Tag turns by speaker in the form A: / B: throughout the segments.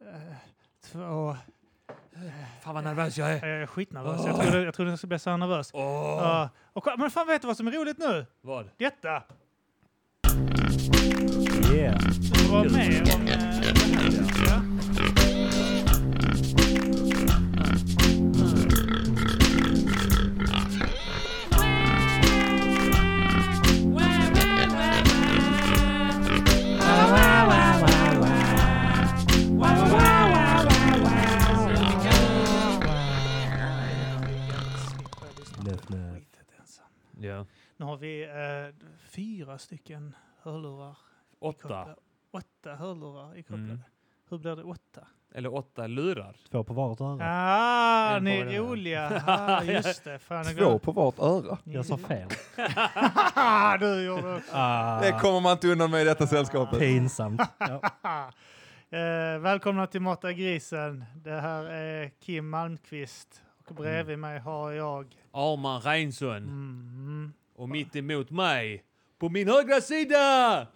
A: eh, två...
B: Fan vad nervös jag är.
A: Jag är eh, skitnervös. Jag trodde, jag trodde jag skulle bli så här nervös.
B: Åh,
A: Ja. och, kolla- men fan, vet du vad som är roligt nu?
B: Vad?
A: Detta!
C: Yeah.
A: Var med om... eh, det här.
C: Nöff, nöff.
B: Ja.
A: Nu har vi eh, fyra stycken hörlurar.
B: Åtta.
A: kopplade. Åtta hörlurar i kopplade.
B: Mm.
A: Hur blir det åtta?
B: Eller åtta lurar.
C: Två på vart öra.
A: Ah,
B: En
A: ni är
B: på den här.
A: roliga! Ah, just det. Fan, jag
D: Två
A: glömde.
D: på vart öra.
C: Jag
B: Mm.
C: sa fel.
A: Ah, du gjorde också.
D: Ah. Det kommer man inte undan med i detta sällskapet.
C: Pinsamt. Ja.
A: Ah. Eh, välkomna till Mata grisen. Det här är Kim Malmqvist och
B: Mm.
A: bredvid mig har jag...
B: Arman Reinsson.
A: Mm.
B: Och mitt emot mig, på min högra sida!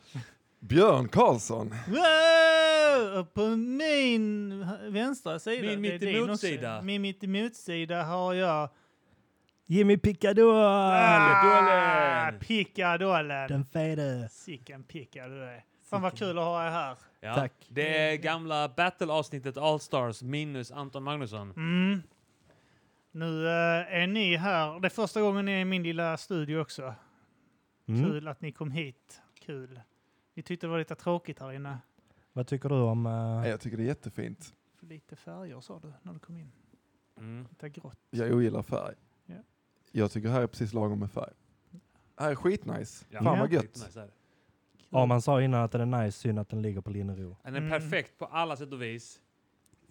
D: Björn Karlsson.
A: Wow! Och På min vänstra sida...
B: Min
A: det är din också.
B: mittemotsida.
A: Min mittemotsida har jag...
C: Jimmy Picador!
B: Ah!
A: Ah,
B: Dollen.
A: Pickadollen!
C: Den fede.
A: Sicken picka du är. Fan vad kul att ha er här.
B: Ja.
C: Tack.
B: Det är gamla battle-avsnittet Allstars minus Anton Magnusson.
A: Mm. Nu eh, är ni här. Det är första gången ni är i min lilla studio också.
C: Mm.
A: Kul att ni kom hit. Kul. Ni tyckte det var lite tråkigt här inne.
C: Vad tycker du om... eh,
D: Nej, Jag tycker det är jättefint.
A: För lite färger sa du när du kom in.
B: Mm.
A: Lite grått.
D: Jag ogillar färg.
A: Ja.
D: Jag tycker här är precis lagom med färg. Här är skitnice.
B: Ja.
D: Fan vad
A: Ja.
D: gött.
B: Nice är det.
C: Ja, man sa innan att den är nice, synd att den ligger på Linnero.
B: Den är
A: Mm.
B: perfekt på alla sätt och vis.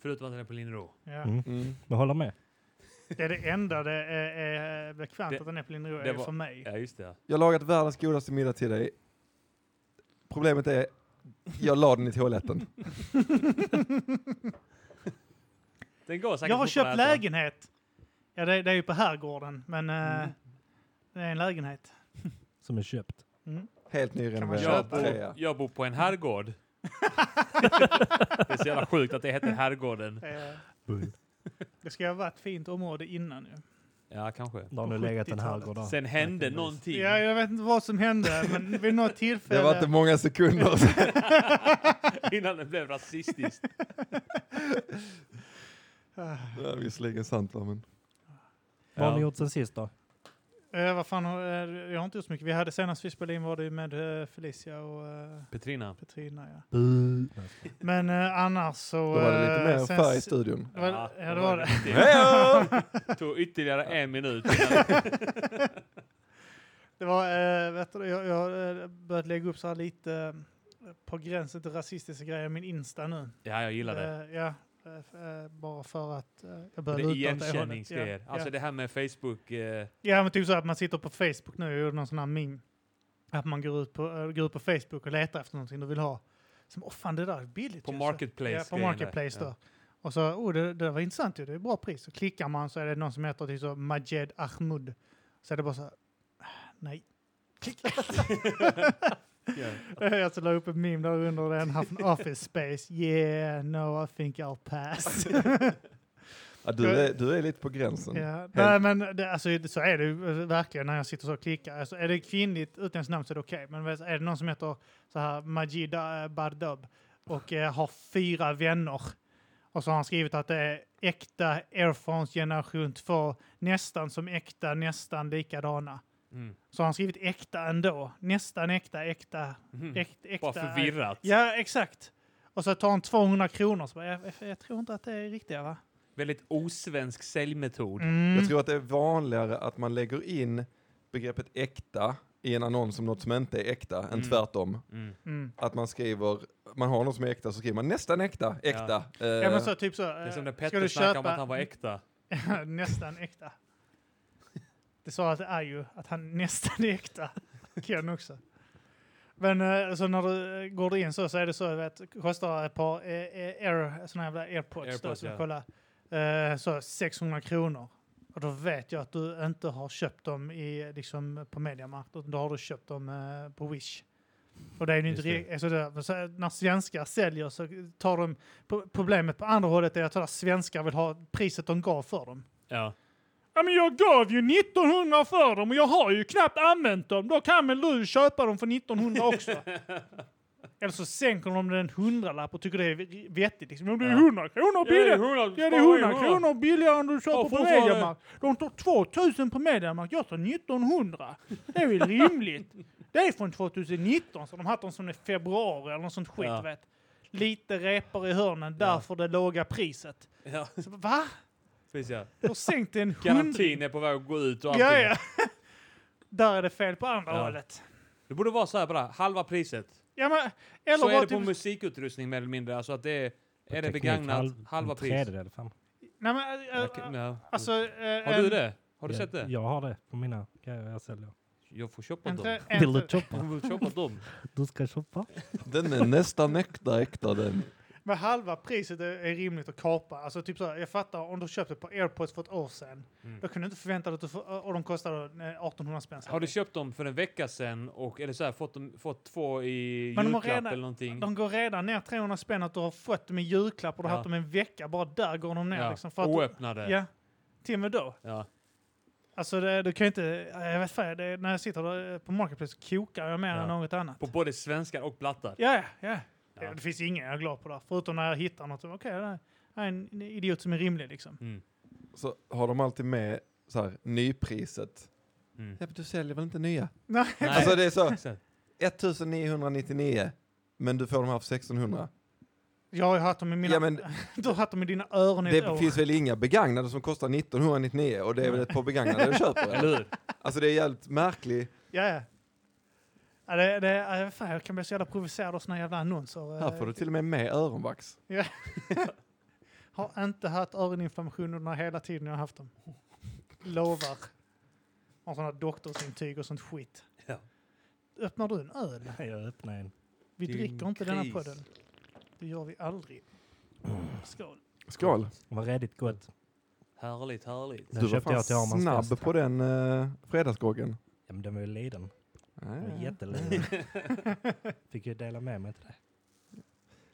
B: Förutom att den är på Linnero.
A: Ja.
C: Mm.
D: Mm.
C: Jag håller med.
A: Det är det enda det är, är bekvämt
B: Det-
A: att den är på din ro
B: det
A: är
B: var-
A: för mig.
B: Ja, just det.
D: Jag har lagat världens godaste middag till dig. Problemet är, jag la den i toaletten.
B: Den går säkert
A: Jag har
B: fort att
A: köpt
B: äta.
A: lägenhet. Ja, det, det är ju på herrgården, men eh,
B: Mm.
A: det är en lägenhet.
C: Som är köpt.
A: Mm.
D: Helt
B: Jag
D: nyrenoverad.
B: bor,
D: trea.
B: jag bor på en herrgård. det är så jävla sjukt att det heter herrgården.
A: Det, är-
D: Mm.
C: Bull.
A: det ska ha varit fint område innan ju.
B: Ja, kanske.
C: Då har nu
A: På
C: legat en
A: 70-talet.
C: herrgård där.
B: Sen hände
C: Verkligen.
B: någonting.
A: Ja, jag vet inte vad som hände, men vid något tillfälle.
D: Det var inte många sekunder.
B: Innan det blev rasistiskt.
D: Det är Visserligen sant va, men.
C: Vad har ni
B: Ja.
C: gjort sen sist då?
A: Eh, vad fan, har- eh, jag har inte gjort så mycket. Vi hade senast vi spelade in var det ju med eh, Felicia och eh,
B: Petrina.
A: Petrina. Ja.
C: Bu.
A: Men eh, annars så... eh,
D: Då var det lite mer än
A: sen
D: färg i
A: s-
D: studion.
A: det var-
B: Ja,
A: ja, det var det.
B: Det tog ytterligare en minut. innan-
A: Det var, eh, vet du, jag, jag har börjat lägga upp så här lite eh, på gränsen till rasistiska grejer i min Insta nu.
B: Ja, jag gillar det.
A: Eh, ja, eh, f- eh, bara för att eh, jag
B: Det
A: börjar
B: är
A: luta åt det hållet. Ja,
B: igenkänningsgrejer. Alltså
A: ja.
B: det här med Facebook. Eh,
A: ja, men typ så att man sitter på Facebook nu, jag gjorde någon sån här meme. Att man går ut på, eh, går ut på Facebook och letar efter någonting du vill ha. Som, åh fan det där är billigt.
B: på
A: ju." Så-
B: Marketplace.
A: Ja, på
B: grejen där.
A: Marketplace då.
B: Ja.
A: Och så, oh det, det var intressant ju, det är bra pris. Så klickar man så är det någon som heter typ så Majed Ahmud. Så är det bara så här, "Ah, nej. Klick.
B: Ja.
A: jag så la upp ett meme där under den här från Office Space. Yeah, no I think I'll pass.
D: Ja, du, är, du är lite på gränsen.
A: ja. Nej men det, alltså, det- så är det ju eh, verkligen när jag sitter så och klickar. Alltså, är det kvinnligt utländskt namn så är det okej. Men vet- är det någon som heter så här Majida eh, Bardab och eh, har fyra vänner och så har han skrivit att det är äkta Air France generation 2, nästan som äkta, nästan likadana.
B: Mm.
A: Så har han skrivit äkta ändå, nästan äkta, äkta,
B: Mm.
A: äkta, äkta.
B: Bara förvirrat.
A: Ja, exakt. Och så tar han 200 kronor. Så bara, jag, jag, jag tror inte att det är riktiga va?
B: Väldigt osvensk säljmetod.
A: Mm.
D: Jag tror att det är vanligare att man lägger in begreppet äkta i en annons om något som inte är äkta, än
B: Mm.
D: tvärtom.
B: Mm.
A: Mm.
D: Att man skriver, man har något som är äkta så skriver man nästan äkta, äkta. Eh,
A: Ja men så typ så.
B: Det är som när
A: ska
B: Petter
A: du
B: snackade
A: köpa
B: om att han var äkta.
A: nästan äkta? Det sa att det är ju att han nästan är äkta. Ken också. Men eh, så när du eh, går in så, så är det så att det kostar ett par eh, eh, air, såna jävla airpods, då,
B: Airpods,
A: som
B: ja.
A: jag kollar, eh, så 600 kronor. Och då vet jag att du inte har köpt dem i, liksom, på Mediamarkt, utan då har du köpt dem eh, på Wish. Och det är ju inte
B: Just
A: riktigt, alltså det, men så här, när svenskar säljer så tar de, pro- problemet på andra hållet är att alla svenskar vill ha priset de gav för dem.
B: Ja.
A: Ja men jag gav ju 1900 för dem och jag har ju knappt använt dem. Då kan väl du köpa dem för 1900 också? Eller så sänker de den en hundralapp och tycker det är vettigt. Liksom. Ja, det är
B: Ja.
A: 100 kronor billigare. Ja, det är 100 kronor billigare än du köper
B: Ja,
A: på
B: fortfarande.
A: Mediamarkt. De tar 2000 på Mediamarkt, jag tar 1900. Det är väl rimligt? Det är från 2019, så de har haft dem som i februari eller något sånt skit.
B: Ja.
A: Vet. Lite repor i hörnen,
B: Ja.
A: därför det låga priset.
B: Ja,
A: Så, va?
B: precis ja.
A: De har sänkt det en hundring.
B: Garantin är på väg att gå ut och allting.
A: Ja, ja. Där är det fel på andra
B: Ja.
A: hållet.
B: Det borde vara så här bara, halva priset.
A: Ja, men, eller
B: så är
A: bara
B: det på
A: typ-
B: musikutrustning mer eller mindre. Alltså att det är, är det
C: Teknik,
B: begagnat,
C: halv-
B: halva
C: en
B: pris.
C: Tredjedel, fan.
A: Nej, men, äh,
B: Ja,
A: äh,
B: okej, ja.
A: alltså, äh,
B: har du det? Har du
C: Ja,
B: sett det?
C: Jag har det på mina grejer jag säljer.
B: Jag får shoppa
A: En,
B: dem.
A: en,
C: Vill
A: en,
C: du shoppa?
B: Jag vill shoppa dem.
C: Du ska shoppa?
D: Den är nästan äkta, äkta den.
A: Men halva priset är, är rimligt att kapa. Alltså typ så här, jag fattar om du köpte på airpods för ett år sedan.
B: Mm.
A: Då kunde du inte förvänta dig att du får, och de kostade eh, 1800 spänn.
B: Har du köpt dem för en vecka sedan och eller så här, fått, dem, fått två i
A: Men de har
B: julklapp
A: redan-
B: eller någonting?
A: de går redan ner 300 spänn att du har fått dem i julklapp och du har
B: Ja.
A: haft dem en vecka. Bara där går de ner.
B: ja.
A: Liksom, för att du,
B: Oöppnade.
A: ja, till och med då.
B: Ja.
A: Alltså det, du kan ju inte, eh, jag vet fan, det, när jag sitter där eh, på Marketplace så kokar jag mer
B: Ja.
A: än något annat.
B: På både svenskar och plattar.
A: Ja, ja, ja.
B: Ja.
A: Det finns ingen jag är glad på där. Förutom när jag hittar något. som, Okej, det här är en idiot som är rimlig liksom.
B: Mm.
D: Så har de alltid med så här, nypriset.
B: Mm.
D: Ja, men du säljer väl inte nya?
A: Nej.
B: Nej.
D: Alltså det är så,
B: Så här,
D: 1999, men du får de här för 1600.
A: Jag har ju haft dem i mina...
D: Ja, men-
A: du har haft dem i dina öron i ett år.
D: Det finns väl inga begagnade som kostar 1999 och det är väl ett par begagnade du köper?
B: Eller hur?
D: Alltså det är jävligt märkligt.
A: Ja, ja. Ja, det, det, ja, fan, jag kan bli så jävla provocerad av såna jävla annonser. Eh,
D: Här får du typ- till och med med öronvax.
A: Har inte haft öroninflammation under hela tiden jag har haft dem. Lovar. Har sådana doktorsintyg och sånt skit.
B: Ja.
A: Öppnar du en öl?
C: Jag öppnar en.
A: Vi
B: Din
A: dricker inte denna
B: kris.
A: podden. Det gör vi aldrig. Skål.
D: Skål!
C: Den var redigt gott.
B: Härligt, härligt.
C: Den
D: Du var
C: köpte jag till
D: fan
C: Armans
D: snabb
C: fest.
D: på den uh, fredagsgroggen.
C: Ja, men den var ju liden. Den var
D: Nej,
C: jätteliden. Fick ju dela med mig till det.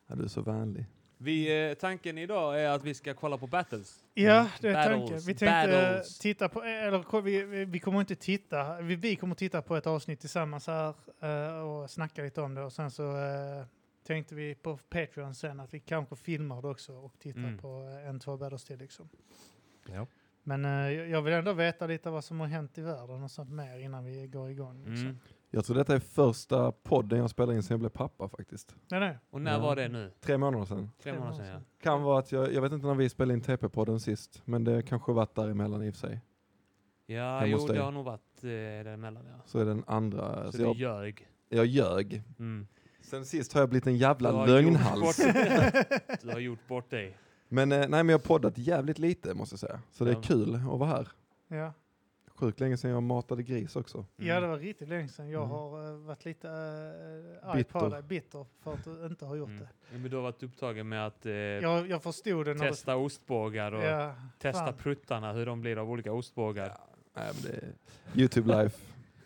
D: Ja, du är så vänlig.
B: Vi, eh, tanken idag är att vi ska kolla på battles.
A: Ja, det är
B: Battles,
A: tanken. Vi tänkte eh,
B: battles.
A: titta på, eller ko- vi, vi- vi kommer inte titta, vi, vi kommer titta på ett avsnitt tillsammans här eh, och snacka lite om det och sen så eh, tänkte vi på Patreon sen att vi kanske filmar det också och tittar
B: Mm.
A: på eh, en, två battles till liksom.
C: Ja.
A: Men eh, jag jag vill ändå veta lite vad som har hänt i världen och sånt mer innan vi går igång. Liksom.
B: Mm.
D: Jag tror detta är första podden jag spelar in sen jag blev pappa faktiskt.
A: Nej, nej.
B: Och när
D: Ja.
B: var det nu?
D: Tre månader sedan.
B: Tre månader sedan, ja.
D: Kan vara att jag, jag vet inte när vi spelade in TP-podden sist, men det kanske varit däremellan i och för sig.
B: Ja,
D: Jag
B: jo,
D: måste-
B: det har nog varit eh, däremellan, ja.
D: Så är den andra.
B: Så
D: Så
B: du
D: jag,
B: ljög.
D: jag ljög.
B: Mm.
D: Sen sist har jag blivit en jävla
B: Du har
D: lögnhals.
B: gjort bort- Du har gjort bort dig.
D: Men eh, nej, men jag har poddat jävligt lite måste jag säga. Så det
B: Ja.
D: är kul att vara här.
A: Ja.
D: Sjukt länge sedan jag matade gris också.
A: ja, det
B: Mm.
A: var riktigt länge sedan. Jag
D: Mm.
A: har eh, varit lite uh, arg
D: Bitter.
A: på dig, bitter, för att du inte har gjort
B: Mm.
A: det.
B: Ja, Men du har varit upptagen med att eh,
A: Jag, jag förstod det när du
B: testa ostbågar och
A: alltså- Ja,
B: testa
A: fan.
B: pruttarna, hur de blir av olika ostbågar.
D: Nej, men det är Youtube life.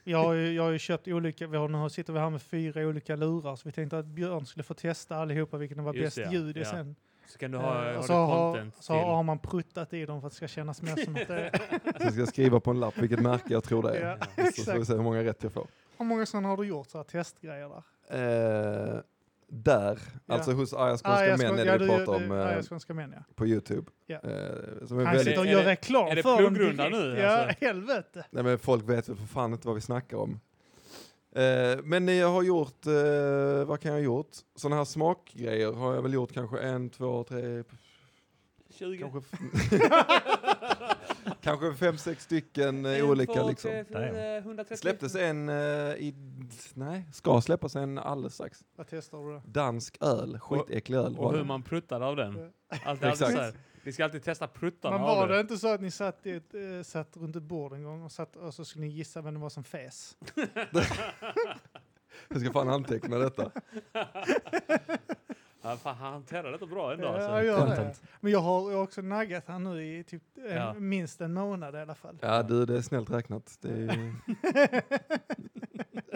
A: Jag har, ju, jag har ju köpt olika, vi har, nu sitter vi här med fyra olika lurar så vi tänkte att Björn skulle få testa allihopa vilken det var
B: Just
A: bäst
B: det, ja.
A: ljud i
B: Ja.
A: sen.
B: Så kan du ha,
A: Eh,
B: har
A: och
B: du
A: så, har,
B: content
A: så har man pruttat i dem för att det ska kännas mer som att det är...
D: Sen ska jag skriva på en lapp vilket märke jag tror det är.
A: ja,
D: Så får vi
A: exakt.
D: se hur många rätt jag får.
A: Hur många sådana har du gjort, så här testgrejer där?
D: Eh, där,
A: Ja. Ah,
D: alltså hos Arga Skånska
A: jag
D: Män
A: ska-
D: är det
A: ja,
D: vi
A: du-
D: pratar
A: du-
D: om
A: ja,
D: eh,
A: jag skånska män, ja.
D: på Youtube.
A: Ja.
D: Eh, som
A: Han
D: är väldigt,
A: sitter och
B: Är
A: gör
B: det-
A: reklam
B: är det
A: för dem
B: pluggrunda
A: direkt.
B: nu,
A: Ja,
B: alltså?
A: helvete.
D: nej, men folk vet väl för fan inte vad vi snackar om. Eh, men jag har gjort, eh, vad kan jag ha gjort? Sådana här smakgrejer har jag väl gjort kanske en, två, tre,
B: 20.
D: kanske, f- kanske fem, sex stycken eh, olika liksom. Släpptes en eh, i, nej, ska släppas en alldeles strax.
A: Vad testar du då?
D: Dansk öl, skitäcklig öl. var
B: Och hur
D: det.
B: man pruttar av den.
A: Ja.
B: Allt är alltid så
D: Exakt.
B: här. Vi ska alltid testa pruttarna
A: Men
B: av
A: var det
B: det.
A: inte så att ni satt, i ett, eh, satt runt ett bord en gång och, satt, och så skulle ni gissa vem det var som fes?
D: Jag ska fan anteckna detta.
B: Ja, fan, han hanterade detta bra ändå.
A: Ja,
B: Alltså.
A: jag gör det.
C: Content.
A: Men jag har, jag har också naggat han nu i typ en,
B: Ja.
A: minst en månad i alla fall.
D: Ja du, det är snällt räknat. Det är,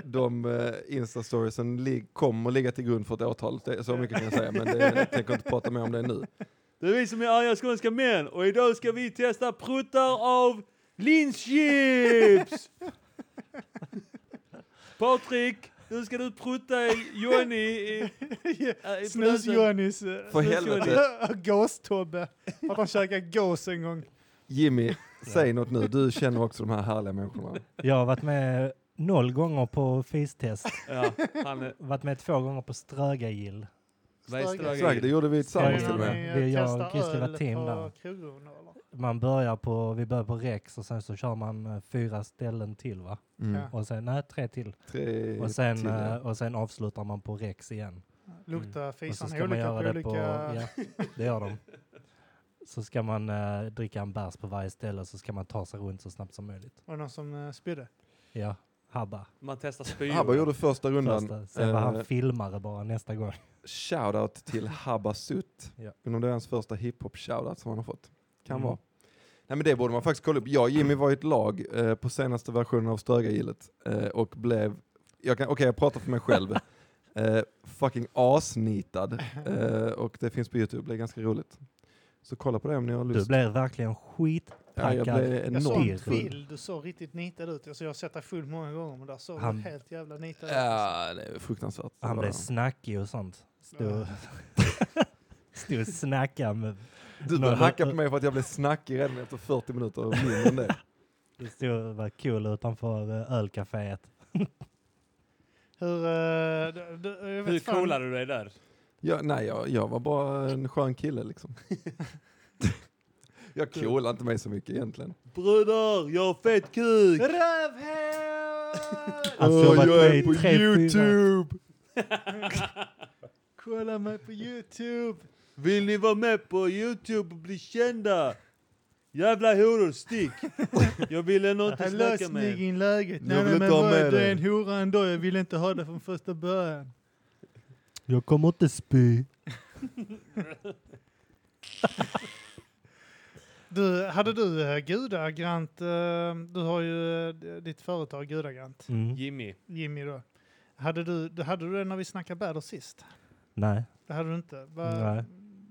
D: de eh, instastoriesen lig- kommer ligga till grund för ett åtal. Det, så mycket kan jag säga, men det, jag tänker inte prata mer om det nu.
B: Det är vi som är arga skånska män och idag ska vi testa pruttar av linschips! Patrik, nu ska du prutta i Johnny i... i- i pruten.
A: Snus-Johannes.
D: För helvete,
A: eh, Gås-Tobbe. För att han käkade gås en gång.
D: Jimmy, säg något nu. Du känner också de här härliga människorna.
C: Jag har varit med noll gånger på fistest.
B: Ja, han är...
C: Varit med två gånger på Strögagill.
B: Vad är
A: Strögel.
D: Exakt, det gjorde vi tillsammans till
C: Ja,
D: och med.
C: Det är jag och
A: Testar
C: Christer
A: eh, öl
C: Lattin
A: på
C: där.
A: krogen, eller?
B: Mm.
C: Man börjar på, vi börjar på Rex och sen så kör man eh, fyra ställen till va?
D: Mm.
A: Ja.
C: Och sen, nej tre till.
D: Tre
C: Och sen,
D: till, ja.
C: eh, och sen avslutar man på Rex igen.
A: Luktar
C: Och så
A: fisan
C: ska man
A: olika på
C: göra det
A: olika...
C: på, ja det gör de. Så ska man eh, dricka en bärs på varje ställe så ska man ta sig runt så snabbt som möjligt.
A: Var det någon som eh, spydde?
C: Ja, habba.
B: Man testar spyor.
D: Habba gjorde första rundan.
C: Första. Sen var
D: Eh,
C: han filmare bara nästa gång.
D: shoutout till Habasut.
C: Ja.
D: Undrar om det är hans första hiphop-shoutout som han har fått. Kan
C: Mm.
D: vara. Nej men det borde man faktiskt kolla upp. Jag och Jimmy var i ett lag eh, på senaste versionen av Stögagillet eh, och blev, jag kan- okej jag pratar för mig själv, eh, fucking asnitad. Eh, och det finns på Youtube, det är ganska roligt. Så kolla på det om ni har
C: Du
D: lust.
C: blev verkligen
D: ja, jag
C: skitpackad.
D: blev
A: Jag såg en
D: enormt full.
A: bild, du såg riktigt nitad ut. Alltså, jag har sett dig full många gånger, men där såg
C: Han-
A: du helt jävla nitad ut. alltså.
D: Ja, det är fruktansvärt.
C: Han blev snackig och sånt. Stod, stod och snackade med...
D: du började hacka på mig för att jag blev snackig redan efter 40 minuter och mindre än det.
C: Stod och var cool utanför eh, ölcaféet.
A: Hur... eh, d- d- jag vet
B: Hur
A: fan.
B: coolade du dig där?
D: Ja, nej, jag, jag var bara en skön kille liksom. jag coolade inte mig så mycket egentligen.
B: Bröder, jag har fett kuk!
A: Rövhål!
C: Alltså, jag har varit med i tre, fyra-
A: Kolla mig på Youtube!
B: Vill ni vara med på Youtube och bli kända? Jävla horor, stick! Jag ville nog inte
A: Han
B: snacka
A: löste
B: med er.
A: in läget.
D: Jag
A: Nej,
D: vill
A: nej,
D: inte
A: men
D: ha
A: vad,
D: med
A: du
D: dig.
A: är en hora ändå. Jag ville inte ha det från första början.
C: Jag kommer inte spy.
A: Du, hade du eh, Gudagrant, eh, du har ju eh, ditt företag Gudagrant,
C: Mm.
B: Jimmy.
A: Jimmy då. Hade du, du- hade du det när vi snackade bäder sist?
C: Nej.
A: Det hade du inte. Va-
C: Nej.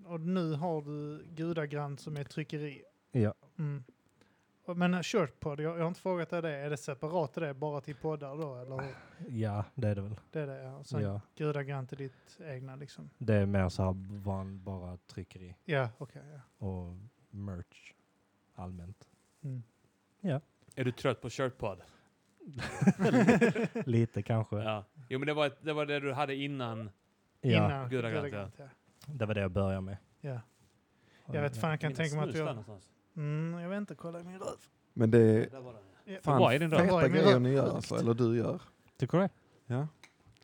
A: Och nu har du Gudagrant som är tryckeri.
C: Ja.
A: Mm. Och- Men eh, Shirtpod, jag, jag har inte frågat dig det. Är det separat det, bara till poddar då? Eller hur?
C: Ja, det är det väl.
A: Det är det, ja. Och Sen
C: Ja.
A: Gudagrant är ditt egna liksom.
C: Det är mer så här van, bara tryckeri
A: Ja, okej. ja.
C: och merch allmänt.
A: Mm.
B: Är du trött på shirtpod?
C: Lite kanske. Ja.
B: Ja. Jo men det var, ett, det var det du hade innan.
A: Innan
B: Gudagrant,
A: Gudagrant, ja.
C: det var det jag började med.
A: ja. Jag vet fan, jag kan
B: Mina
A: tänka mig att
B: snus där
A: jag...
B: någonstans.
A: Mm, jag vet inte, kolla i min röv.
D: Men det är
B: Där var den.
A: Ja.
D: fan
B: Vad är den då?
A: Vad
D: feta
A: är min
D: grejer
A: röv?
D: ni gör alltså, eller du gör.
C: Tycker du det?
D: Ja.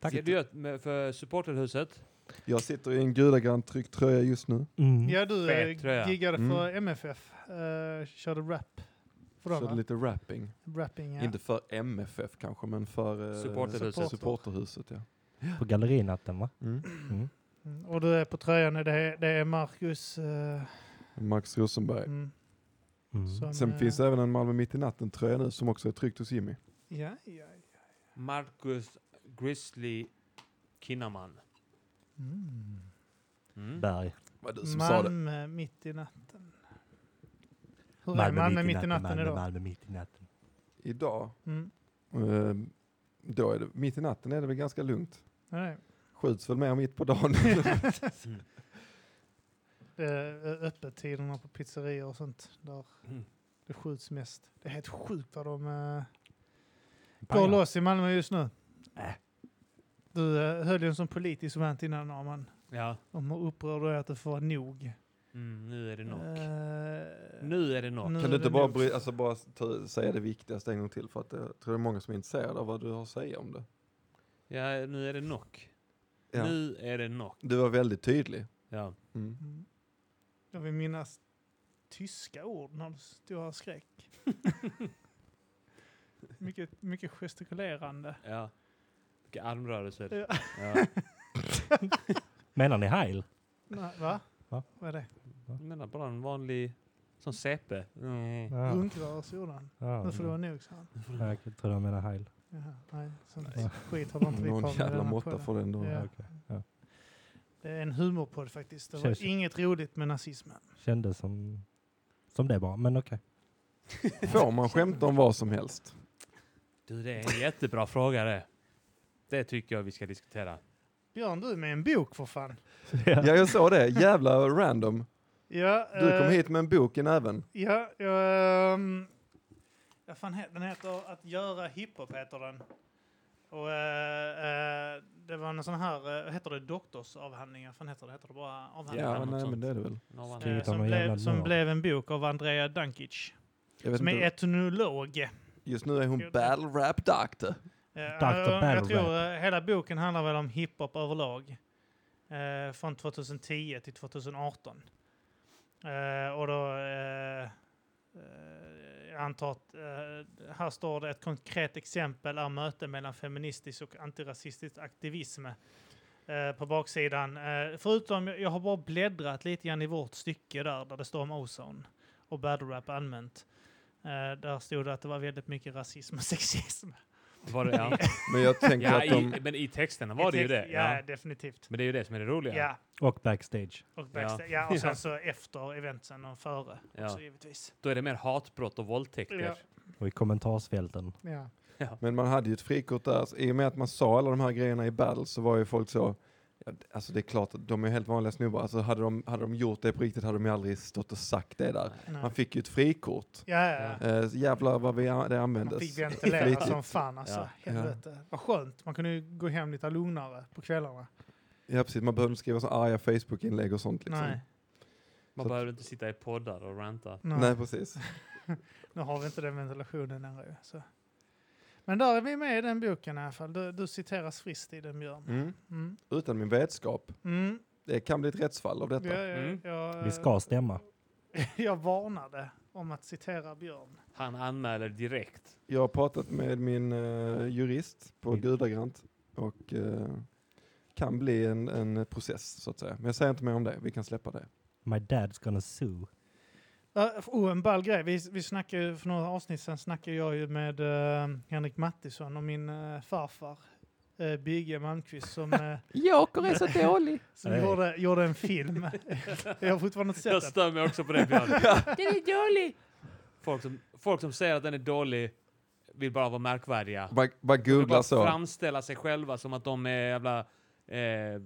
C: Tack.
B: Ser du gör med- för supporterhuset.
D: Jag sitter i en gudagrant tryckt tröja just nu.
C: Mm.
A: Ja, du eh,
B: Fet tröja.
A: giggade för
D: Mm.
A: MFF. eh, körde rap. För dem,
D: Körde
A: va?
D: lite rapping.
A: Rapping, ja.
D: Inte för MFF kanske, men för eh,
B: Supporterhuset.
D: support- supporterhuset ja.
C: På gallerinatten va?
D: Mm.
C: Mm.
A: Mm. Och du är på tröjan, det är, det är Marcus. eh,
D: Max Rosenberg.
A: mm,
C: Mm.
A: som,
D: Sen
A: eh,
D: finns det även en Malmö mitt i natten tröja nu som också är tryckt hos Jimmy.
A: Ja, ja. ja.
B: Marcus Grizzly Kinnaman.
A: Mm.
B: Mm.
C: Berg.
D: Var du som sa det?
A: Malmö mitt i natten. Hur är Malmö mitt i natten
C: Malmö,
A: idag?
C: Malmö mitt i natten.
D: Idag,
A: Mm.
D: eh, då är det, mitt i natten är det väl ganska lugnt.
A: Ja, det är-
D: Skjuts väl mer mitt på dagen.
A: det är eh, öppettiderna på pizzerior och sånt. Där
B: Mm.
A: det skjuts mest. Det är helt sjukt vad de eh, går loss i Malmö just nu.
B: Äh.
A: Du eh, höll ju en sån politisk rant innan Arman.
B: Ja.
A: Om hur upprörd du är att det får vara nog.
B: Mm, nu är det nog.
A: Eh,
B: Nu är Mm, det nog.
A: nu
D: Kan
A: är
D: du inte
A: det
D: bara,
A: nog.
D: bry, alltså bara ta, säga det viktigaste en gång till för att eh, jag tror det är många som är intresserade av vad du har att säga om det.
B: Ja, nu är det nog.
D: Ja.
B: Nu är det nog.
D: Du var väldigt tydlig.
B: Ja.
D: Mm.
A: Mm. Jag vill minnas tyska ord när du stod här och skrek. mycket, mycket gestikulerande.
B: ja. Vilka armrörelser.
A: Ja.
B: Ja.
C: Menar ni heil?
A: Va? Va?
C: Va?
A: Vad är det?
B: Jag menar bara en vanlig som CP. Mm.
C: Ja.
A: Runkrörelse gjorde han.
C: Ja,
A: Nu Mm. får det vara
C: ja.
A: nog, sa han.
C: Jag tror de menar heil.
A: Jaha, nej, sånt
C: Nej.
A: skit håller inte vi på
D: Någon
A: med. i denna
D: jävla måtta
A: podden.
D: får den då.
A: Ja. Det är en humorpodd faktiskt. Det var
C: Känns-
A: inget roligt med nazismen.
C: Kändes som, som det bara, men okej.
D: Får man skämta om vad som helst?
B: Du, det är en jättebra fråga det. Det tycker jag vi ska diskutera.
A: Björn, du är med i en bok för fan.
D: Ja, jag såg det. Jävla random.
A: Ja,
D: Du
A: eh,
D: kom hit med en bok i näven.
A: Ja, jag... Um, ja, fan, he- den heter Att göra hiphop, heter den. Och eh, eh, det var en sån här, uh, heter det doktorsavhandling? Vad fan heter det? Heter det bara avhandling?
B: Ja,
D: Ja,
B: något
D: nej, men
B: sånt.
D: det är det väl.
B: Någon
A: Eh,
B: annan.
C: Skrivit Typ av
A: som
C: någon jävla
A: blev, som
C: nörd.
A: blev en bok av Andrea Dankic,
D: Jag vet
A: som är
D: inte.
A: etnolog.
D: Just nu är hon battle rap doctor.
A: Eh,
C: Dr.
A: jag-
C: Battle
A: jag tror eh, hela boken handlar väl om hiphop överlag. Eh, från 2010 till 2018. Eh, och då... Eh, eh, jag antar att... Eh, här står det ett konkret exempel är möte mellan feministisk och antirasistisk aktivism. Eh, på baksidan. Eh, förutom, jag har bara bläddrat lite grann i vårt stycke där, där det står om ozone och battle rap allmänt. Eh, där stod det att det var väldigt mycket rasism och sexism.
B: Var det, ja.
D: Men jag tänker
B: ja,
D: att de...
B: i, men i texterna var det ju det.
A: Ja,
B: Ja.
A: definitivt.
B: Men det är ju det som är det roliga.
A: Ja,
C: Och backstage.
A: och, backsta- ja. och sen så efter eventsen och före
B: Ja.
A: också givetvis.
B: Då är det mer hatbrott och våldtäkter.
A: Ja.
C: Och i kommentarsfälten.
A: Ja.
D: Men man hade ju ett frikort där, så i och med att man sa alla de här grejerna i battle så var ju folk så, ja, d- alltså det är klart att de är helt vanliga snubbar, alltså hade de, hade de gjort det på riktigt hade de ju aldrig stått och sagt det
A: Mm.
D: där. Man fick ju ett frikort.
A: Ja, ja.
D: Eh, så jävlar vad vi, an- det
A: Man
D: användes.
A: fick ventilera
D: Flitigt.
A: som fan alltså.
D: Ja.
A: Helvete. Vad skönt. Man kunde ju gå hem lite lugnare på kvällarna.
D: Ja precis, man behövde inte skriva så arga Facebook-inlägg och sånt liksom.
A: Nej.
B: Man
D: Så-
B: behöver inte sitta i poddar och ranta.
A: Nej.
D: Nej, precis.
A: Nu har vi inte den ventilationen ännu. ju, Så. Men där är vi med i den boken i alla fall. Du, du citeras friskt i den Björn.
D: Mm.
A: Mm.
D: Utan min vetskap.
A: Mm.
D: Det kan bli ett rättsfall av
A: Ja,
D: detta.
A: ja,
B: Mm.
A: jag, eh,
C: Vi ska stämma.
A: jag varnade om att citera Björn.
B: Han anmäler direkt.
D: Jag har pratat med min eh, jurist på
E: Mm.
C: Min-
D: Gudagrant och eh, kan bli en, en process så att säga. Men jag säger inte mer om det, vi kan släppa det.
C: My dad's gonna sue.
A: Ja, Oh, en ball grej. Vi, vi snackade, ju- för några avsnitt sedan snackade jag ju med eh, Henrik Mattisson och min eh, farfar uh, Bygge Malmqvist som, eh,
E: Joker är så dålig.
A: som
C: Hey.
A: gjorde, gjorde en film. jag har fortfarande inte
B: Jag
A: sett den.
B: stör mig också på det Björn.
E: Den är dålig.
B: Folk som, folk som säger att den är dålig vill bara vara märkvärdiga.
D: Bara, bara
B: Vill bara
D: googla så.
B: framställa sig själva som att de är jävla eh,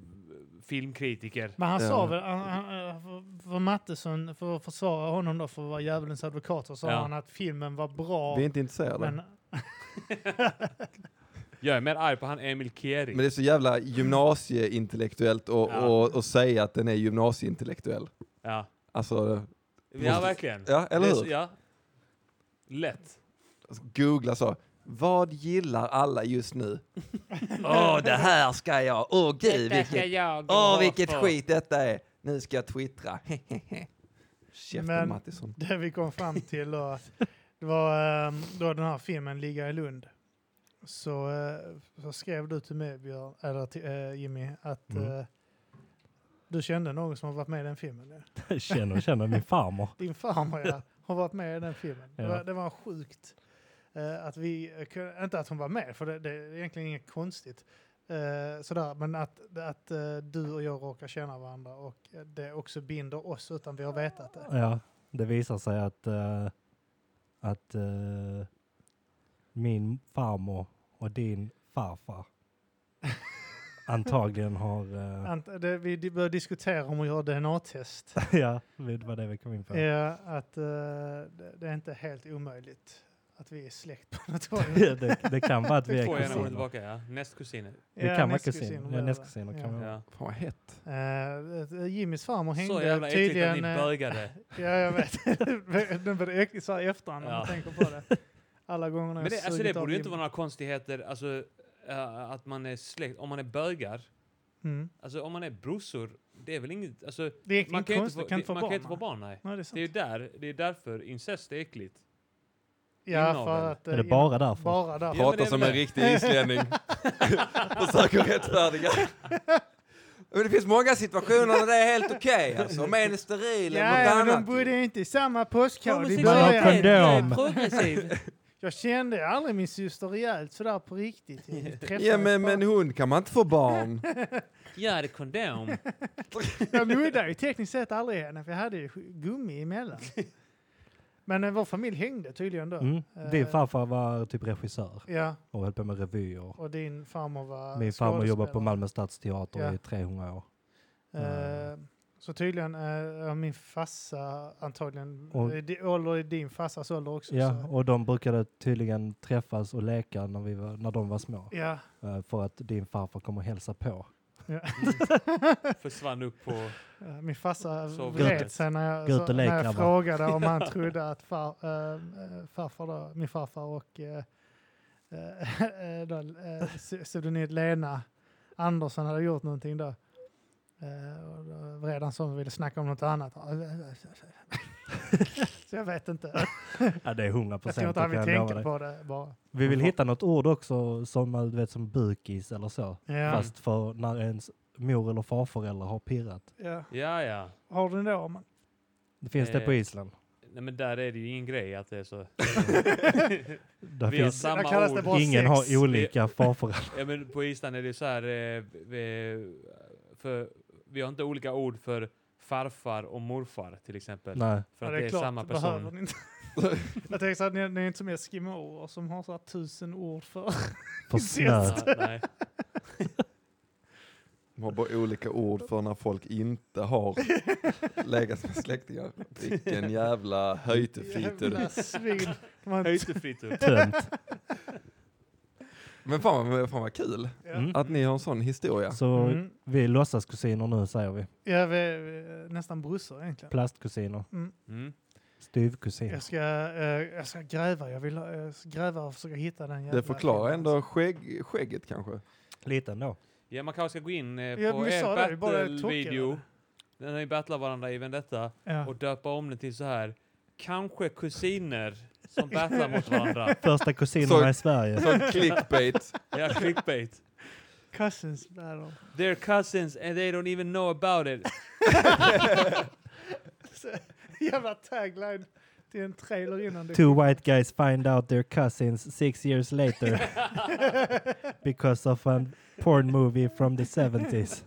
B: filmkritiker.
A: Men han sa
D: Ja.
A: väl, han, han, eh, för, för Mattisson, för att försvara honom då, för att vara djävulens advokat, så sa
B: Ja.
A: han att filmen var bra.
D: Vi är inte intresserade.
A: men,
D: Men,
B: Jag är mer arg på han Emil Kieri.
D: det är så jävla gymnasieintellektuellt och,
B: Ja.
D: och, och säga att den är gymnasieintellektuell.
B: Ja.
D: Alltså,
B: ja, verkligen.
D: ja, eller
B: Det är så-
D: hur?
B: Ja. Lätt.
D: Alltså, Googla så. Vad gillar alla just nu?
E: Åh, det här ska jag. Åh gud,
B: jag
D: detta är. Nu ska jag twittra. Käften
A: Men-
D: Mattisson.
A: det vi kom fram till då, det var eh, då den här filmen Ligga i Lund. Så, eh, så skrev du till mig, Björn, eller till, eh, Jimmy, att
C: Mm.
A: eh, du kände någon som har varit med i den filmen. ja.
C: känner, känner min farmor.
A: Din farmor ja, har varit med i den filmen. Det,
C: Ja.
A: var, det var sjukt. Eh, att vi, eh, kunde- inte att hon var med, för det, det är egentligen inget konstigt. Eh, sådär, men att, att eh, du och jag råkar känna varandra och eh, det också binder oss utan vi har vetat det.
C: Ja, det visar sig att, eh, att eh, min farmor och din farfar antagligen har... eh,
A: Ant, det, vi di- började diskutera om att göra DNA-test.
C: ja, det var det vi kom in på.
A: Ja, att eh, det, det är inte helt omöjligt att vi är släkt på något håll.
C: det, det kan vara att
B: Två
C: vi är
B: generationer
C: kusiner.
B: tillbaka, ja. Nästkusiner.
C: Vi
A: Ja,
C: kan vara
A: nästkusiner
C: kusiner.
A: blir
C: Ja,
A: det.
C: nästkusiner kan vi vara.
B: Ja.
D: Fan vad hett.
A: Eh, Jimmys farmor
B: Så
A: hängde
B: jävla äckligt att ni
A: tydligen... eh,
B: bögade.
A: ja, jag vet. Den blir äcklig så här i efterhand när
B: Ja.
A: man tänker på det. Alla gånger när
B: Men det,
A: jag
B: alltså det
A: sugit
B: borde
A: av
B: ju inte
A: Jimmy.
B: vara några konstigheter, alltså eh, att man är släkt, om man är bögar,
A: Mm.
B: alltså om man är brorsor, det är väl inget, alltså
A: Det är
B: man
A: egentligen
B: kan ju inte
A: konstigt,
B: få,
A: kan
B: det,
A: inte få
B: man kan
A: barn.
B: ju inte få barn, nej.
A: Nej, det är
B: Det är ju
A: sant.
B: där, det är därför incest är äckligt.
A: Ja,
B: inavel.
A: för att... eh,
C: Är det
A: in-
C: bara därför?
A: Bara därför.
B: Ja, men det
D: Prata
B: är
D: som
B: väl
D: en
B: det.
D: riktig islänning. Försöker rättfärdiga. Men det finns många situationer där det är helt okej. alltså. Om en är steril
A: Ja, men de bodde inte i samma postkod i
C: Man har
A: början.
C: kondom.
E: progressiv.
A: Jag kände aldrig min syster rejält sådär på riktigt. Jag träffade
D: Ja men med en
A: bara-
D: hund kan man inte få barn.
B: Jag hade kondom.
A: Jag nuddade ju tekniskt sett aldrig henne för jag hade ju gummi emellan. Men eh, vår familj hängde tydligen då. Eh,
C: Mm. Din farfar var typ regissör
A: Ja,
C: och höll på med revyer.
A: och din farmor var
C: Min farmor jobbar på
A: skådespelare.
C: Malmö Stadsteater
A: Ja.
C: i 300 år.
A: Eh, Så tydligen eh, min fassa antagligen,
C: Och-
A: eh, di- ålder är din fassas ålder också.
C: Ja,
A: så.
C: och de brukade tydligen träffas och leka när, vi var, när de var små.
A: ja.
C: Eh, För att din farfar kom och hälsade på.
B: Försvann upp på...
A: Eh, Min farsa
B: Så
A: vred
B: Gute.
A: sig när jag,
C: Gute
A: så, när jag
C: lekgrabbar.
A: frågade om han trodde att far, eh, eh, farfar då, min farfar och eh, eh, då, eh, pse- pseudonymt Lena Andersson hade gjort någonting då. Eh, och då vred han som ville snacka om något annat. eh, Så jag vet inte.
C: Ja, det är
A: Jag
C: 100
A: tror
C: procent.
A: inte han vill tänka på det bara.
C: Vi vill hitta något ord också som man vet som bukis eller så.
A: Ja.
C: Fast för när ens mor eller farföräldrar har pirrat.
A: Ja.
B: Ja, ja.
A: Har du den då? Man?
C: Det finns det på
B: Eh,
C: Island.
B: Nej, men där är det ju ingen grej att det är så...
C: Där
B: vi har
C: finns,
A: Där
B: samma
A: kallas det
B: ord.
A: bara- har
C: ingen
A: sex.
C: har olika farföräldrar.
B: Ja, men på Island är det ju så här... Eh, vi- för, vi har inte olika ord för farfar och morfar till exempel.
C: Nej.
B: För
A: Ja,
B: att det är
A: klart,
B: samma
A: det behöver
B: person.
A: ni inte. jag tänker så att ni, ni är inte som eskimåer som har så här tusen ord för.
C: För snö.
B: Ja, nej.
D: De har bara olika ord för när folk inte har legat med släktingar. Vilken jävla höjtefitur.
A: Jävla svin. De har inte-
B: Höjdefritur.
C: Tönt.
D: Men fan, vad- fan vad kul
A: Ja.
C: Mm.
D: att ni har en sån historia.
C: Så
A: Mm.
C: vi är låtsaskusiner nu säger vi.
A: Ja, vi är eh, nästan brorsor egentligen.
C: Plastkusiner.
B: Mm.
C: Styvkusiner.
A: Jag ska, eh, jag ska gräva, jag vill ha- jag ska gräva och försöka hitta den jävla...
D: Det förklarar ändå skägg, skägget kanske.
C: Lite ändå.
B: Ja, man kanske ska gå in eh, på
A: Ja, men vi sa det, vi
B: en
A: bara
B: battle-video.
A: tokigare.
B: Den har ju battlat varandra i Vendetta.
A: Ja.
B: och döpa om den till så här kanske kusiner som battlar mot varandra.
C: Första
D: Så-
C: kusinerna i Sverige.
D: Sån clickbait.
B: Ja, clickbait.
A: Cousins battle.
B: They're cousins and they don't even know about it.
A: Så, jävla tagline till en trailer innan det...
C: Two white guys find out their cousins six years later because of a porn movie from the 70s.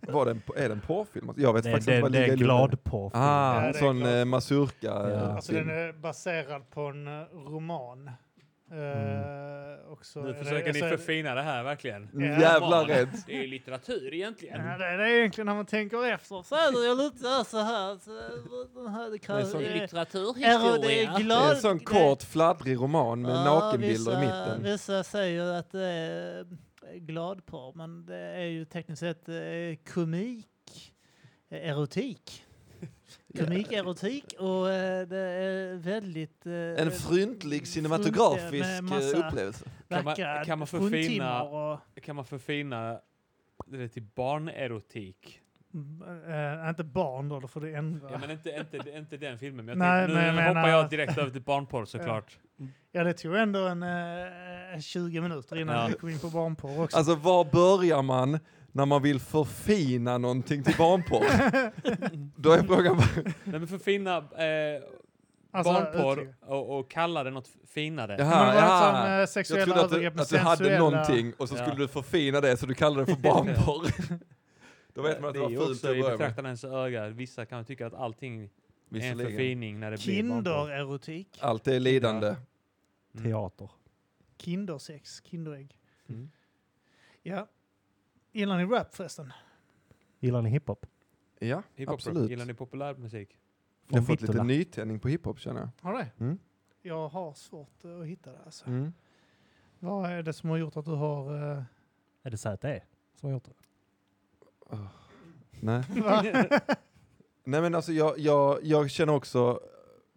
D: Var det en, är det en porrfilm? Jag vet
C: Nej,
D: faktiskt
C: det,
D: inte vad
C: det är
D: Liga
C: en
D: Lund
C: glad porr.
D: Ah,
A: Ja,
D: en
A: det är
D: sån
A: klart.
D: eh, mazurka.
C: Ja.
D: eh,
A: Alltså
D: film.
A: den är baserad på en eh, roman. Eh, och så är
B: Nu
A: det-
B: försöker ni
A: alltså-
B: förfina det här verkligen.
D: Mm, Jävla
B: Romanen.
D: rädd.
B: Det är ju litteratur egentligen.
A: Ja, det är det egentligen när man tänker efter. Så är det ju lite där så här. Så, den här det krävs,
D: som-
A: det är det
B: litteraturhistoria.
A: är
D: Det är
A: glad,
D: en sån
A: det-
D: kort fladdrig roman med
A: Ja,
D: nakenbilder
A: vissa,
D: i mitten.
A: Vissa säger att det är gladporr, men det är ju tekniskt sett eh, komik, eh, erotik. Komik, erotik och eh, det är väldigt... eh,
D: En fryntlig cinematografisk
A: med
D: eh,
A: massa-
D: upplevelse.
B: Kan man-
A: vackra
B: kan man förfina-
A: fruntimmer Och,
B: Kan man förfina det till barnerotik?
A: eh, inte barn då, då får du ändra.
B: Ja, men inte, inte, inte den filmen. Men jag
A: Nej,
B: tänkte,
A: men
B: nu
A: jag
B: hoppar
A: menar-
B: jag direkt över till barnporr såklart.
A: Ja, det tog ändå en eh, 20 minuter innan
B: Ja.
A: vi kom in på barnporr också.
D: Alltså var börjar man när man vill förfina någonting till barnporr? Då är frågan bara,
B: Nej, men förfina eh,
A: Alltså,
B: barnporr
A: uttryck.
B: och, och kalla det något finare.
A: Men det var
D: jaha,
A: inte
D: jaha.
A: som eh,
D: Jag
A: sexuella
D: trodde att
A: övergrepp
D: du,
A: med
D: att du hade
A: sensuella-
D: någonting och så
B: Ja.
D: skulle du förfina det så du kallade det för barnporr. Då vet man att det,
B: är
D: var fult
B: också
D: till
B: i
D: att börja med.
B: betraktarens öga. Vissa kan tycka att allting är en
D: Visserligen.
B: förfining när det blir barnporr.
A: Kindererotik.
D: Allt är lidande.
C: Teater.
A: Kindersex. Kinderägg.
B: Mm.
A: Ja. Gillar ni rap förresten?
C: Gillar ni hiphop?
D: Ja,
B: Hiphop,
D: absolut.
B: Gillar ni populärmusik?
D: Jag har
C: Från
D: fått lite
C: Vittula.
D: nytändning på hiphop känner jag.
A: Har du?
D: Mm.
A: Jag har svårt eh, att hitta det alltså.
D: Mm.
A: Vad är det som har gjort att du har... eh,
C: Är det Z.E. som har gjort det?
D: Nej. Nej men alltså jag, jag, jag känner också,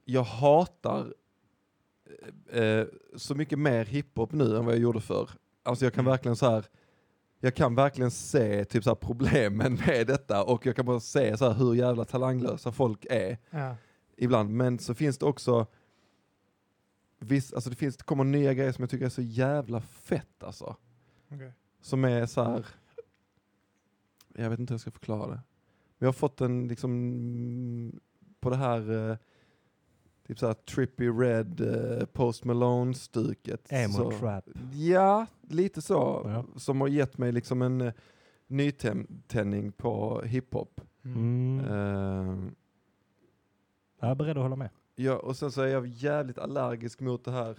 D: jag hatar eh, eh, så mycket mer hiphop nu än vad jag gjorde förr. Alltså jag kan verkligen så här, jag kan verkligen se typ så här problemen med detta och jag kan bara se så här hur jävla talanglösa folk är
A: ja.
D: ibland. Men så finns det också, viss, alltså det, finns, det kommer nya grejer som jag tycker är så jävla fett alltså.
A: Okej.
D: Som är så här. Jag vet inte hur jag ska förklara det. Men jag har fått en liksom mm, på det här eh, Typ såhär trippy red, eh, post Malone-stuket.
C: Emo
D: Så-
C: trap.
D: Ja, lite så.
C: Ja.
D: Som har gett mig liksom en eh, nytändning på hiphop.
A: Mm.
C: Mm.
D: Eh,
C: Jag är beredd att hålla med.
D: ja, och sen så är jag jävligt allergisk mot det här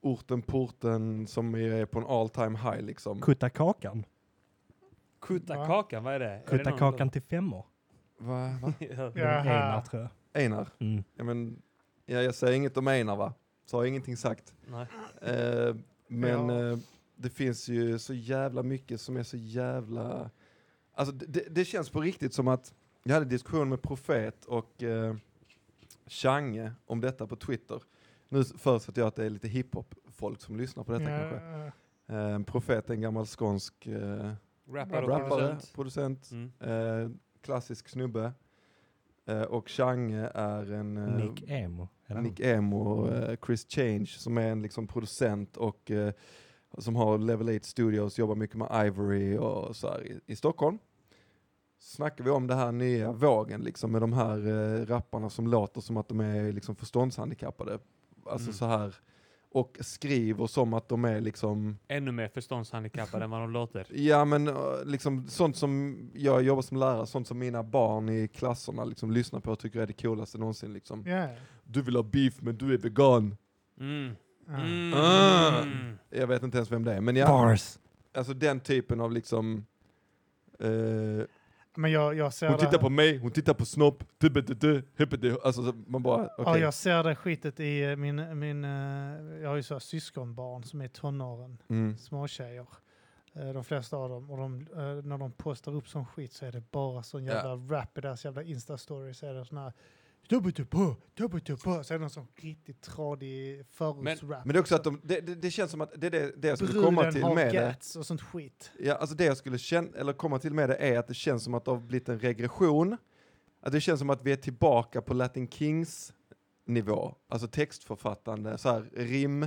D: orten porten som är på en all time high liksom.
C: Kutta kakan.
B: Kutta
A: Va?
B: kakan, vad är det? Är det
C: Kutta
B: någon-
C: kakan till femmor.
D: Va, va?
B: Ja.
C: Det är
A: Jaha.
C: Einar tror jag.
D: Einar,
C: Mm.
D: ja, men, ja, jag säger inget om Einar va? Så har jag ingenting sagt.
B: Nej.
D: Eh, men
A: Ja.
D: eh, det finns ju så jävla mycket som är så jävla... Alltså det- det, det känns på riktigt som att jag hade en diskussion med Profet och eh, Change om detta på Twitter. Nu förutsätter jag att det är lite hiphop-folk som lyssnar på detta kanske.
A: ja,
D: Eh, Profet är en gammal skånsk eh,
B: Rappare och
D: rappare,
B: producent.
D: producent,
B: Mm.
D: eh, klassisk snubbe. Eh, och Change är en... eh,
C: Nick Emo. Eller?
D: Nick Emo och eh, Chris Change som är en liksom producent och eh, som har Level 8 Studios, jobbar mycket med Ivory och så här i, i Stockholm. Snackar vi om den här nya vågen liksom med de här eh, rapparna som låter som att de är liksom förståndshandikappade. Alltså
B: Mm.
D: så här och skriver som att de är liksom
B: Ännu mer förståndshandikappad än vad de låter.
D: Ja men eh, liksom sånt som jag jobbar som lärare, sånt som mina barn i klasserna liksom lyssnar på och tycker är det coolaste någonsin liksom.
A: ja.
D: Du vill ha beef men du är vegan.
B: Mm.
A: Ja.
B: Mm.
D: Ah.
B: Mm.
D: Jag vet inte ens vem det är, men ja,
C: Bars.
D: alltså den typen av liksom... eh,
A: Men jag, jag ser
D: hon
A: det
D: tittar på mig, hon tittar på snopp, du, du, du, du, hippity- alltså så man bara, okej.
A: Ja, jag ser det skitet i eh, min, min eh, jag har ju så här syskonbarn som är tonåren,
D: mm.
A: småtjejer. Eh, De flesta av dem, och de, eh, när de postar upp sån skit så är det bara sån
D: Ja.
A: jävla rap i deras jävla insta-stories. Så är det sån här "Tubbetuppå, tubbetuppå", så är det någon sån riktigt tradig förortsrap.
D: Men det är också att de, det, det, det känns som att det är det, det jag skulle komma
A: Bruden
D: till med
A: har
D: det.
A: gats och sånt skit.
D: Ja, alltså det jag skulle känna, eller komma till med det är att det känns som att det har blivit en regression. Att det känns som att vi är tillbaka på Latin Kings nivå, alltså textförfattande, så här rim,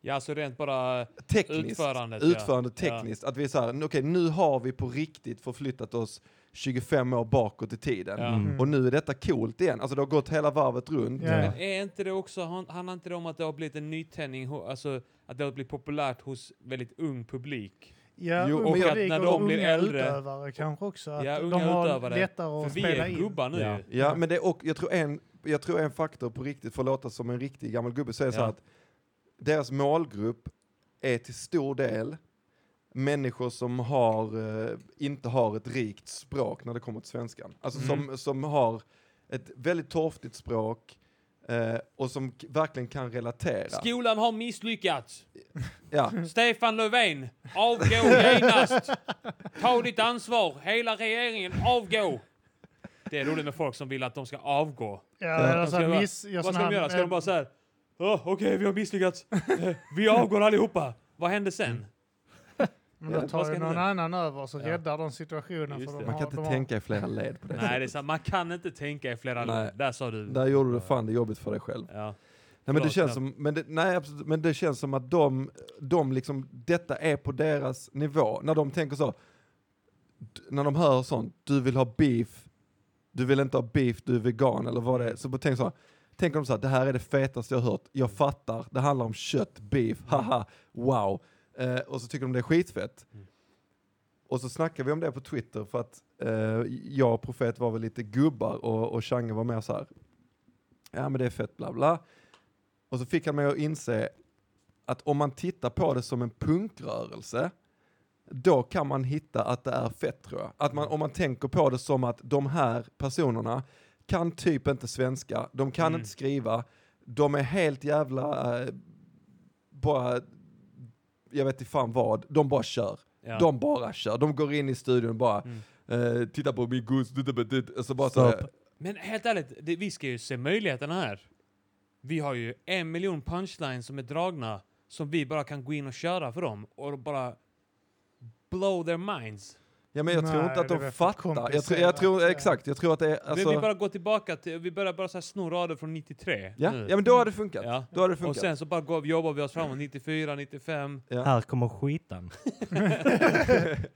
B: Ja, alltså rent bara
D: tekniskt.
B: utförandet.
D: utförande
B: ja.
D: tekniskt. Att vi är så här, okej nu har vi på riktigt förflyttat oss 25 år bakåt i tiden.
B: Ja.
C: Mm.
D: Och nu är detta coolt igen. Alltså det har gått hela varvet runt.
A: Ja.
B: Men är inte det också, han- handlar inte det om att det har blivit en nytändning, ho- alltså att det har blivit populärt hos väldigt ung publik?
A: Ja,
D: Jo,
A: ung
D: men jag-
A: publik
B: när
A: och
B: de blir
A: unga
B: äldre-
A: utövare kanske också. Att
B: Ja, unga
A: de har
B: utövare.
A: lättare
B: För
A: att
B: vi
A: spela
B: är
A: in.
B: gubbar nu
C: Ja.
B: ju.
D: Ja, men det, och jag tror, en, jag tror en faktor på riktigt, för att låta som en riktig gammal gubbe, så är det så
B: Ja.
D: här att deras målgrupp är till stor del människor som har, eh, inte har ett rikt språk när det kommer till svenskan. Alltså
B: Mm.
D: som, som har ett väldigt torftigt språk eh, och som k- verkligen kan relatera.
B: Skolan har misslyckats.
D: ja.
B: Stefan Löfven, avgå genast. Ta ditt ansvar. Hela regeringen, avgå. Det är roligt med folk som vill att de ska avgå.
A: Ja, eller
B: De
A: så
B: ska
A: här
B: bara-
A: miss... gör
B: Vad
A: sån
B: ska
A: här-
B: de göra? Ska de
A: eh,
B: bara så här... "Åh, Okej, vi har misslyckats. Eh, Vi avgår allihopa. Vad hände sen?
A: Men
D: Ja,
A: då
B: vad
A: tar
B: ska
A: ju
B: ni
A: någon
B: göra?
A: annan över och så
B: Ja.
A: räddar de situationen.
B: Just
A: För de
B: det.
A: har,
D: Man kan
A: de
D: inte
A: har,
D: tänka i flera led på det
B: Nej, det är
D: sättet.
B: så, man kan inte tänka i flera
D: Nej.
B: led. Där sa du.
D: Där gjorde du fan det jobbigt för dig själv.
B: Ja.
D: Nej, men, det
B: Förlåt,
D: känns
B: ja.
D: som, men, det, nej, absolut, men det känns som att de, de liksom, detta är på deras nivå. När de tänker så, d- när de hör sånt, du vill ha beef, du vill inte ha beef, du är vegan eller vad det är. Så bara tänk så här, tänker de så här, det här är det fetaste jag har hört, jag fattar, det handlar om kött, beef, haha, wow. Eh, och så tycker de det är skitfett.
B: Mm.
D: Och så snackar vi om det på Twitter för att eh, jag och Profet var väl lite gubbar och, och Change var mer så här, ja men det är fett bla bla. Och så fick han mig att inse att om man tittar på det som en punkrörelse, då kan man hitta att det är fett tror jag. Att man, om man tänker på det som att de här personerna kan typ inte svenska, de kan
B: Mm.
D: inte skriva, de är helt jävla, eh, bara, jag vet inte fan vad, de bara kör.
B: Ja. Mm.
D: De bara kör, de går in i studion och bara, eh, titta på min gods, så bara så här,
C: Stopp.
B: Men helt ärligt, det, vi ska ju se möjligheterna här. Vi har ju en miljon punchlines som är dragna som vi bara kan gå in och köra för dem och bara blow their minds.
D: ja men jag tror
A: Nej,
D: inte att
A: det
D: de
A: är väl för
D: fattar. Jag tror, jag tror,
A: komplicerat.
D: exakt, jag tror att det är, alltså,
B: vi, vi bara går tillbaka till, vi börjar bara så här sno rader från 93
D: Ja,
B: nu.
D: ja men då har det funkat.
B: Mm. Ja.
D: Då har det
B: Och
D: funkat.
B: sen så bara går, jobbar vi oss framåt 94, 95.
D: Ja.
C: Här kommer skitan.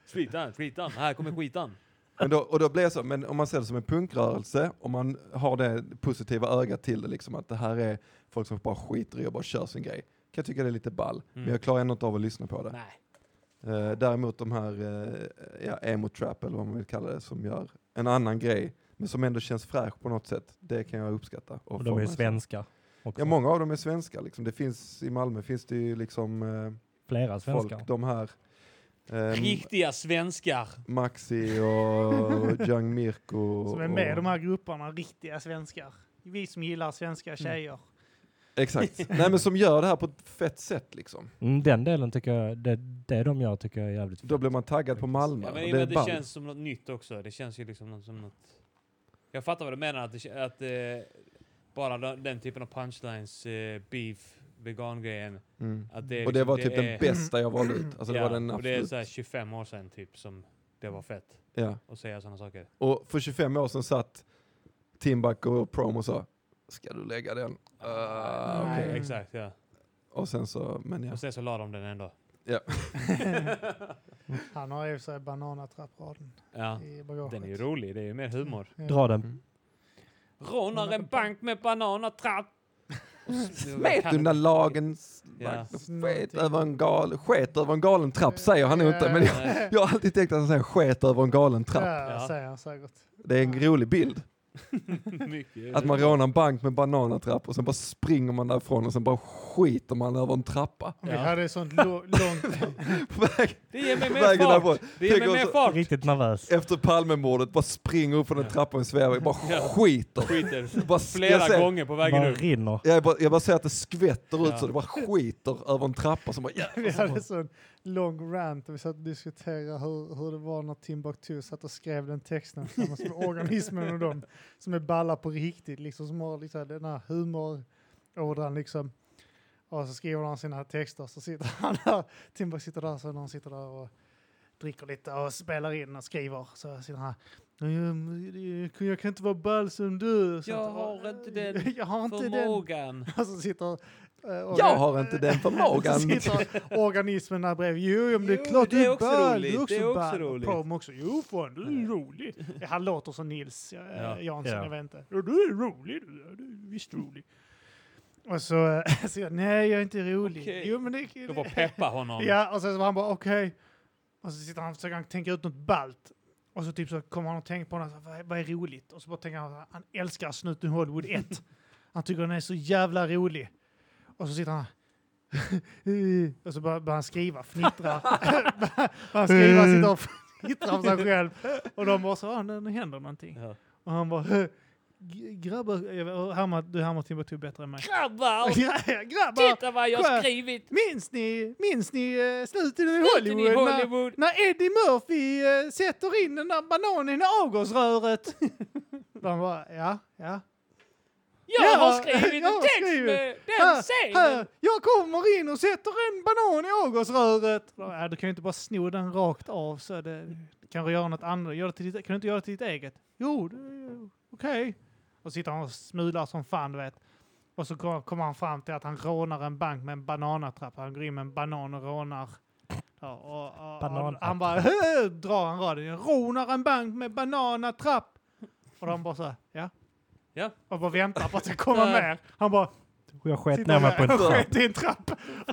B: Skitan, skitan, här kommer skitan.
D: Men då, och då blir jag så, men om man ser det som en punkrörelse, om man har det positiva ögat till det, liksom, att det här är folk som bara skiter i och bara kör sin grej, kan jag tycka det är lite ball.
B: Mm.
D: Men jag klarar ändå inte av att lyssna på det.
B: Nej.
D: Eh, däremot de här eh, ja, emo-trap, eller vad man vill kalla det, som gör en annan grej, men som ändå känns fräsch på något sätt, det kan jag uppskatta.
C: Och de är
D: forma-
C: ju svenska. Också.
D: Ja, många av dem är svenska. Liksom. Det finns, I Malmö finns det ju liksom eh,
C: Flera
D: folk,
C: svenskar.
D: de här eh,
B: Riktiga svenskar.
D: Maxi och Young Mirko.
A: Som är med i
D: och-
A: de här grupperna, riktiga svenskar. Vi som gillar svenska
B: Mm.
A: tjejer.
D: Exakt. Nej men som gör det här på ett fett sätt liksom.
C: Mm, den delen tycker jag, det, det de gör tycker jag är jävligt
D: Då blir man taggad på Malmö.
B: Ja,
D: och
B: men i och
D: det
B: med
D: är
B: att det
D: ball.
B: känns som något nytt också. Det känns ju liksom något, som något... Jag fattar vad du menar, att, det, kä- att eh, bara den, den typen av punchlines, eh, beef, vegan-grejen.
D: Mm.
B: Att det, är
D: Och det
B: liksom-
D: var typ den
B: är-
D: bästa jag valde ut. Alltså det var den
B: och det är
D: absolut.
B: såhär 25 år sedan typ som det var fett
D: Ja.
B: att säga sådana saker.
D: Och för 25 år sedan satt Timbuk och Prom och sa Ska du lägga den? Ah,
A: Nej.
D: okej.
B: Exakt, ja.
D: Och sen så, men ja.
B: Och sen så la de den ändå.
A: Han har ju sig bananatrappraden
B: Ja.
A: i bagaget.
B: Den är ju rolig, det är ju mer humor.
C: Dra den.
D: Mm.
B: Rånar en bank med bananatrapp.
D: Smet under lagens
B: Ja.
D: vakt och sket över en gal, sket över en galen trapp säger han nog inte men jag,
B: Nej.
D: jag har alltid tänkt att han säger sket över en galen trapp.
A: Ja,
B: Ja.
A: säger han säkert.
D: Det är en rolig bild.
B: Mycket.
D: Att man rånar en bank med bananatrapp och sen bara springer man därifrån och sen bara skiter man över en trappa.
A: Vi
B: Ja.
A: hade ett sånt lo- långt...
D: På väg,
B: Det ger mig
D: på
B: mer
D: vägen
B: fart!
D: därifrån.
B: Det ger
D: Tänk
B: mig mer
D: också-
B: fart!
C: Riktigt nervös.
D: Efter Palmemordet bara springer upp från en
B: Ja.
D: trappa och svävar. Bara
B: Ja.
D: skiter.
B: Skiter
D: Bara, sk- jag,
B: flera
D: ser,
B: gånger på vägen
C: Bara
B: upp.
C: rinner.
D: jag, bara, jag bara ser att det skvätter ut
B: Ja.
D: så det bara skiter över en trappa. Som bara, ja. alltså,
A: Vi hade en sån lång rant och vi satt och diskuterade hur, hur det var när Timbuktu satt och skrev den texten tillsammans med organismen och dem som är balla på riktigt, liksom som har liksom den här humorådran liksom. Och så skriver han sina texter så sitter han där, Timbuktu sitter där så någon sitter där och dricker lite och spelar in och skriver så sitter han här. "Jag- Jag kan inte vara ball som du. Så
B: Jag
A: att-
B: har inte den
A: Jag har inte den
B: Förmågan.
A: och så sitter... eh,
D: Jag
A: orga-
D: har inte den förmågan.
A: Så sitter organismen där bredvid. Jo, men det är
B: Jo,
A: klart
B: det
A: du
B: är
A: är
B: också
A: bög.
B: roligt,
A: Du är också,
B: det är också
A: bög.
B: roligt.
A: Prom också. Jo, fan, du är rolig. Ja, Han låter som Nils eh,
B: Ja.
A: Jansson,
C: Ja.
A: jag vet inte. Ja, du är rolig. Du Ja, du är visst rolig. Och så eh, säger jag, nej, jag är inte rolig.
B: Okej.
A: Jo, men det...
B: Du får peppa honom.
A: Ja, och sen så var han bara okej. Och så sitter han och försöker han tänka ut något ballt. Och så typ så kommer han att tänka på något, så här, vad, är- vad är roligt? Och så bara tänker han, han älskar Snuten Hollywood 1. Han tycker den är så jävla rolig. Och så sitter han och så börjar börjar han skriva, fnittra. Börjar han skriva, sitter och fnittrar för sig själv. Och de bara så, ah, nu, nu händer någonting.
B: Ja.
A: Och han bara, "G- grabbar, jag vet- och Hammar- du härmar Timbuktu bättre än mig.
B: Grabbar!
A: grabbar,
B: Titta vad jag
A: Kolla.
B: har skrivit!
A: Minns ni, minns ni eh, slutet i
B: Skiten i
A: Hollywood? när-
B: Hollywood!
A: När Eddie Murphy eh, sätter in den där bananen i avgasröret. De bara, ja, ja.
B: Jag
A: Ja,
B: har skrivit
A: jag
B: en
A: har
B: text
A: skrivit.
B: med den
A: Här,
B: scenen!
A: här, jag kommer in och sätter en banan i avgasröret. De bara, Ja, du kan ju inte bara sno den rakt av så det kan du göra något annat. Gör det till ditt, kan du inte göra det till ditt eget? Jo, det- okej. Och sitter han och smular som fan, du vet. Och så kom- kommer han fram till att han rånar en bank med en bananatrapp. Han går in med en banan och rånar. Ja, och, och, och,
C: Bananatrapp.
A: han bara "Hö!" drar han raden. Jag rånar en bank med bananatrapp. Och de bara så här, ja.
B: Ja.
A: Och bara väntar på att det ska komma mer. Han bara,
C: Jag sket
A: Sitter
C: ner mig på en
A: där och
C: trapp.
A: sket i en trapp.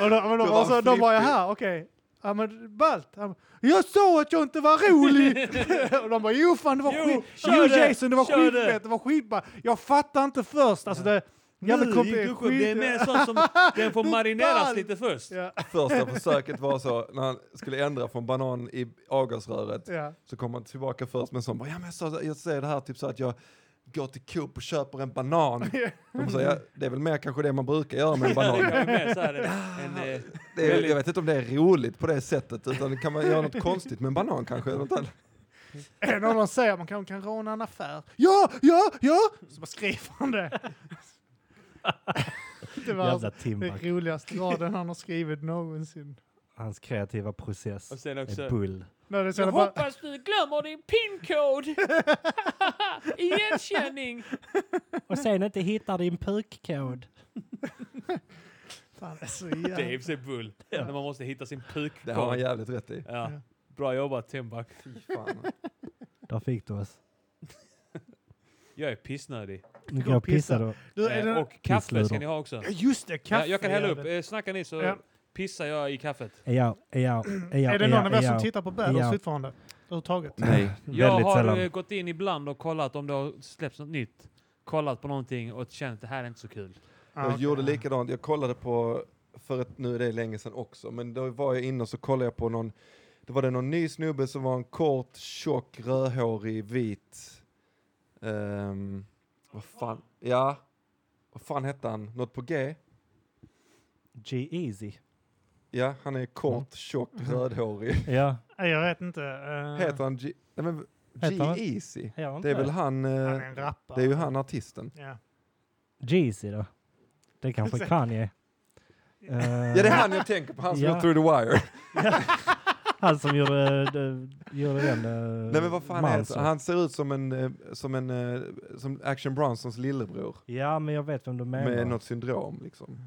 A: och då, men då,
D: Det
A: var
D: var
A: så,
D: en
A: då var jag
D: flippig.
A: här, okej. Ja men ballt. Han bara, Jag sa att jag inte var rolig! och de bara jo fan det var
B: Jo,
A: skit.
B: kör
A: Jo
B: det,
A: Jason det var
B: kör det."
A: skitfett, det var skitbra. Jag fattar inte först. Alltså det... Jävla
B: Nu
A: komp-
B: gick du själv.
A: skit-
B: Det är mer sånt som den får marineras
A: ball.
B: lite först.
A: Ja,
D: Första försöket var så, när han skulle ändra från banan i avgasröret
A: ja.
D: så kommer han tillbaka först med en sån, bara, ja, men jag, sa, jag säger det här typ så att jag går till Coop och köper en banan. De säger, ja, det är väl mer kanske det man brukar göra med en
B: Det
D: banan.
B: kan ju mer så här, en, en, eh,
D: Det är, jag vet inte om det är roligt på det sättet, utan det kan man göra något konstigt med en banan kanske. eller Något annat.
A: En av dem säger man kan, kan råna en affär. Ja, ja, ja! Så bara skriver han det. det var
C: Jävla
A: alltså den
C: Timbuk.
A: roligaste raden han har skrivit någonsin.
C: Hans kreativa process
B: och sen
C: är
B: också...
C: bull.
A: När det är så
B: Jag
A: jävla bara-
B: hoppas du glömmer din pincode! Igenkänning!
C: Och sen inte hittar din pukkod.
A: Fan, det är så
B: Det är i
A: jävla...
B: och för sig bull. När man måste hitta sin puk.
D: Det har han jävligt rätt i.
B: Ja. Bra jobbat Timbuk.
D: Fy fan.
C: Där fick du oss.
B: Jag är pissnödig.
C: Nu
A: Gå
C: kan jag pissa då.
A: Du, är
B: Eh,
A: det,
B: och kaffe ska
C: Pissluder.
B: ni ha också.
A: ja, just det,
B: Ja,
A: kaffe.
B: jag kan hälla
A: är
B: upp.
A: det.
B: Eh, Snackar ni så
A: Ja.
B: pissar jag i kaffet.
C: Ja, ja, ja.
A: är det någon av er som
C: ja.
A: tittar på Battles
C: ja.
A: fortfarande? Överhuvudtaget?
D: Nej.
B: Jag
C: Väldigt
B: har
C: sällan.
B: eh, gått in ibland och kollat om det har släppts något nytt. Kollat på någonting och känt det här är inte så kul.
A: Ah,
D: jag
A: okej.
D: gjorde likadant. Jag kollade på, för att nu är det länge sedan också, men då var jag inne och så kollade jag på någon, då var det någon ny snubbe som var en kort, tjock, rödhårig, vit, ehm, vad fan, ja, vad fan hette han? Något på G?
C: G-Easy.
D: Ja, han är kort, tjock, rödhårig.
C: Ja.
A: Nej, jag vet inte. eh,
D: Heter han G? Nej, men
C: Heter han?
D: G-Easy?
C: ja
D: Det är väl han, eh,
A: han är en rappare.
D: det är ju han artisten.
A: Ja.
C: G-Easy då? Det är kanske Kanye. Eh,
D: Ja, det är han jag tänker på, han som
C: Ja.
D: gjort Through the Wire.
C: Eh, han som gjorde, de, gjorde den. eh,
D: Nej men vad fan heter
C: Manson.
D: han? Han ser ut som en, eh, som en, eh, som Action Bronsons lillebror.
C: Ja, men jag vet vem du menar.
D: Med något syndrom liksom.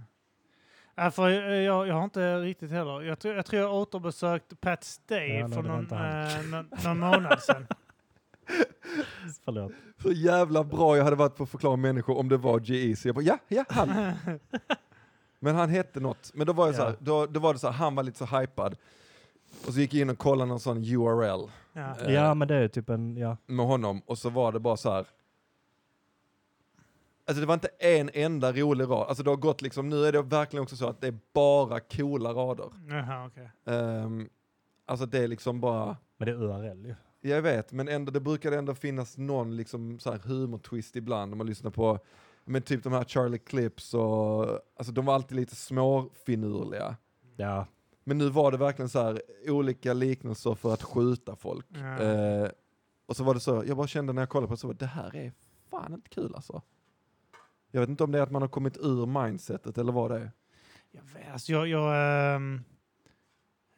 A: Ja, för jag, jag, jag har inte riktigt heller. Jag tror jag, tror jag återbesökt Pat Stay
C: Ja, nej,
A: för
C: det var
A: någon,
C: inte han.
A: eh, någon, någon månad sedan.
C: Förlåt.
D: Så jävla bra jag hade varit på att förklara människor om det var G.E.C. Jag bara, ja, ja, han. men han hette något. Men då var, jag så här,
C: Ja.
D: då, då var det så här, han var lite så hypad. Och så gick jag in och kollade någon sån URL
A: Ja.
D: Eh.
C: Ja, men det är typ en, ja.
D: med honom och så var det bara så här. Alltså det var inte en enda rolig rad. Alltså det har gått liksom, nu är det verkligen också så att det är bara coola rader.
A: Jaha, okej.
D: Ehm, alltså det är liksom bara...
C: Men det är URL ju.
D: Jag vet, men ändå, det brukar ändå finnas någon liksom så här humortwist ibland om man lyssnar på men typ de här Charlie Clips och alltså de var alltid lite småfinurliga.
C: Ja.
D: Men nu var det verkligen så här olika liknelser för att skjuta folk.
A: Ja.
D: Eh, och så var det så, jag bara kände när jag kollade på det så, var det här är fan inte kul alltså. Jag vet inte om det är att man har kommit ur mindsetet eller vad det är.
A: Jag vet, alltså jag... jag ehm,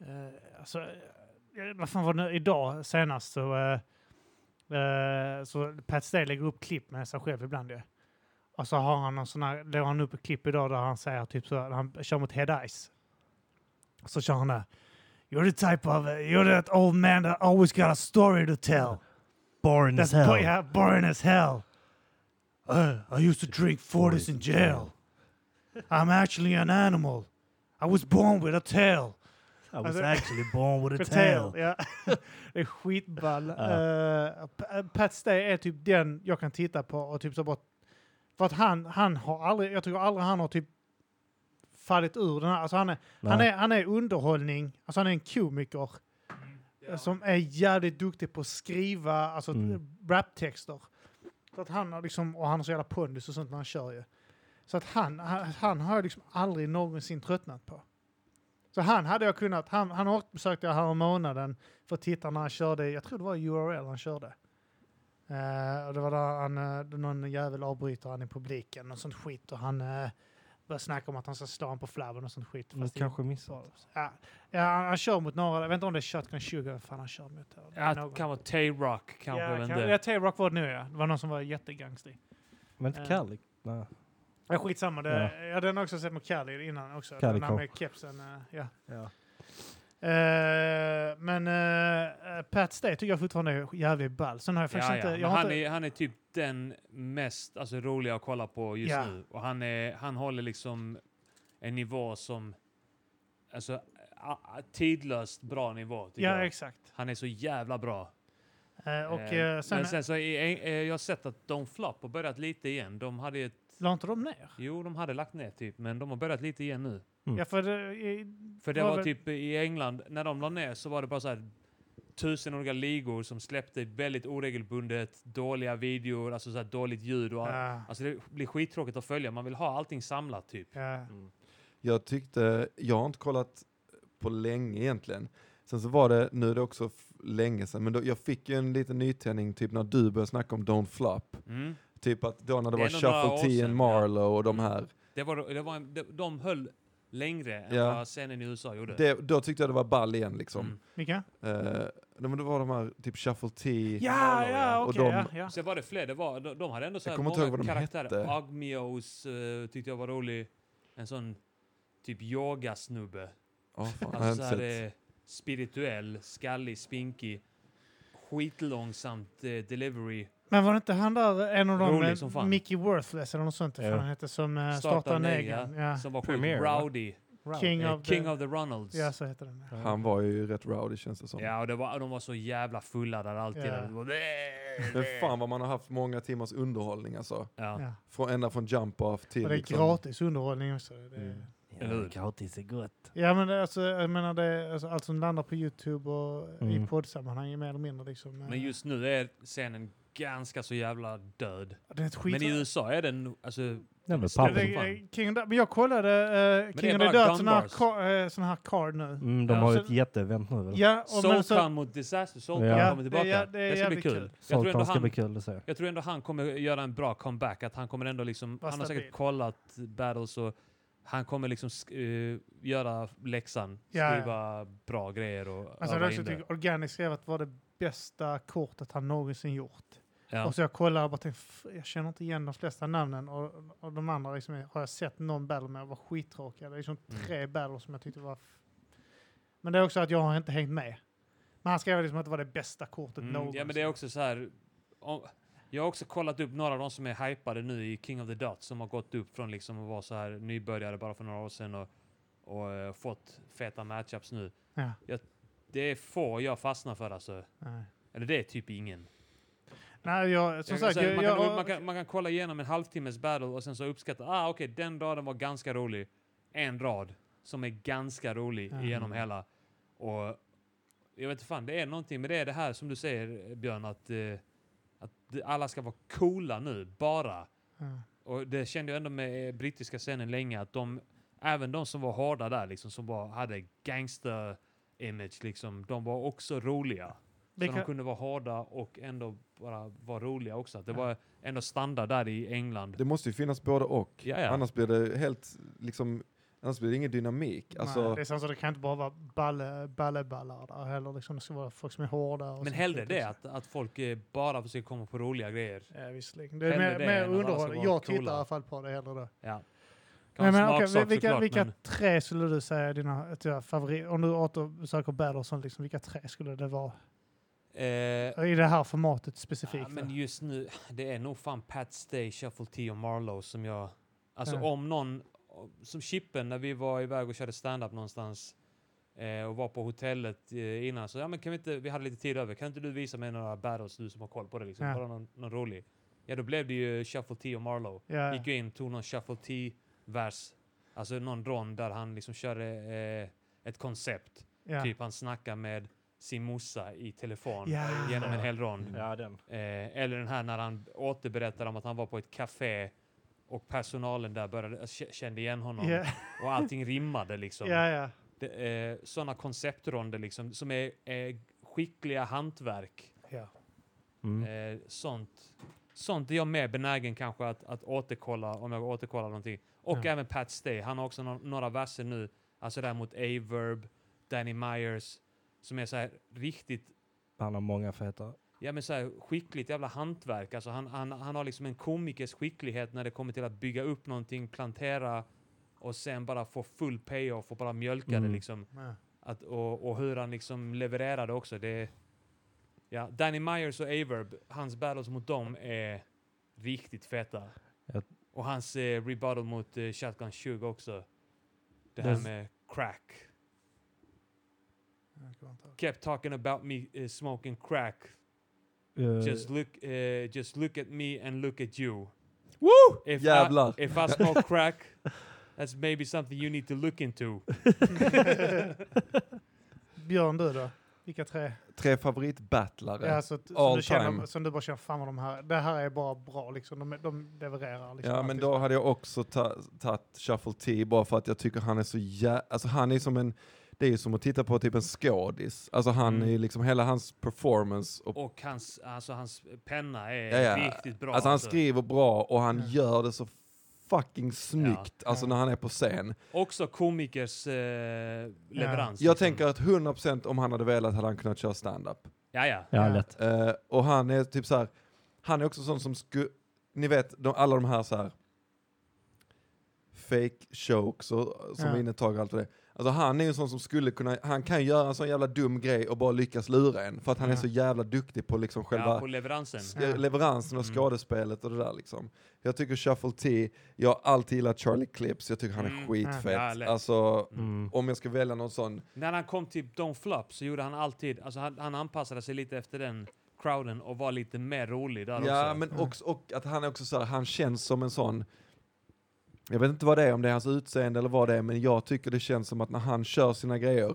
A: eh, alltså, eh, vad fan var det nu? Idag senast så... eh, eh, så Pat Stay lägger upp klipp med sig själv ibland ju. Och så har han någon sån här, lägger han upp ett klipp idag där han säger typ så, här, han kör mot Head Ice. Så kör han där. You're the type of, eh, you're that old man that always got a story to tell.
C: Born as
A: That's
C: hell.
A: bo- yeah, boring as hell. Uh, I used to drink forties in jail. I'm actually an animal. I was born with a tail.
C: I was
A: Alltså-
C: actually born with a tail.
A: ja. det är skitball.
C: Ja.
A: Eh, P- Pat Stay är typ den jag kan titta på och typ så bara... För att han, han har aldrig, jag tycker aldrig han har typ fallit ur den här. Alltså han är, han
C: Nej.
A: är, han är underhållning, alltså han är en komiker. eh, Som är jävligt duktig på att skriva alltså,
C: Mm.
A: raptexter. Så att han har liksom, och han har så jävla pondus och sånt när han kör ju. Så att han, han, han har jag liksom aldrig någonsin tröttnat på. Så han hade jag kunnat, han, han återbesökte jag här om månaden för att titta när han körde, jag tror det var URL han körde. Eh, och det var där han, eh, någon jävel avbryter han i publiken och sånt skit och han eh, börjar snacka om att han ska slå honom på flabben och sånt skit.
C: Nu
A: Fast det-
C: Mm, kanske missat.
A: Ja, ja han, han kör mot några, jag vet inte om det är Shotgun Sugar, vad fan han kör mot. eller
B: Ja,
A: någon.
B: det kan vara Tay-Rock kanske.
A: Ja,
B: jag vet
A: kan-
B: inte.
A: ja, Tay-Rock var det nu ja. Det var någon som var jättegangstig.
C: Men inte
A: Eh.
C: Kallik. Nej.
A: Ja, skitsamma. Det, Jag hade den har också sett med Cali innan också.
C: Cali
A: den här
C: Cop.
A: med kepsen. eh, ja.
C: Ja.
A: Eh, men uh, Pat Stay tycker jag fortfarande är jävligt ball. Sen har jag faktiskt
B: Ja,
A: inte...
B: ja.
A: Jag
B: Men
A: har
B: han,
A: inte
B: är, han är typ den mest alltså, roliga att kolla på just
A: Ja.
B: nu. Och han, är, han håller liksom en nivå som... Alltså, a- a- tidlöst bra nivå. tycker
A: ja,
B: jag.
A: exakt.
B: han är så jävla bra.
A: Eh, och
B: Eh,
A: eh, sen,
B: Men sen så är, är, jag har sett att Don't Flop har börjat lite igen. De hade ju ett,
A: la inte de ner?
B: jo, de hade lagt ner typ, men de har börjat lite igen nu.
C: Mm.
A: Ja, för det, i,
B: För det
A: Var
B: var,
A: väl-
B: typ i England, när de la ner så var det bara så här tusen olika ligor som släppte väldigt oregelbundet, dåliga videor, alltså så här dåligt ljud och
A: ja,
B: Alltså det blir skittråkigt att följa. Man vill ha allting samlat typ.
A: ja.
D: Jag tyckte, jag har inte kollat på länge egentligen. Sen så var det, nu är det också f- länge sedan, men då, jag fick ju en liten nytändning typ när du började snacka om Don't Flop.
B: Mm.
D: Typ att då när det,
B: Det är
D: var
B: nog några år
D: Shuffle T
B: sedan,
D: and Marlowe och de här.
B: Det var, det var en, de, de höll längre än
D: Ja.
B: vad scenen i USA gjorde.
D: Det, då tyckte jag det var ball igen liksom.
B: Mm.
A: Vilka?
D: Eh, nej, men det var de här typ Shuffle T.
A: Ja, ja,
B: ja,
A: okej.
D: och de-
A: ja, ja.
B: Sen var det fler. Det var, de, de hade ändå så
D: Jag
B: här
D: kommer inte ihåg
B: många
D: vad de
B: karaktärer.
D: hette.
B: Agmios eh, tyckte jag var rolig. En sån typ yogasnubbe.
D: Ja, fan, jag har
B: Alltså
D: inte
B: så här,
D: sett.
B: eh, spirituell, skallig, spinkig, skitlångsamt eh, delivery.
A: Men var det inte han där, en av dem,
B: Rolig
A: eh,
B: som fan.
A: Mickey Worthless eller något sånt,
C: Ja.
A: ja. han hette, som eh,
B: Starta
A: startade en
B: en
A: egen. Ja.
B: Som var
C: Premier,
B: skit
C: va?
B: rowdy.
A: Ah, King,
B: Eh,
A: of,
B: King
A: the,
B: of the Ronalds.
A: Ja, så heter den. ja.
D: Han var ju rätt rowdy känns det som.
B: Ja, och det var, de var så jävla fulla där alltid.
A: Ja.
B: Det var-
D: Men fan vad man har haft många timmars underhållning alltså.
B: Ja.
A: Ja.
D: Från, ända från jump-off till...
A: Och det är
D: liksom-
A: gratis underhållning också. Det är,
C: Mm.
B: Eller hur?
C: gratis är gott.
A: Ja, men alltså, jag menar det, alltså, allt som landar på Youtube och
C: Mm.
A: i poddsammanhang är mer eller mindre liksom... eh,
B: Men just nu är scenen ganska så jävla död.
A: det är ett skit...
B: Men i USA är den, alltså,
C: Nej, men
B: Ställ
A: Ja,
B: Fan,
A: det
B: dig-
C: papper.
B: fan.
A: är- King of the, men jag kollade uh,
B: det
A: King
B: är
A: of the
B: bara
A: Dirt, sån här,
B: gunbars.
A: ka, eh, sån här card nu.
C: Mm, de
A: Ja,
C: har ju
A: så-
C: ett jätteevent nu. väl?
A: Ja, och men
B: Soul
A: så,
B: Town mot Disaster, Soul
C: Ja.
B: Town
A: Ja,
B: kommer
A: det-
B: tillbaka.
A: ja, det
B: det,
A: är
B: ska bli
A: jävligt
B: kul.
A: kul.
B: Jag, tror ändå
C: Sånt ska
B: han, Mm.
C: bli kul att se.
B: jag tror ändå han kommer göra en bra comeback, att han kommer ändå liksom,
A: Vara
B: han har säkert
A: stabil.
B: kollat battles och han kommer liksom sk- eh, göra läxan,
A: Ja, ja.
B: skriva bra grejer och
A: alltså, jag
B: öva
A: också
B: in det.
A: tycker Organic skrev att det var det bästa kortet han någonsin gjort.
B: Ja.
A: Och så jag kollar och bara tänkte, "F- jag känner inte igen de flesta namnen och, och de andra liksom, är- har jag sett någon battle med och var skittråkiga. Det är liksom
B: Mm.
A: tre battles som jag tyckte var... f- Men det är också att jag har inte hängt med. Men han skrev liksom att det var det bästa kortet
B: Mm,
A: någonsin.
B: ja men det är också så här. Om, jag har också kollat upp några av de som är hypade nu i King of the Dot som har gått upp från liksom att vara så här nybörjare bara för några år sedan och, och eh, fått feta matchups nu.
A: Ja.
B: Det är få jag fastnar för alltså.
A: Nej.
B: Eller det är typ ingen.
A: Nej, jag, som
B: Jag kan
A: sagt,
B: säga,
A: jag,
B: man, kan,
A: jag,
B: man, kan, man kan kolla igenom en halvtimmes battle och sen så uppskatta, ah okej den raden var ganska rolig. En rad som är ganska rolig
A: Ja.
B: genom hela. Och jag vet inte fan, det är någonting med det, det här som du säger Björn, att, eh, att det- alla ska vara coola nu, bara.
A: Ja.
B: Och det kände jag ändå med eh, brittiska scenen länge, att de, även de som var hårda där liksom, som bara hade gangster-image liksom, de var också roliga.
A: Det
B: Så de
A: kan-
B: kunde vara hårda och ändå bara vara roliga också. Att det var ändå standard där i England.
D: Det måste ju finnas både och.
B: Ja, ja.
D: Annars blir det helt liksom... Annars blir det ingen dynamik. Alltså,
A: Nej, det är sant, så det kan inte bara vara balle, balleballar där heller. Liksom, det ska vara folk som är hårda. Och
B: Men
A: så-
B: hellre det, att, att folk eh, bara försöker komma på roliga grejer.
A: Ja, visserligen. Det är mer,
B: Hellre det än
A: mer
B: att alla ska
A: underhållning.
B: vara
A: Jag tittar
B: coola.
A: i alla fall på det hellre då.
B: Ja. Kan
A: Nej,
B: vara
A: men,
B: en
A: okej,
B: smaksak
A: vilka
B: såklart,
A: vilka
B: men
A: tre skulle du säga är dina, dina favoriter? Om du återbesöker Battlezone, liksom, vilka tre skulle det vara?
B: eh,
A: I det här formatet
B: Ja,
A: specifikt?
B: men
A: då?
B: just nu, det är nog fan Pat Stay, Shuffle T och Marlowe som jag... Alltså
A: Ja.
B: om någon... Som Chippen, när vi var iväg och körde stand-up någonstans eh, och var på hotellet eh, innan, så ja men kan vi inte, vi hade lite tid över, kan inte du visa mig några battles, du som har koll på det liksom,
A: Ja.
B: bara någon, någon rolig. Ja då blev det ju Shuffle T och Marlowe.
A: ja,
B: Gick ju in, tog någon Shuffle T-vers, alltså någon rond där han liksom körde eh, ett koncept.
A: ja.
B: Typ han snackar med sin morsa i telefon
A: Ja.
B: eh, genom en hel rond.
C: Ja, den.
B: Eh, eller den här när han återberättar om att han var på ett café och personalen där började, eh, k- kände igen honom
A: Ja,
B: och allting rimmade liksom.
A: ja, ja.
B: Det, eh, sådana konceptronder liksom som är eh, skickliga hantverk.
A: ja.
C: Mm.
B: Eh, sånt. Sånt är jag mer benägen kanske att, att återkolla om jag återkollar någonting. Och
A: Ja.
B: även Pat Stay, han har också nå- några verser nu, alltså där mot A-Verb, Danny Myers, som är så här riktigt
C: Han har många feta.
B: ja, men så här, skickligt jävla hantverk. Alltså han, han, han har liksom en komikers skicklighet när det kommer till att bygga upp någonting, plantera och sen bara få full payoff och bara mjölka
C: Mm.
B: det liksom.
A: ja.
B: Att, och, och hur han liksom levererar det också. Det, ja, Danny Myers och Averb, hans battles mot dem är riktigt feta.
C: Jag-
B: Och hans eh, rebuttal mot eh, Shotgun Shug också. Det här
C: Det-
B: med crack.
A: Jag kommer inte ihåg.
B: Kept talking about me eh, smoking crack
C: Eh,
B: just look, uh, just look at me and look at you.
D: Woo!
B: If
D: Jävlar.
B: I, if I smoke crack, that's maybe something you need to look into.
A: Björn, du då? Vilka tre?
D: Tre favoritbattlare.
A: Ja, så, att- som,
D: All
A: du känner,
D: time.
A: som du bara känner, fan vad de här, det här är bara bra liksom. De, de levererar liksom.
D: Ja,
A: alltid.
D: men då hade jag också ta- tagit Shuffle T bara för att jag tycker han är så jä... Alltså han är som en... Det är ju som att titta på typ en skådis. Alltså han
B: Mm.
D: är liksom hela hans performance. Och,
B: Och hans, alltså, hans penna är
D: Ja, ja.
B: riktigt bra.
D: alltså han skriver bra och han
A: Ja.
D: gör det så fucking snyggt. Alltså
A: Ja.
D: när han är på scen.
B: Också komikers eh, leverans.
A: liksom-
D: Jag tänker att 100% om han hade velat hade han kunnat köra stand-up.
B: Ja, ja.
C: ja,
A: Ja.
C: lätt.
D: Eh, och han är typ så här, han är också sån som sku, ni vet de, alla de här så här fake jokes och, som
A: Ja.
D: ja. innetag och allt och det. Alltså han är ju en sån som skulle kunna, han kan ju göra en sån jävla dum grej och bara lyckas lura en. För att han är
A: Ja.
D: så jävla duktig på liksom själva
B: på leveransen.
D: sk-
A: Ja.
D: leveransen och
B: Mm.
D: skådespelet och det där liksom. Jag tycker Shuffle T, jag har alltid gillat Charlie Clips, jag tycker han är
B: Mm.
D: skitfett.
B: Ja, lätt.
D: alltså,
C: Mm.
D: om jag ska välja någon sån,
B: När han kom till Don't Flop så gjorde han alltid, alltså han, han anpassade sig lite efter den crowden och var lite mer rolig där
D: ja
B: också.
D: men
A: Mm.
D: också, och att han är också så här, han känns som en sån, jag vet inte vad det är, om det är hans utseende eller vad det är, men jag tycker det känns som att när han kör sina grejer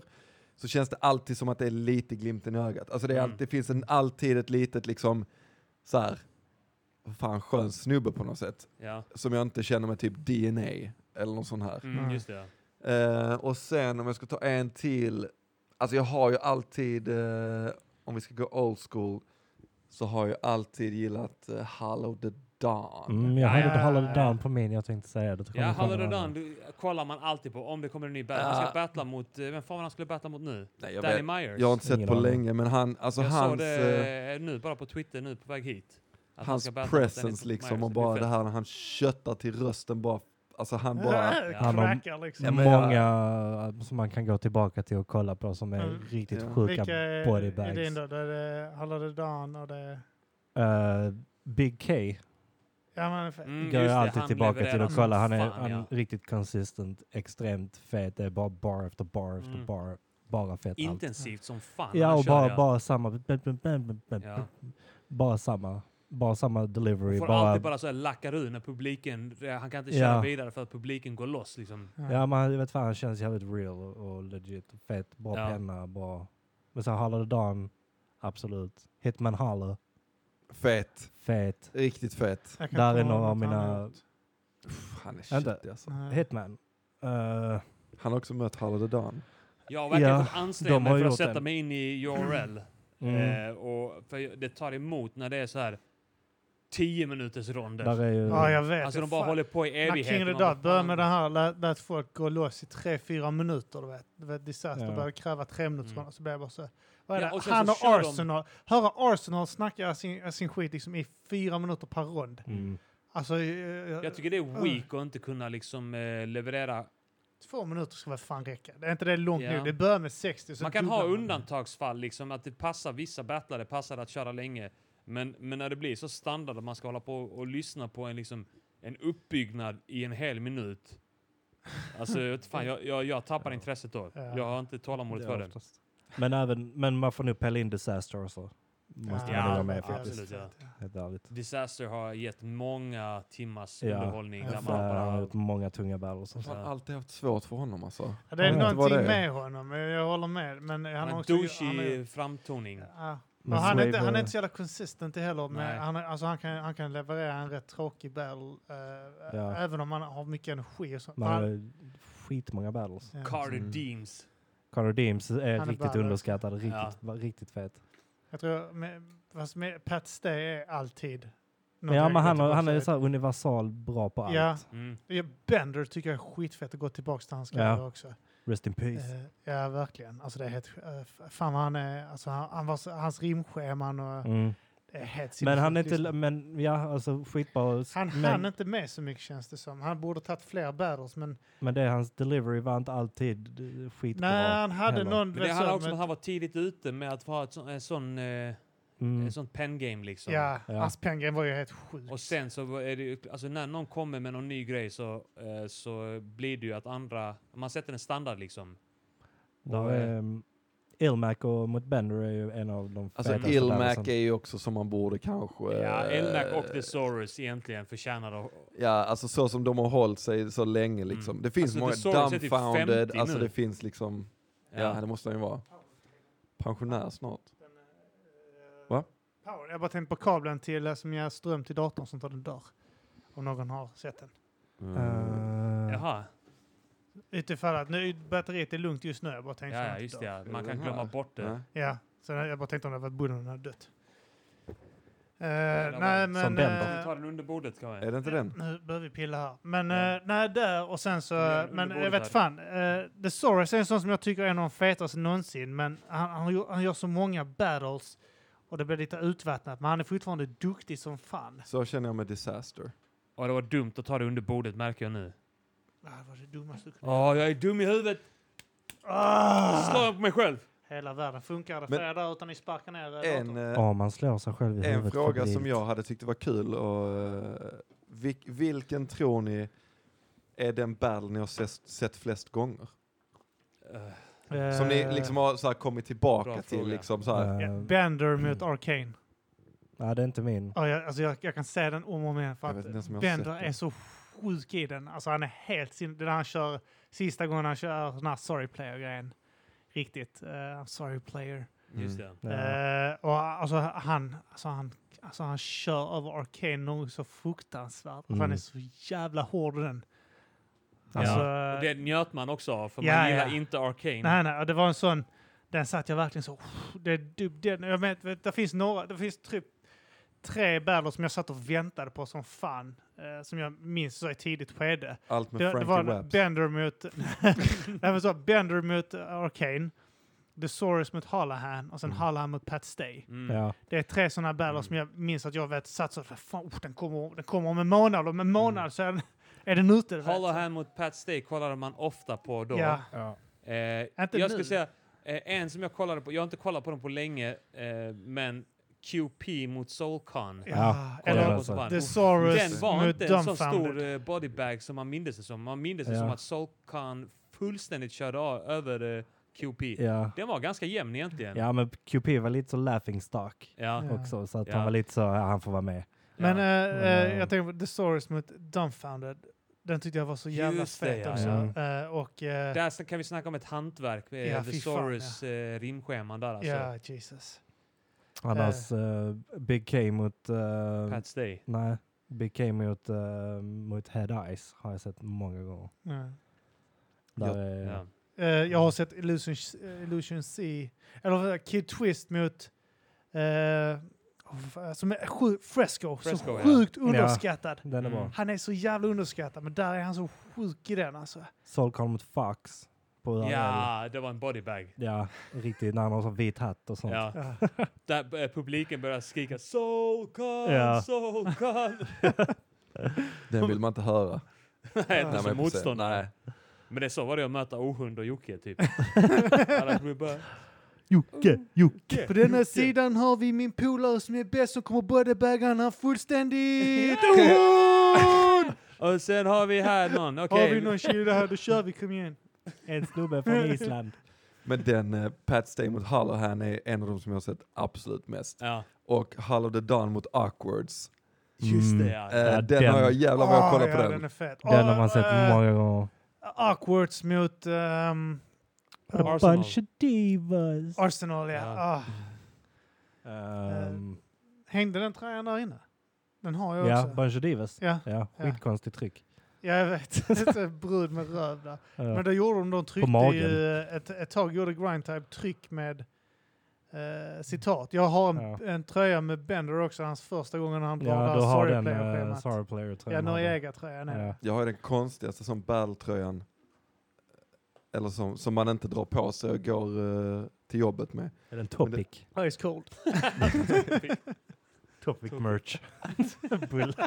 D: så känns det alltid som att det är lite glimten i ögat. Alltså det, är
B: Mm.
D: alltid, det finns en, alltid ett litet liksom, så här, vad fan skön snubbe på något sätt.
B: Ja.
D: Som jag inte känner med typ DNA eller någon sån här.
B: Mm,
A: Mm.
B: just det. ja.
D: Eh, och sen om jag ska ta en till. Alltså jag har ju alltid, eh, om vi ska gå old school, så har jag alltid gillat eh, Hallow the Dawn.
C: Mm, jag hade
A: Ja,
C: inte
A: ja,
C: Hollow
A: ja.
C: down på min, jag tänkte säga det. Då kom
B: Ja,
C: jag på
B: Hallå
C: den
B: Redan
C: andra.
B: du, eh, kollar man alltid på om det kommer en ny battle. Han
D: Ah.
B: ska battla mot, eh, vem fan var han skulle battla mot nu?
D: Nej, jag,
B: Danny
D: vet,
B: Myers.
D: jag har inte sett
C: Ingen
D: på
C: aning.
D: länge, men han, alltså
B: jag såg
D: hans, eh,
B: det eh, nu, bara på Twitter nu på väg hit. Att han
D: hans
B: ska battla mot Dennis
D: presence liksom
B: Myers.
D: och
B: blir
D: bara
B: fett.
D: det här när han köttar till rösten bara, alltså han bara,
C: Han har-
A: Crackar liksom.
D: Ja, men jag-
C: Många eh, som man kan gå tillbaka till och kolla på som är
A: Mm.
C: riktigt
D: Ja.
C: sjuka
A: Vilka är är
C: bodybags.
A: din då? Det är Halla the Dawn och det är...
C: Eh, Big K
A: Ja, men fett.
B: Mm,
C: går
B: just
C: jag
B: det,
C: alltid
B: han
C: tillbaka till
B: levererar
C: och kolla. Han är,
B: som
C: han är
B: ja.
C: riktigt consistent, extremt fet. Det är bara bar efter bar efter
B: Mm.
C: bar. Bara fett allt.
B: Intensivt som fan.
C: Ja,
B: han
C: och
B: kör,
C: bara,
B: ja.
C: bara samma...
B: Ja.
C: Bara samma. Bara samma delivery.
B: Får
C: Bara,
B: alltid bara så här lackar ur när publiken, han kan inte
C: Ja.
B: köra vidare för att publiken går loss liksom.
C: Ja, men jag vet fan, han känns jävligt real och, och legit. Fett, bra
B: Ja.
C: penna, bra... Men sen Hollow the Dawn, absolut. Hitman Hollow,
D: fet.
C: fet.
D: Riktigt fet.
A: Jag kan
C: Där
A: inte
C: är
A: komma
C: några av
A: ihåg vad han
C: mina-
A: har gjort.
D: Pff, han är
C: Vänta.
D: shitty alltså.
A: Nej.
C: Hitman. Eh,
D: Han har också mött Hallow the Dawn.
B: Jag har verkligen
C: Ja,
B: fått anstränga
C: de
B: mig
C: har
B: för att
C: gjort
B: sätta
C: den.
B: mig in i URL.
C: mm.
B: Eh, och för jag- det tar emot när det är så här 10 minuters ronder.
C: Där är ju...
A: Ja, jag vet.
B: Alltså
A: det
B: de bara
A: fan.
B: håller på i
A: När King
B: evigheter.
A: of the
B: Man bara,
A: Dot började
B: fan.
A: med det här, lät, lät folk gå loss i tre fyra minuter. Du vet, du vet Disaster
C: Ja.
A: började kräva tre minuter
B: Mm.
A: så blev jag bara så... Vad är
B: Ja,
A: det?
B: och sen
A: Han
B: så
A: och
B: kör de-
A: Arsenal, höra Arsenal snacka sin, sin skit liksom i fyra minuter per rond.
C: Mm.
A: Alltså, eh,
B: Jag tycker det är weak att inte kunna liksom eh, leverera.
A: två minuter ska väl fan räcka. Det är inte det långt
B: Ja.
A: nu. Det börjar med 60. Så
B: Man kan ha
A: dubblar
B: undantagsfall, liksom att det passar vissa battlare, det passar att köra länge. Men, men när det blir så standard att man ska hålla på och lyssna på en, liksom, en uppbyggnad i en hel minut. Alltså, jag vet fan, jag, jag, jag tappar intresset då.
A: Ja.
B: Jag har inte tålamodet
C: Det är
B: för det.
C: oftast. Men, även, men man får nu pella in Disaster också. Måste
B: Ja,
C: man
B: det
C: vara
B: var
C: med
B: ja,
C: faktiskt.
B: absolut, ja.
C: Helt ärligt.
B: Disaster har gett många timmars
C: Ja.
B: underhållning.
A: Ja,
B: Där man
C: För Han har
B: bara,
C: gjort många tunga battles.
D: Jag har
B: Ja.
D: alltid haft svårt för honom alltså.
A: Ja, det är
C: Jag vet inte
A: någonting
D: vad det
A: med honom. Jag- Jag håller med. Men han
B: han
A: har
B: har en
A: också... han är-
B: douchey framtoning.
A: Ja.
C: Men
A: Men han, är
C: Sway
A: inte, han är
C: var-
A: inte så jävla consistent heller.
B: Nej.
A: Men han, är- alltså han, kan, han kan leverera en rätt tråkig battle. eh,
C: Ja.
A: Även om han har mycket energi och sånt.
C: Man
A: Han-
C: har skitmånga battles.
A: ja.
B: Carter
D: Mm.
B: Deems.
C: Connor Deems är
A: Han är
C: riktigt
A: badass.
C: underskattad. Riktigt,
B: Ja.
C: va- riktigt fet.
A: Jag tror... Med, fast med Pat Stay är alltid... någon
C: ja,
A: jag går
C: men han, har-
A: tillbaka
C: han är
A: till.
C: så här universal bra på allt.
A: Ja.
B: Mm.
A: Ja, Bender tycker jag är skitfett att gå tillbaka till hans
C: Ja.
A: karriär också.
C: Rest in peace.
A: Eh, ja, verkligen. Alltså det är helt... eh, f- fan vad han är... Alltså han, han var, så- hans rimscheman och...
C: Mm.
A: Det är helt
C: Men
A: sinnessjukt
C: han är inte,
A: liksom.
C: men ja, alltså skitbra.
A: Han hann
C: men,
A: inte med så mycket känns det som. Han borde tagit fler battles men
C: men det är hans delivery var inte alltid eh, skitbra.
A: nej han hade
C: heller.
A: någon...
B: Men det handlar
A: så-
B: också om
A: men-
B: att han var tidigt ute med att ha ett sån, en sån, eh,
C: Mm.
B: en sån pen game liksom.
A: Ja,
C: Ja.
A: hans pengar var ju helt sjuk.
B: Och sen så var- är det ju, alltså när någon kommer med någon ny grej så, eh, så blir det ju att andra, man sätter en standard liksom.
C: Där
B: Och, eh,
C: är, um, Ilmac och mot Bender är ju en av de
D: Alltså
C: fetaste
D: Ilmac
C: battlesen.
D: är ju också som man borde kanske...
B: Ja, Elnac och
D: eh,
B: Thesaurus egentligen förtjänar att...
D: Ja, alltså så som de har hållit sig så länge liksom.
B: Mm.
D: Det finns
B: Alltså, The
D: många
B: Source är typ
D: dumbfounded,
B: 50
D: alltså
B: nu.
D: det finns liksom, ja.
B: Ja.
D: det måste han ju vara. Pensionär snart. Va?
A: Va? Power. Jag bara tänkte på kabeln till, eh, som ger ström till datorn som tar den dör. Om någon har sett den. Mm.
C: Eh,
B: Jaha,
A: Utifall att nu, batteriet är lugnt just nu. Jag bara
B: ja,
A: tänkte så Eh,
B: ja
A: att den dör.
B: just det. Ja. Man
D: Den
B: kan
D: här.
B: glömma bort det.
D: Nej.
A: Ja, så jag bara tänkte om det var bonden hade dött. Eh,
B: där var
A: nej,
B: den.
A: men...
C: Som den då.
A: eh,
B: Vi tar den under bordet kan
D: Är det inte den?
A: Nu börjar vi pilla här. Men
B: Ja.
A: eh, nej, där och sen så...
B: Men gör det under
A: men jag
B: bordet
A: vet fan.
B: här.
A: Uh, The Soros är en sån som jag tycker är en av de fetaste någonsin. Men han, han, gör, han gör så många battles och det blir lite utvattnat. Men han är fortfarande duktig som fan.
D: Så känner jag med Disaster.
B: Och det var dumt att ta det under bordet märker jag nu.
A: Ah, Det var det dummaste du kunde
B: Åh, jag är dum i huvudet! Slår jag på mig själv?
A: Ah! Hela världen funkar det för
D: Men-
A: er där utan ni sparkar ner eh,
D: En,
A: datorn?
D: eh,
C: Ja, man slår sig själv i huvudet.
D: en fråga
C: febrilt.
D: som jag hade tyckt det var kul och eh, vilk, vilken tror ni är den battle ni har sett, sett flest gånger?
B: Eh,
D: Som ni
A: Eh,
D: liksom har så här, kommit tillbaka
B: Bra
D: till
B: fråga.
D: liksom så här.
A: ja,
C: Eh,
A: Bender mot
D: Mm.
A: Arcane.
C: Nej, det är inte min.
B: Eh,
A: Ja, jag, alltså jag, jag kan säga den om och om igen för
D: Jag vet
A: att
D: inte ens om jag har
A: Bender
D: sett den.
A: är så sjuk i den. Alltså han är helt sin... Det där han kör sista gången han kör den här sorry player-grejen. Riktigt. eh, I'm sorry player.
B: Just det.
C: Ja.
A: Eh, och alltså han, alltså han, alltså han kör över Arcane något så fruktansvärt. Alltså
C: Mm.
A: Han är så jävla hård i den.
C: Ja.
A: Alltså,
B: Och det njöt man också av, för
A: Ja,
B: man gillar
A: ja.
B: inte Arcane.
A: Nej, nej, och det var en sån, den satt jag verkligen så, det är dubb- den, jag vet, vet, det finns några, det finns typ tre battler som jag satt och väntade på som fan, eh, som jag minns så i ett tidigt skede.
D: Allt med
A: Det, det
D: Frankie
A: var en
D: Wabs.
A: Bender mot, nej men så, Bender mot Arcane, The Saurus mot Halahan och sen
C: Mm.
A: Halahan mot Pat Stay.
B: Mm.
C: Ja.
A: Det är tre sådana battler
D: Mm.
A: som jag minns att jag vet satt så, för fan, oh, den, kommer, den kommer om en månad, och om en månad
D: Mm.
A: så är den, är den ute. du vet.
B: Holohan mot Pat Stay kollade man ofta på då.
A: Ja,
B: Eh,
A: Inte
B: jag
A: nu.
B: ska säga, eh, en som jag kollade på, jag har inte kollat på den på länge, eh, men QP mot Soulcon.
A: ja.
C: Ja, kolla
A: Eller
C: den så.
B: Fan.
A: The
B: Den
A: Saurus
B: var
A: mot
B: inte en så stor
A: Dumbfounded.
B: eh, bodybag som man mindes det som. Man mindes det
C: Ja.
B: som att Soulcon fullständigt körde av, över eh, QP.
C: Ja.
B: Den var ganska jämn egentligen.
C: ja, men QP var lite så laughing stock
B: Ja.
A: Ja.
C: också, så att
B: Ja.
C: han var lite så, ja, han får vara med.
A: Men
B: Ja.
A: eh, eh,
C: Mm.
A: jag tänker på The Stories mot Dumbfounded. Den tyckte jag var så jävla
B: Just det,
A: fet
B: ja,
A: också.
C: ja.
A: Eh, och eh,
B: Där sen kan vi snacka om ett hantverk. eh,
A: Ja,
B: The
A: fy fan,
B: Saurus eh, rimscheman där alltså.
A: ja, Jesus.
C: Annars eh, Big K mot... eh,
B: Pat Stay.
C: nej, Big K mot, eh, mot Head Eyes har jag sett många gånger.
A: Ja.
C: Där
D: Ja.
C: är,
B: Ja.
A: Eh, jag har sett Illusion, eh, Illusion C, eller vad heter det? Kid Twist mot eh, som är alltså, sju, Fresco,
B: Fresco,
A: så
B: ja.
A: sjukt underskattad.
C: Den är
B: Mm.
C: bra.
A: Han är så jävla underskattad, men där är han så sjuk i den alltså.
C: Solcon mot Fox på URL.
B: ja, det var en bodybag.
C: Ja, riktigt. När han har så vit hatt och sånt.
B: Ja.
A: Ja.
B: Där eh, publiken börjar skrika Soulcon,
C: Ja.
B: Soulcon.
D: Den vill man inte höra.
B: Nej, inte
D: Nej,
B: som
D: men precis.
B: motståndare.
D: Nej.
B: Men det är så var det att möta Ohund och Jocke typ. Alla skulle bara,
C: Jocke, Jocke!
A: På denna sidan har vi min polare som är bäst som kommer bodybaga han fullständigt.
B: och sen har vi här någon, okej.
A: Har vi någon kille här, då kör vi, kom igen.
C: En snubbe från Island.
D: Men den eh, Pat Stay mot Hallahan är en av de som jag har sett absolut mest.
B: Ja,
D: Och Hall of the Dawn mot Awkwards.
B: just det
C: Mm.
B: ja.
D: Eh,
C: Ja,
D: den, har jag jävlar vad jag kollar
A: Ah,
D: på
A: ja,
D: den.
A: är fet.
C: Den har
A: Ah,
C: man sett
A: eh,
C: många gånger.
A: Awkwards mot ehm,
B: Arsenal.
C: of divas.
A: Arsenal, ja.
B: Ja.
A: Ah,
C: Ehm,
A: hängde den tröjan där inne? Den har jag
C: ja,
A: också.
C: bunch of divas.
A: Ja,
C: Ja,
A: Ja.
C: skitkonstigt tryck.
A: ja, jag vet. Lite brud med röv där.
C: Ja.
A: Men då gjorde de, de tryckte
C: magen.
A: ju, eh, ett, ett tag gjorde Grindtype tryck med eh, citat. Jag har en,
C: Ja.
A: en tröja med Bender också, hans första gången han drar
C: ja,
A: ja,
C: du
A: där
C: har
A: Sorry
C: den eh,
A: Player-schemat.
C: Sorry Player tror
A: ja,
C: jag. den hade.
A: Noriega-tröjan är det.
C: Ja.
D: Jag har ju den konstigaste som battle-tröjan. Eller som, som man inte drar på sig och går eh, till jobbet med.
C: Är den Topic?
A: Ice cold.
C: Topic merch. Bull.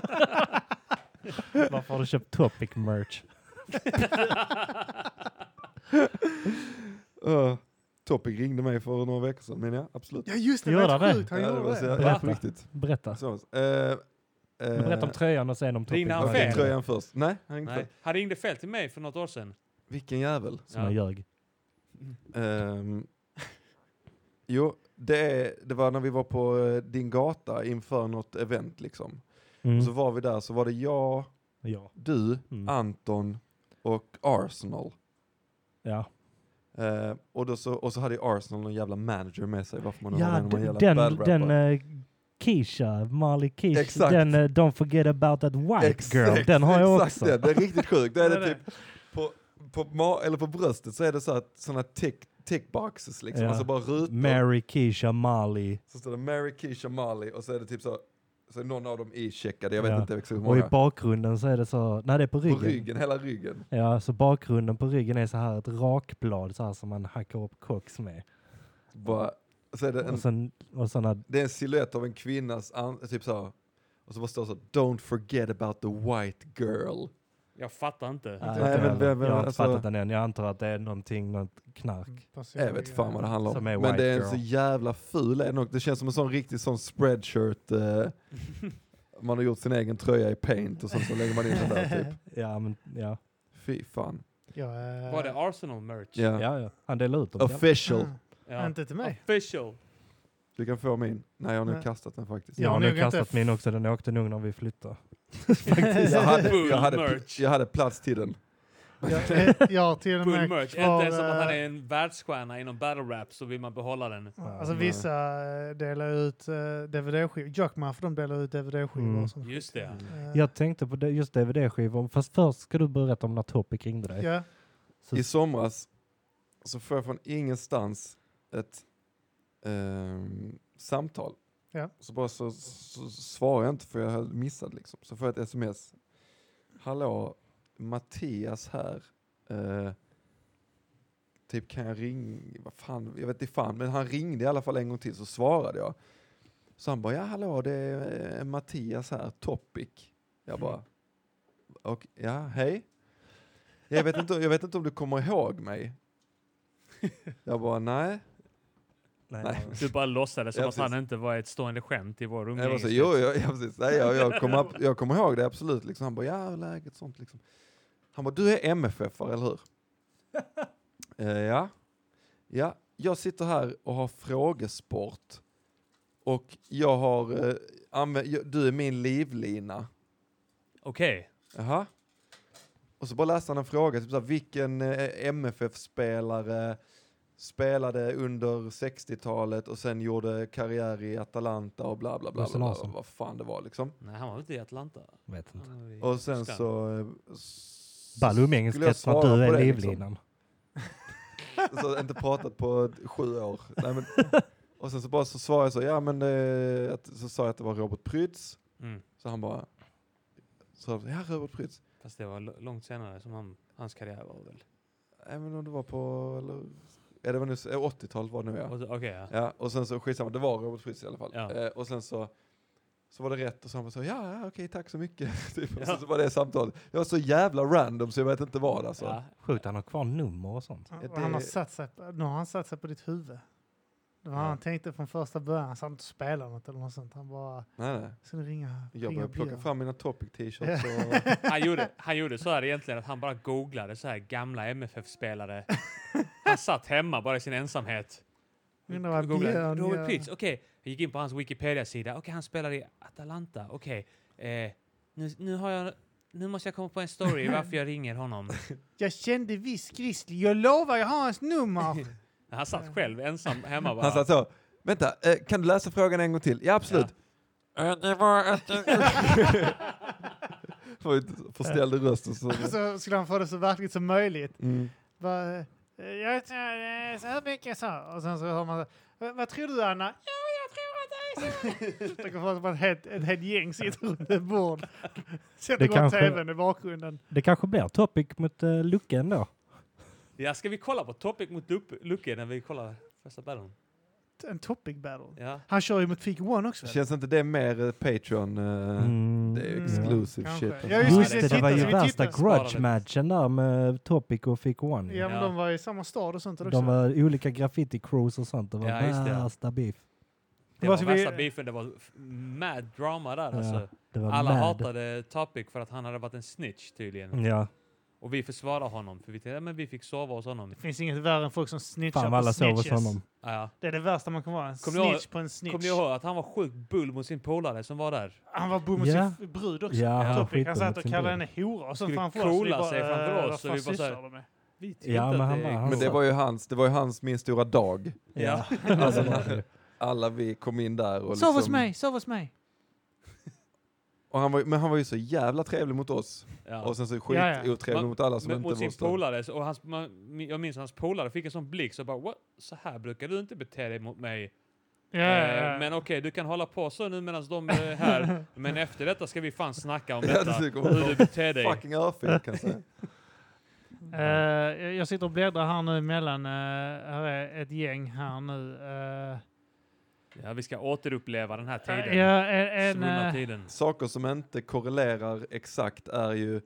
C: Varför har du köpt Topic merch?
D: Uh, Topic ringde mig för några veckor sedan, men ja, absolut.
A: Ja just det, det
C: Gör
A: var
C: han
A: helt
C: det?
A: sjukt. Han
D: ja, det var
A: gjorde
D: så,
A: det.
D: ja, på
C: Berätta.
D: riktigt.
C: Berätta.
D: Så, eh, eh,
C: Berätta om tröjan och sen om Topic
B: Ringde han
D: Okej,
B: fel?
C: Tröjan.
D: tröjan först. Nej, han ringde
B: Nej.
D: fel.
B: Han ringde fel till mig för något år sedan.
D: Vilken jävel.
C: Som
B: Ja.
C: jag ljög.
D: Ehm, jo, det, är- det var när vi var på eh, din gata inför något event liksom.
C: Mm.
D: Så var Ah. vi där, så var det jag,
C: Ja.
D: du,
C: Mm.
D: Anton och Arsenal.
C: ja.
D: Eh, och, då så, och så hade ju Arsenal någon jävla manager med sig, varför man nu har
C: Ja,
D: någon jävla
C: den,
D: bad rapper.
C: den eh, Keisha, Marley Keisha,
D: Exakt.
C: den eh, Don't Forget About That White Girl, den har jag
D: exakt
C: också.
D: Den. Det är riktigt sjukt. Det är
A: Vad
D: det
A: är
D: typ på, på, ma- eller på bröstet så är det så att sådana tick, tickboxes liksom.
C: Ja.
D: Alltså bara rutor.
C: Mary Keisha Marley.
D: Så står det Mary, Keisha, Marley och så är det typ så, så är någon av dem icheckade. Jag vet
C: Ja.
D: inte exakt hur
C: Och i
D: många.
C: bakgrunden så är det så, nej det är på
D: På
C: ryggen.
D: ryggen, hela ryggen.
C: Ja, så bakgrunden på ryggen är så här ett rakblad så här som man hackar upp koks med.
D: Bara, så är det en,
C: Och, sen, och såna,
D: det är en silhuett av en kvinnas an, typ så. Och så bara står det så Don't forget about the white girl.
B: Jag fattar inte.
A: Nej,
C: inte
A: men
C: heller.
D: vem- vem-
C: jag har inte
D: alltså-
C: fattat den än. Jag antar att det är någonting, något knark.
A: Typ
D: Jag vet fan vad det handlar om.
C: Som är
D: Men
C: white
D: det är en
C: girl.
D: så jävla ful en och det känns som en sån riktig sån spreadshirt. Eh, man har gjort sin egen tröja i paint och sen så lägger man in den där typ.
C: Ja, men ja.
D: Fy fan.
A: Ja, eh,
B: Var det Arsenal-merch?
D: Ja.
C: ja, ja. Han delar ut dem. Ja.
D: Official.
A: mm, Inte till mig.
B: Official.
D: Du kan få min. Nej jag har nu
A: Nej.
D: kastat den faktiskt.
A: Ja,
C: Jag har nu
A: nog inte
C: kastat
A: f-
C: min också. Den åkte nog när vi flyttade.
D: Jag, hade,
B: Bull
D: jag, hade,
B: merch.
D: jag hade plats till den.
A: Jag, eh, jag har till och
B: Full
A: med
B: merch.
A: kvar,
B: Inte ens om man
A: eh,
B: hade en världsstjärna inom battle rap så vill man behålla den.
A: Alltså vissa eh, delar ut eh, DVD-skivor. Jockman för de delar ut DVD-skivor.
C: Mm.
A: och sånt.
B: Just det.
A: Eh,
C: Jag tänkte på det, just DVD-skivor, fast först ska du berätta om när Topic ringde dig.
A: ja.
D: I somras så får jag från ingenstans ett ehm, samtal.
A: Ja.
D: Så bara så, så svarar jag inte för jag hade missat liksom. Så får jag ett sms. Hallå, Mattias här. Eh, typ kan jag ringa? Vad fan, jag vet inte fan. Men han ringde i alla fall en gång till så svarade jag. Så han bara, ja hallå det är eh, Mattias här, Topic. Jag bara, och, ja hej. Jag vet, inte, jag vet inte om du kommer ihåg mig. Jag bara, nej. Nej.
B: Du bara låtsades som
D: Ja,
B: att han
D: precis.
B: inte var ett stående skämt i vår
D: Jag bara, så,
B: umgängeskrets.
D: jo, jag, jag, precis, nej, jag, jag, kommer, ab- jag kommer ihåg det absolut. Liksom. Han bara, ja, läget sånt liksom. Han bara, du är MFF, eller hur? Eh, ja. ja, jag sitter här och har frågesport. Och jag har, eh, använt, jag, du är min livlina.
B: Okej.
D: Jaha. Och så bara läste han en fråga, typ såhär, vilken eh, MFF-spelare spelade under 60-talet och sen gjorde karriär i Atalanta och bla bla bla. bla,
C: Lasse
D: bla,
C: Larsson.
D: vad fan det var liksom.
B: Nej, han var inte i Atlanta.
C: Vet inte.
B: Han var i
D: Och sen
B: Tyskland.
D: så... eh, s-
C: Ball
D: skulle jag
C: umgängeskrets var
D: svara
C: du
D: på
C: är
D: det,
C: livlinan.
D: Liksom. Så jag inte pratat på sju år. Nej, men, och sen så bara så svarade jag så, ja men eh, att, så sa jag att det var Robert Prytz.
B: Mm.
D: Så han bara, så, ja Robert Prytz.
B: Fast det var l- långt senare som han, hans karriär var väl.
D: Nej men om det var på, eller, ja, det var nu, s- 80-talet var det nu ja.
B: Och så- Okej, ja.
D: Ja, och sen så skitsamma, det var Robert Fritz i alla fall.
B: Ja.
D: Eh, och sen så, så var det rätt och så han bara så, ja, ja okej, tack så mycket. typ. Och sen så var det samtalet. Jag var så jävla random så jag vet inte vad alltså.
B: ja.
C: Sjukt, han har kvar nummer och sånt.
A: Han,
D: Det-
A: han har satt sig, på- nu har han satt sig på ditt huvud. Det var
D: Ja.
A: han tänkte från första början. Han satt inte och spelade något eller något sånt. Han bara,
D: Nej, nej.
A: skulle ringa,
D: Jag
A: ringa
D: började plocka
A: Björn.
D: fram mina topic t-shirts
A: Ja.
D: och
B: Han, gjorde, han gjorde så här egentligen att han bara googlade så här gamla MFF-spelare. Han satt hemma bara i sin ensamhet.
A: Undrar vad
B: Googlade.
A: Björn
B: Robert
A: gör.
B: Prytz, okej. Jag gick in på hans Wikipedia-sida. Okej, han spelar i Atalanta. Okej. Eh, nu, nu har jag... Nu måste jag komma på en story varför jag ringer honom.
A: Jag kände viss Grizzly. Jag lovar, jag har hans nummer.
B: Han satt själv ensam hemma bara.
D: han sa så, vänta, eh, kan du läsa frågan en gång till? Ja, absolut. Eh, Det var att... Får ju- Förställde rösten så.
A: så skulle han få det så verkligt som möjligt.
D: Mm.
A: Bara, eh, jag tror eh, så här mycket så. Och sen så hör man så, "Va- Vad tror du Anna? Ja, jag tror att det är så. Tänk att man ett, ett helt gäng sitter runt ett bord. Sätter
C: Det
A: igång
C: kanske-
A: tvn i bakgrunden.
C: Det kanske blir Topic mot uh, Lucke ändå.
B: Ja, ska vi kolla på Topic mot Lup- Lucke när vi kollar första battlen?
A: En topic battle.
B: Ja.
A: Han kör ju mot Fake One också. väl?
D: Känns inte det mer eh, Patreon? eh,
C: Mm.
D: Det är
A: Mm,
D: exclusive
A: kanske.
D: shit. alltså.
A: Ja, just
C: Just
A: det,
C: det, det
A: titta,
C: var
A: så
C: ju
A: vi
C: värsta
A: tittar.
C: grudge-matchen där med Topic och Fick One.
A: Ja, men
B: Ja.
A: de var i samma stad och sånt också.
C: De var olika graffiti-crews och sånt. Det var
B: Ja, just det.
C: värsta beef.
B: Det
A: Vad
B: var
A: ska vi-
B: värsta beefen, det var f- mad drama där
C: Ja,
B: alltså.
C: Det var
B: Alla
C: mad. Mm.
B: hatade Topic för att han hade varit en snitch tydligen.
C: Ja,
B: Och vi försvarar honom för vi tänkte, "Ja, men vi fick sova hos honom.
A: Det finns inget värre än folk som snitchar
C: fan
A: på
C: vad alla sov
A: snitches.
C: hos honom.
B: Ja, Ja.
A: Det är det värsta man kan vara. En
B: Kommer ni ihåg-
A: snitch på en snitch.
B: Kommer ni ihåg att han var sjukt bull mot sin polare som var där?
A: Han var bom mot
C: Ja.
A: sin brud också.
C: Ja,
B: Ja.
C: han
A: Topic. Han
C: skiter
A: satt
C: mot
A: och
C: sin
A: kallade
C: brud.
A: henne hora och sånt
B: Skulle
A: framför oss. Vi
B: coola
A: bara,
B: sig framför
A: eh,
B: oss,
A: vad
B: så
A: fan
B: vi bara så här-
A: sysslar de med?
B: Vi tyckte
C: Ja,
B: inte
C: men
B: att
C: han
B: det-
C: var- han
D: Men det var ju hans, det var ju hans min stora dag.
B: Ja.
C: Alltså, det var det.
D: Alla vi kom in där och liksom-
A: Sov hos
B: liksom-
A: mig, sov hos mig.
D: Och han var, men han var ju så jävla trevlig mot oss.
B: Ja.
D: Och sen så
A: Ja, ja.
D: skitotrevlig
B: Men-
D: mot alla som
B: Men
D: inte
B: mot
D: var
B: sin
D: hos dem.
B: polare, så- och hans, man, jag minns hans polare fick en sån blick så bara What? Så här brukar du inte bete dig mot mig.
A: Ja, ja,
B: Eh,
A: ja.
B: Men okej, du kan hålla på så nu medan de är här. men efter detta ska vi fan snacka om
D: Ja,
B: detta.
D: det tycker jag.
B: hur du beter dig.
D: Fucking örfil kan jag säga.
A: Eh, jag- jag sitter och bläddrar här nu mellan, eh, här är ett gäng här nu. eh.
B: Ja, vi ska återuppleva den här tiden.
A: ja, en, en,
B: Svunna
A: eh,
B: tiden.
D: Saker som inte korrelerar exakt är ju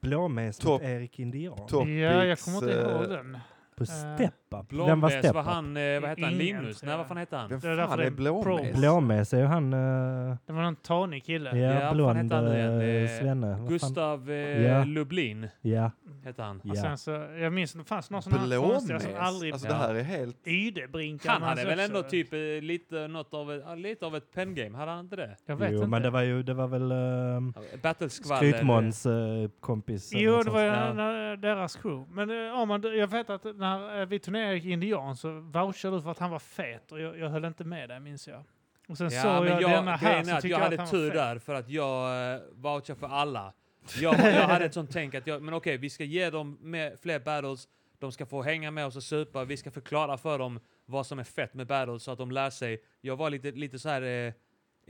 C: Blåmes
D: Topp-
C: mot Erik Indian
A: Ja, jag kommer inte
D: eh,
A: ihåg den.
C: på Step Up. Vem var
B: Blåmes
C: Step
B: var
C: Up?
B: han, eh, vad hette han,
A: Ingen,
B: Linus?
A: tror
B: Nej,
A: jag.
B: vad fan hette han?
D: Vem
A: Det är därför
D: fan
A: det
D: är
A: är
D: Blåmes?
A: Pro-
C: Blåmes är ju han... eh,
A: Det var någon tanig kille.
B: Ja,
C: ja,
B: fan
C: blond
B: hette han nu igen?
C: eh,
B: Eh,
C: svenne. Vad Fan?
B: Gustav eh,
C: Ja.
B: Lublin
C: Ja,
B: hette han.
A: Och
C: ja.
A: sen så, jag minns det fanns någon sån här
D: Blåmes?
A: konstiga som aldrig...
D: Alltså det här är helt...
A: Ydebrinkarna.
B: Han hade
A: alltså
B: väl
A: också.
B: ändå typ eh, lite, något av ett, ah, lite av ett pengame, hade han inte det?
A: Jag vet
C: jo,
A: inte.
C: men det var ju, det var väl uh,
B: Battleskvaller.
C: Skrytmåns eh, kompis. eller
A: Jo,
C: något
A: det
C: sånt.
A: var
B: Ja.
A: ja. deras crew. Men eh, Armand, jag vet att när eh, vi turnerade i Indian så vouchade du för att han var fet och jag, jag höll inte med dig, minns jag. Och sen
B: Ja,
A: såg
B: men
A: jag,
B: jag,
A: denna här
B: grejen är
A: så
B: att
A: tyckte
B: jag
A: jag att
B: hade
A: han
B: tur
A: var fet.
B: där för att jag eh, vouchar för alla. Jag, jag hade ett sånt tänk att jag, men okej, vi ska ge dem mer, fler battles, de ska få hänga med oss och supa, vi ska förklara för dem vad som är fett med battles så att de lär sig. Jag var lite, lite så här eh,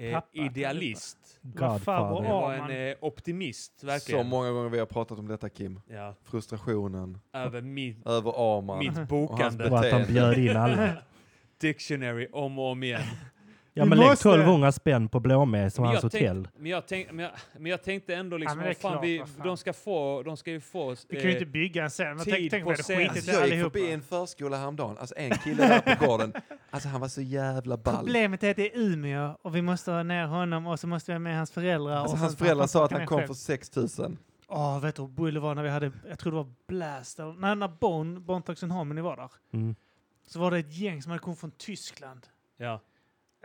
B: eh,
A: Pappa,
B: idealist.
A: Det var farbror
B: Jag
C: Godfather.
B: var
A: Armand.
B: en eh, optimist,
D: Så
B: verkligen.
D: många gånger vi har pratat om detta Kim.
B: Ja,
D: Frustrationen
B: över mitt,
D: över Arman.
B: mitt
D: Och
B: bokande.
D: hans
C: Och att han
D: beteende.
C: bjöd in alla.
B: Dictionary om och om igen.
C: Ja,
A: Vi
C: men lägg
A: måste-
C: 1200 spänn på Blåmes och
B: Men
C: hans
B: jag tänkte-
C: hotell.
B: Men jag, tänk, men, jag, men jag tänkte ändå liksom,
A: men det är
B: vad fan,
A: klart,
B: vi,
A: vad fan.
B: de ska få, de ska ju få...
A: Vi kan ju
B: eh,
A: inte bygga en scen. Men
B: tid
A: tänk, tänk
B: på
A: vad det
B: scen.
A: skitigt
D: Alltså
A: är
D: jag gick
A: allihopa.
D: förbi en förskola häromdagen, alltså en kille där på gården, alltså han var så jävla ball.
A: Problemet är att det är Umeå och vi måste ha ner honom och så måste vi ha med hans föräldrar.
D: Alltså
A: och
D: hans
A: sen-
D: föräldrar sa att
A: kan
D: han
A: själv.
D: kom för 6000.
A: Åh, vet du hur bull det var när vi hade, jag tror det var Blast, eller, nej, när Bon, Bon Toxin Harmony var där,
C: Mm.
A: så var det ett gäng som hade kommit från Tyskland.
B: Ja,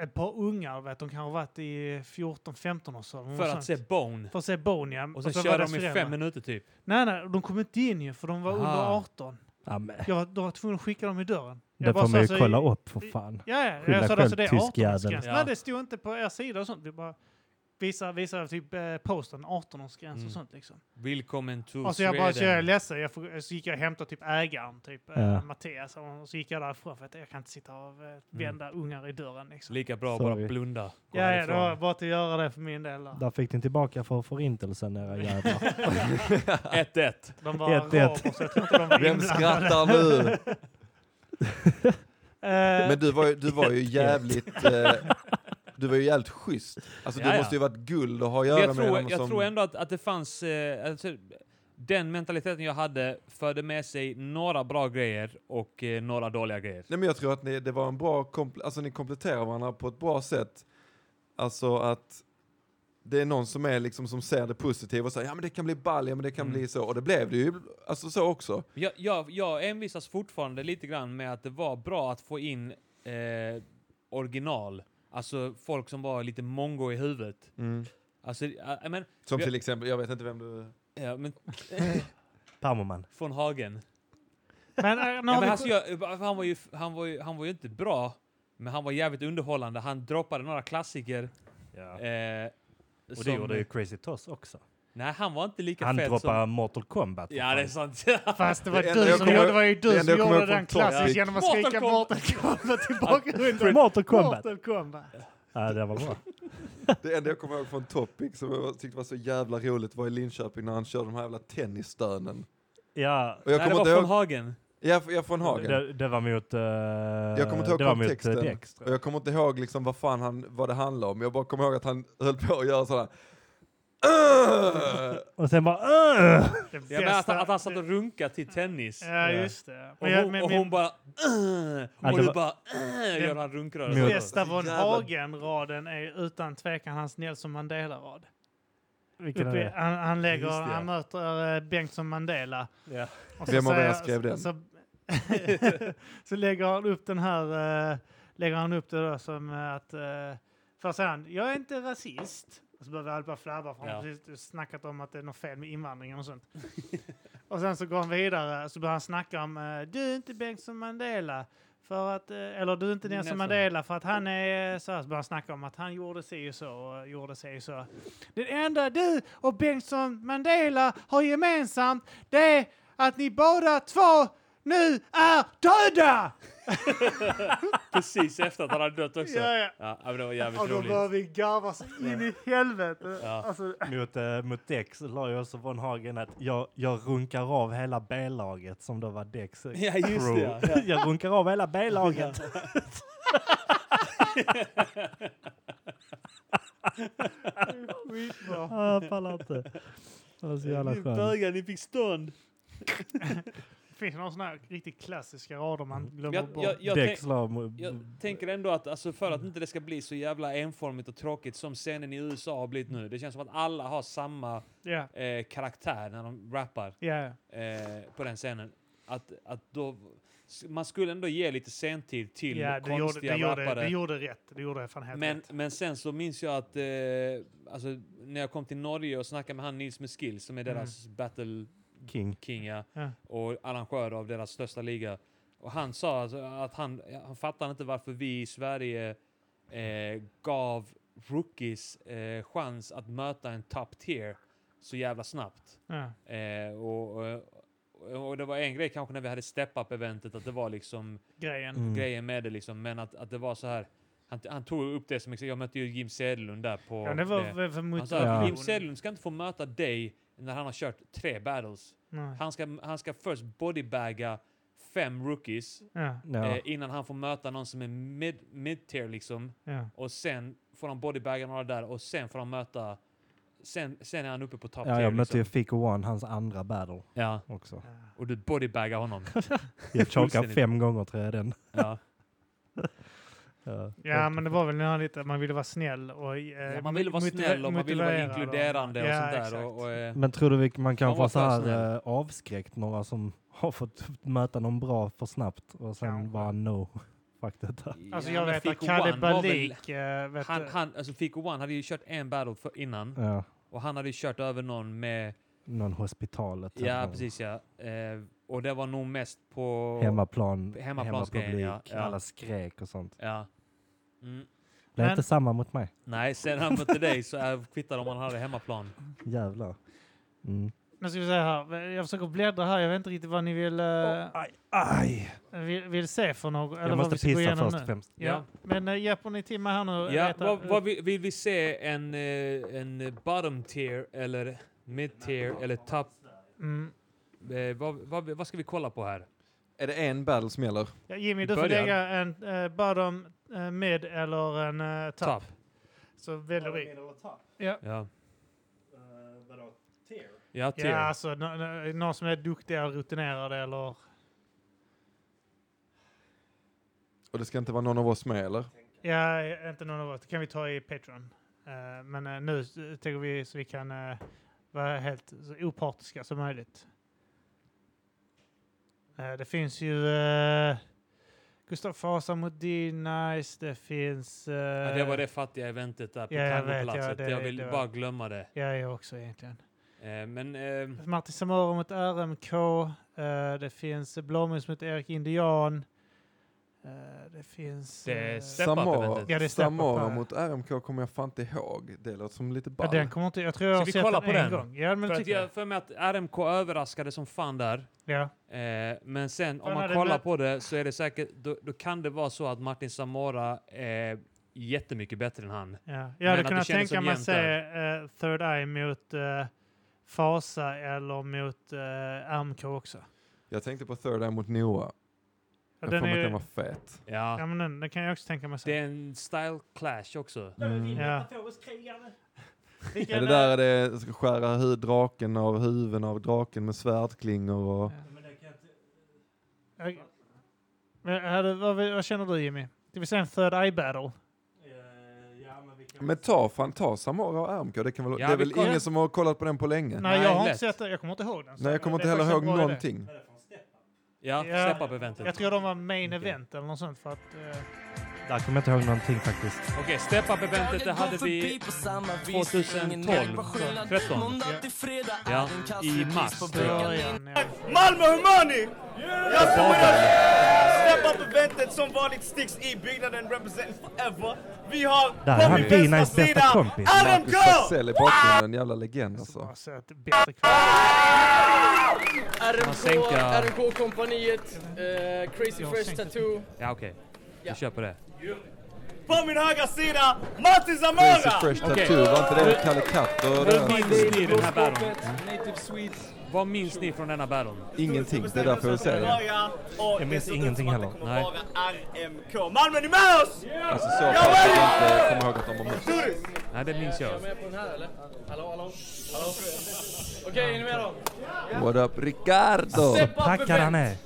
A: Ett par ungar, vet de kan ha varit i 14-15 och så. eller något
B: för att
A: sånt.
B: se Bone.
A: För att se Bon, ja.
B: Och sen
A: så var
B: kör
A: deras
B: de i
A: föräldrar.
B: fem minuter typ.
A: Nej, nej, de kom inte in ju, för de var
B: Aha.
A: under 18.
C: Ja, men,
A: Jag, de var tvungen att skicka dem i dörren. Jag
C: det
A: bara
C: får
A: sa
C: man ju
A: så-
C: kolla upp för fan.
A: Ja, ja.
C: Skylla
A: Jag sa
C: själv,
A: det, alltså, det är
C: tysk jävel.
A: 18-årsgräns.
B: Ja.
A: Nej, det stod inte på er sida och sånt. Vi bara visar, visar typ eh, posten 18-årsgräns
B: Mm.
A: och sånt liksom.
B: Välkommen to
A: Och så jag
B: Sweden.
A: bara, så jag är ledsen. Jag får, så gick jag och hämtade typ ägaren, typ
C: Ja. Mm.
A: eh, Mattias. Och och så gick jag därifrån för att jag kan inte sitta och eh, vända ungar i dörren liksom.
B: Lika bra att bara
C: Sorry.
B: blunda. Gå
A: Ja, ja, det
B: härifrån.
A: var bara att göra det för min del. Där.
C: Där fick ni tillbaka för förintelsen era jävlar.
B: 1-1.
A: De var
C: Ett, ett.
A: araber, så jag tror inte de var
D: Vem
A: inblandade.
D: skrattar nu?
A: Eh,
D: Men du var ju, du var ju jävligt... Eh, du var ju jävligt schysst. Alltså du
B: Ja, ja.
D: måste ju varit guld att ha att göra
B: Jag
D: med
B: tror,
D: någon
B: jag
D: som...
B: tror ändå att, att det fanns... Eh, alltså, den mentaliteten jag hade förde med sig några bra grejer och eh, några dåliga grejer.
D: Nej men jag tror att ni, det var en bra... Kompl- alltså ni kompletterar varandra på ett bra sätt. Alltså att det är någon som är liksom som ser det positiva och säger ja men det kan bli ball, ja men det kan
B: Mm.
D: bli så. Och det blev det ju alltså så också.
B: Jag, jag, jag envisas fortfarande lite grann med att det var bra att få in eh, original. Alltså folk som var lite mongo i huvudet. Alltså, eh, men,
D: Som
B: Ja.
D: till exempel, jag vet inte vem du...
B: ja, men
C: Parmoman.
B: från Hagen.
A: men, eh, nu
B: Ja,
A: har
B: men
A: vi-
B: alltså, jag, han, var ju, han, var ju, han var ju inte bra, men han var jävligt underhållande. Han droppade några klassiker.
C: Ja.
B: Eh,
C: Och det gjorde ju Crazy Toss också.
B: Nej, han var inte lika
C: Han
B: fet
C: droppar
B: som...
C: Mortal Kombat. för
B: Ja, det är
C: fan.
B: sant.
A: Fast det var
D: Det enda
A: du
D: jag
A: som
D: kommer-
A: gjorde, det var ju
D: det
A: du
D: enda
A: som
D: jag kommer
A: gjorde
D: ihåg
A: den
D: från Torp-
A: klassiskt genom att
B: Mortal
A: skrika
B: Kombat.
A: Mortal Kombat tillbaka under
C: Mortal Kombat.
A: Mortal Kombat.
C: Ja, det var bra.
D: Det enda jag kommer ihåg från Topic som jag tyckte var så jävla roligt var i Linköping när han körde de här jävla tennisstönen.
C: Ja,
D: Och jag
B: Nej, det
D: kommer
B: var
D: inte
B: från
D: ihåg...
B: Hagen.
D: Jag, jag från Hagen.
C: det, det var mot... eh,
D: Jag kommer inte ihåg
C: det var mot, eh,
D: kontexten.
C: Dex, tror
D: Och jag kommer inte ihåg liksom vad fan han, vad det handlade om. Jag bara kommer ihåg att han höll på att göra sådana här...
C: jag. Och sen bara... "Åh!"
A: Det
B: Ja, men att, att han satt och runkade till tennis.
A: Ja, just det.
B: Och
A: Men jag-
B: hon,
A: men
B: och
A: min-
B: hon bara... "Ugh",
C: Ja,
B: och
C: det
B: du
C: var-
B: bara... "Ugh",
A: Den-
B: Gör han
A: Den
C: Mot-
B: runkrörelsen.
A: bästa von
D: Jävlar.
A: Hagen-raden är utan tvekan hans Nelson Mandela-rad.
C: Vilken är
A: Uppe i-
C: det?
A: Han, han, lägger,
B: Just det, ja.
A: han möter eh, Bengtsson Mandela.
B: Ja.
A: Och så
D: Vem av er
A: säger-
D: skrev den?
A: Så, så lägger han upp den här, eh, lägger han upp det då som eh, att, eh, först säger han, jag är inte rasist. Och så börjar alla bara flabba för han har
B: Ja.
A: precis snackat om att det är något fel med invandringen och sånt. och sen så går han vidare, så börjar han snacka om, eh, du är inte Bengtsson Mandela. För att, eh, eller du är inte Nelson
B: Nelson.
A: Mandela för att han är eh, så här, så börjar han snacka om att han gjorde sig och så och gjorde sig och så. Det enda du och Bengtsson Mandela har gemensamt det är att ni båda två nu är döda!
B: Precis efter att han hade dött också.
A: Ja, ja.
B: Ja, men det var jävligt
A: Och då
B: roligt.
A: börjar vi garva så in i helvete.
B: Ja.
A: Alltså,
C: Mot, eh, mot Dex la ju också von Hagen att jag, jag runkar av hela B-laget som då var Dex. eh,
B: Ja, just
C: crew.
B: det. Ja. Ja.
C: jag runkar av hela B-laget.
A: skitbra.
C: Ja, jag pallar Ah, inte. Det var så jävla
F: Ni
C: skönt.
F: bögar, ni fick stånd.
A: Finns det någon sån här riktigt klassiska rader man glömmer
B: Mm. Jag,
A: bort?
B: jag, jag, tänk,
C: Däckslag mot-
B: jag tänker ändå att alltså, för att inte det ska bli så jävla enformigt och tråkigt som scenen i USA har blivit nu. Det känns som att alla har samma
A: Ja,
B: eh, karaktär när de rappar.
A: ja, ja.
B: eh, på den scenen. Att, att då, s- man skulle ändå ge lite sentid till
A: ja det, gjorde,
B: konstiga
A: det, gjorde,
B: rappare.
A: det gjorde rätt. Det gjorde fan helt
B: men,
A: rätt.
B: men sen så minns jag att eh, alltså, när jag kom till Norge och snackade med han Nils med Skill som är deras battle
C: King.
B: king ja,
A: Mm. Ja.
B: och arrangör av deras största liga. Och han sa alltså, att han, han fattar inte varför vi i Sverige eh, gav rookies eh, chans att möta en top tier så jävla snabbt.
A: Ja.
B: Eh, och, och, och det var en grej kanske när vi hade step-up-eventet, att det var liksom
A: Grejen.
C: Mm.
B: grejen med det liksom, men att, att det var så här. Han, han tog upp det som exempel, jag mötte ju Jim Sedlund där på...
A: Ja, det var väl för
B: Han sa
A: motivation.
B: att Jim Sedlund ska inte få möta dig när han har kört tre battles.
A: Nej.
B: Han ska, han ska först bodybaga fem rookies
A: Ja,
C: Ja.
B: eh, innan han får möta någon som är mid, mid-tier liksom.
A: ja.
B: Och sen får han bodybaga några där och sen får han möta... Sen, sen är han uppe på top
C: ja,
B: tier.
C: jag mötte ju
B: liksom.
C: Fico One, hans andra battle
B: Ja,
C: också.
B: och du bodybagar honom.
C: Jag chokade
B: Fullständigt.
C: fem gånger tror jag den.
B: Ja.
C: Ja,
A: Ja, men det var väl den här lite, man ville vara snäll och... Eh,
B: Ja, man vill vara
A: motiv-
B: snäll och man vill vara
A: motivera dem.
B: inkluderande och
A: Ja,
B: sånt där.
A: exakt.
B: Och, och, eh,
C: Men tror du vi- man
B: Man
C: kanske
B: var
C: har så här
B: personell.
C: eh, avskräckt några som har fått möta någon bra för snabbt och sen
A: Kanske.
C: bara no. Fuck det där.
A: Alltså
B: ja,
A: jag
B: men
A: vet att
B: Fico
A: Kalle
B: One var väl-
A: Balik... eh, vet
B: Han,
A: du-
B: han, alltså Fico One hade ju kört en battle för innan
C: Ja,
B: och han hade ju kört över någon med,
C: någon hospitalet.
B: ja
C: eller
B: precis ja, eh, och det var nog mest på
C: Hemmaplan,
B: Hemmaplansgrejen, ja,
C: hemmapublik,
B: ja.
C: alla skrek och sånt.
B: Ja. Mm.
C: Det
A: Men-
C: är inte samma mot mig.
B: Nej, sen han mötte dig så eh, kvittade om han hade hemmaplan.
C: Jävlar. Mm.
A: Nu ska vi se här, jag försöker bläddra här, jag vet inte riktigt vad ni vill, eh,
C: aj, aj.
A: vill, vill se för något. Eller
C: Jag
A: vad
C: måste
A: vi ska gå
C: pissa
A: igenom
C: först
A: nu.
C: och främst.
A: Ja. Men äh, hjälper ni till mig här nu?
B: Ja,
A: Veta-
B: vad, vad vill, vill vi se? En, eh, en bottom tier eller mid tier eller top?
A: Mm.
B: Eh, vad, vad, vad ska vi kolla på här?
D: Är det en battle som gäller?
A: Ja, Jimmy, du får
B: Början.
A: lägga en eh, bottom, eh, mid eller en eh, top.
B: Top.
A: Så väljer vi.
B: Ja, ja tier.
A: Ja, alltså nå- nå- någon som är duktig och rutinerad eller...
D: Och det ska inte vara någon av oss med eller?
A: Ja, inte någon av oss. Det kan vi ta i Patreon. Eh, men eh, nu eh, tänker vi så vi kan eh, vara helt så opartiska som möjligt. Eh, det finns ju uh, Gustav Fasa mot D-Nice, det finns... eh,
B: Ja, det var det fattiga eventet där på
A: Ja, jag vet,
B: Tangoplatset.
A: ja,
B: jag,
A: det-
B: vill
A: det var-
B: bara glömma det.
A: Ja, jag också egentligen.
B: Eh, men eh,
A: Martin Samora mot RMK. eh, det finns Blåmus mot Erik Indian. Eh, det finns...
B: Det är
A: eh,
B: Step up
D: Samara,
B: eventet.
A: Ja, det är step up
D: Samara
A: här.
D: mot RMK kommer jag fan inte ihåg. Det låter som lite
A: ja,
D: ball.
A: den kommer inte... Jag tror jag
B: Ska
A: har
B: vi
A: sett
B: kolla
A: den
B: på
A: en
B: den?
A: gång. Ja, men
B: för
A: det
B: att
A: tycker jag.
B: jag för mig att RMK överraskade som fan där.
A: Ja.
B: Eh, men sen om
A: Han
B: man
A: hade
B: kollar
A: mött-
B: på det så är det säkert, då, då kan det vara så att Martin Samora är jättemycket bättre än han.
A: Ja.
B: Men
A: Jag hade
B: att det
A: kunnat
B: kändes
A: tänka
B: som
A: mig att
B: jämnt
A: se eh, Third Eye mot eh, Fasa eller mot uh, RMK också.
D: Jag tänkte på Third Eye mot Noah.
A: Ja,
D: Jag får
A: den,
D: mig att
A: är,
D: den var fet.
B: Ja.
A: ja, men den, den kan jag också tänka mig
B: Det
A: se.
B: är en style clash också.
C: Mm.
A: Ja. eh,
D: Är det där är det ska skära hu- draken av huvuden av draken med svärdklingor och...
A: Jag- Men hade- vad, vill- vad känner du Jimmy? Det vill säga en Third Eye battle.
D: Men ta fan, ta Samara och RMK. Det, kan väl,
B: Ja,
D: det är
B: vi
D: väl
B: kollar.
D: ingen som har kollat på den på länge?
A: Nej, jag har
B: lätt.
A: inte sett den. Jag kommer inte ihåg den. så
D: Nej, jag kommer
A: det
D: inte
A: är
D: heller
A: faktiskt
D: ihåg
A: en bra idé.
D: någonting.
B: Ja,
A: Ja.
B: step up eventet.
A: Jag tror de var main
B: Okej.
A: event eller något sånt för att... eh,
C: Där kommer jag inte ihåg någonting faktiskt.
B: Okej, step up eventet det hade vi 2012, 13. Ja, i mars.
A: början, ja.
G: Malmö Humani! Jag som Step up eventet som vanligt sticks i byggnaden representing forever. Vi har
C: Där är han, D-Nice bästa kompis.
G: RMK!
D: Marcus Axell i bakgrunden, en jävla legend alltså.
A: Bara så att det är bättre kvar.
B: Man sänka-
H: RMK-kompaniet, eh, Crazy Fresh Tattoo.
B: Ja, okej. Vi kör på det.
G: På min högra sida, Martin Zamora!
D: Crazy Fresh
B: Okej.
D: Tattoo, var inte det Kalle Katt och det
B: Hur minns ni den här battlen?
H: Native Swedes.
B: Vad minns ni från denna battlen?
D: Ingenting, det är därför jag säger det.
G: Jag
C: minns ingenting heller.
B: Nej.
G: Nej. RMK. Malmö, ni med oss!
D: Alltså så pass att jag inte kommer ihåg att de var med.
B: Nej, det minns
H: Är
B: jag.
H: jag med på den här eller? Hallå, hallå? hallå. Okej, är ni med då?
D: What up Ricardo?
H: Step up
C: Packar han
H: event!
C: är.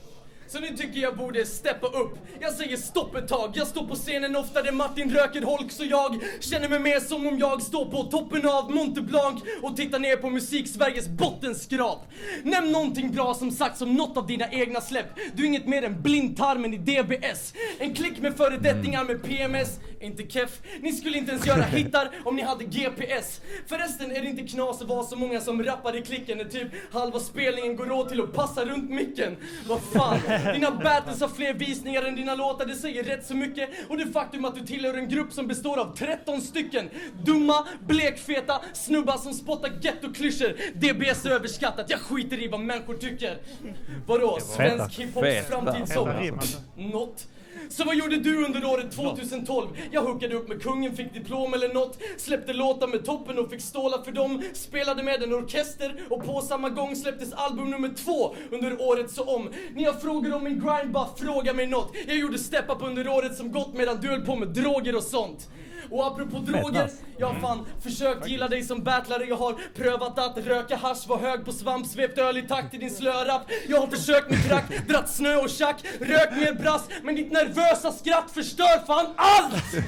H: Så ni tycker jag borde steppa upp? Jag säger stopp ett tag, jag står på scenen oftare Martin Röker Holks och jag Känner mig mer som om jag står på toppen av Monte Blanc och tittar ner på musik-Sveriges bottenskrap Nämn någonting bra som sagt som något av dina egna släpp Du är inget mer än blindtarmen i DBS En klick med föredettingar med PMS, inte keff Ni skulle inte ens göra hittar om ni hade GPS Förresten är det inte knas att vara så många som rappar i klicken när typ halva spelningen går åt till att passa runt micken Vad fan, dina battles har fler visningar än dina låtar, det säger rätt så mycket och det faktum att du tillhör en grupp som består av 13 stycken dumma, blekfeta snubbar som spottar gettoklyschor DBS är överskattat, jag skiter i vad människor tycker Vadå, svensk hiphops
D: Feta.
H: framtidshopp?
A: Jävla rim alltså.
H: Något. Så vad gjorde du under året 2012? Jag hookade upp med kungen, fick diplom eller något Släppte låtar med toppen och fick stålar för dem Spelade med en orkester och på samma gång släpptes album nummer två under året så om Ni har frågor om min grind, bara fråga mig något Jag gjorde step-up under året som gått medan du höll på med droger och sånt och apropå droger, jag har fan försökt gilla dig som battlare Jag har prövat att röka hasch, var hög på svamp, svept öl i takt till din slörapp Jag har försökt med crack, dratt snö och tjack, rökt mer brass Men ditt nervösa skratt förstör fan allt!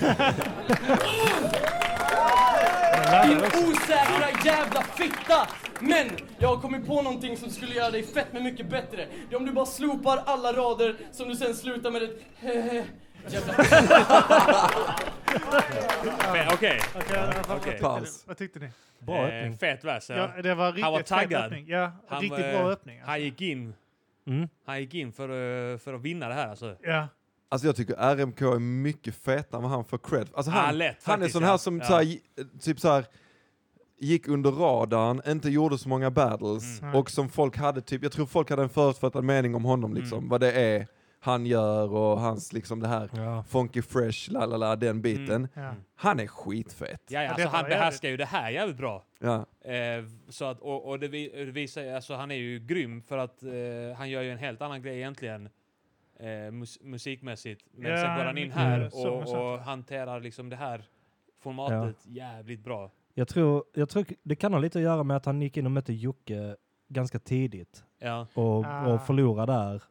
H: Din osäkra jävla fitta! Men jag har kommit på någonting som skulle göra dig fett med mycket bättre. Det är om du bara slopar alla rader som du sen slutar med ett hehe. Jävla
B: Fe- Okej. Okej.
D: Paus.
A: Vad tyckte ni?
C: Bra
B: Eh,
C: öppning.
B: Fet vers. ja.
A: Ja, det var
B: Han var
A: riktigt fett
B: taggad.
A: öppning. Ja,
B: Han,
A: riktigt
B: eh,
A: bra öppning. Alltså.
B: Han gick in.
C: Mm.
B: Han gick in för, eh, för att vinna det här alltså.
A: Ja.
D: Alltså jag tycker RMK är mycket fetare än vad han får cred för. Alltså han,
B: Ah, lätt,
D: han
B: faktiskt,
D: är sån här
B: ja.
D: som
B: Ja.
D: så här, gi- typ så här, gick under radarn, inte gjorde så många battles
A: Mm.
D: och som folk hade typ, jag tror folk hade en förutfattad mening om honom liksom,
B: Mm.
D: vad det är han gör och hans liksom det här
C: Ja.
D: funky fresh, la la la, den biten.
A: Ja.
C: Mm.
D: Han är skitfet.
B: Mm. Ja, ja,
A: Ja,
B: alltså,
A: detta
B: han
A: var
B: behärskar ju det här jävligt bra.
D: Ja.
B: Eh, så att, och, och det vi- det visar alltså han är ju grym för att eh, han gör ju en helt annan grej egentligen eh, mus musikmässigt. Men
A: Ja,
B: sen går
A: han
B: han in
A: är
B: här
A: mycket sång och
B: och,
A: sånt,
B: och hanterar liksom det här formatet jävligt bra.
C: Jag, tror, jag tror det kan ha lite att göra med att han gick in och mötte Jocke ganska tidigt
B: Ja.
C: och,
A: Ah.
C: och förlorade där.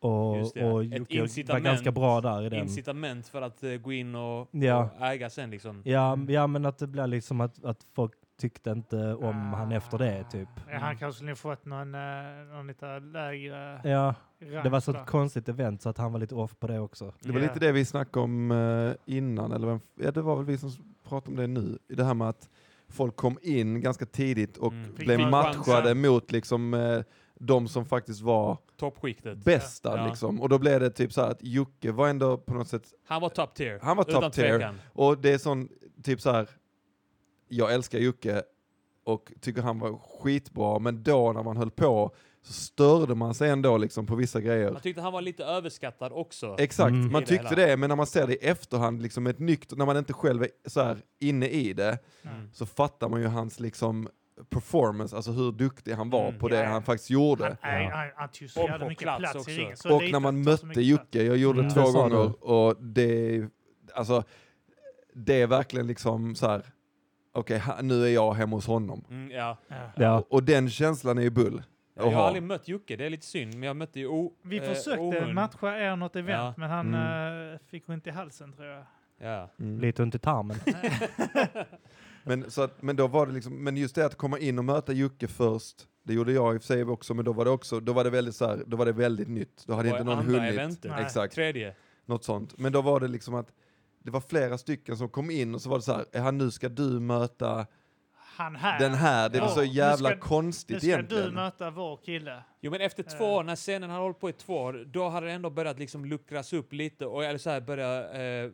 C: Och,
B: Just det.
C: och
B: Ett
C: Jocke var
B: incitament.
C: ganska bra där i den.
B: Incitament för att eh, gå in och,
C: Ja.
B: och äga sen liksom.
C: Ja, m- ja, men att det blir liksom att, att folk tyckte inte om
B: Ah.
C: han efter det, typ.
A: Ah. Ja, han kanske skulle fått någon, eh, någon lite lägre
C: Ja,
A: rank.
C: det var så
A: där.
C: ett konstigt event så att han var lite off på det också.
D: Det var
A: Ja.
D: lite det vi snackade om eh, innan, eller vem, ja, det var väl vi som pratade om det nu, i det här med att folk kom in ganska tidigt och
B: Mm. Fick
D: blev
A: chansen.
D: matchade mot liksom, eh, de som faktiskt var
B: Toppskiktet.
D: bästa.
B: Ja.
D: Liksom. Och då blev det typ så här att Jocke var ändå på något sätt,
B: Han var top tier.
D: Han var top
B: utan
D: tier.
B: Tvekan.
D: och det är sån, typ så här, jag älskar Jocke och tycker han var skitbra, men då när man höll på så störde man sig ändå liksom på vissa grejer.
B: Man tyckte han var lite överskattad också.
D: Exakt,
C: Mm.
D: man
B: I det
D: tyckte
B: hela.
D: det, men när man ser det i efterhand, liksom ett nykt, när man inte själv är så här inne i det,
B: Mm.
D: så fattar man ju hans liksom performance, alltså hur duktig han var
B: Mm.
D: på det
A: Ja, ja.
D: han faktiskt gjorde.
A: Han, är, han, han tog så
B: Och
A: jävla
B: på
A: mycket
B: plats
A: plats, i
B: också.
A: ringen. Så
D: och
A: lite
D: när man
A: tar så
D: mötte
A: mycket plats.
D: Jocke, jag gjorde
C: Mm.
D: två
C: Det sa
D: gånger, och det, alltså, det är verkligen liksom så här, okej, ha- nu är jag hemma hos honom.
B: Mm, ja.
A: Ja.
C: Ja,
D: Och den känslan är ju bull.
B: Jag
D: Jaha.
B: har aldrig mött Jocke, det är lite synd. Men jag mötte ju O...
A: Vi
B: eh,
A: försökte
B: Orun.
A: matcha er något event,
B: Ja.
A: men han
D: Mm.
A: eh, fick ont i halsen tror jag.
B: Ja.
D: Mm.
C: lite ont i tarmen.
D: Men, så att, men då var det liksom, men just det att komma in och möta Jocke först, det gjorde jag i och för sig också, men då var det också, då var det väldigt så här, då var det väldigt nytt. Då hade
B: Det var
D: inte någon
B: andra
D: hunnit.
B: eventet.
A: Nej.
D: Exakt.
B: Tredje.
D: något sånt. Men då var det liksom att det var flera stycken som kom in och så var det så här, "Jaha, nu ska du möta
A: Han här.
D: den här. Det är
A: Ja,
D: så
A: nu
D: jävla
A: ska- Nu
D: konstigt
A: ska du
D: egentligen.
A: möta vår kille.
B: Jo men efter två
A: Eh.
B: år, när scenen hade hållit på i två år, då hade det ändå börjat liksom luckras upp lite och eller så här börja, eh,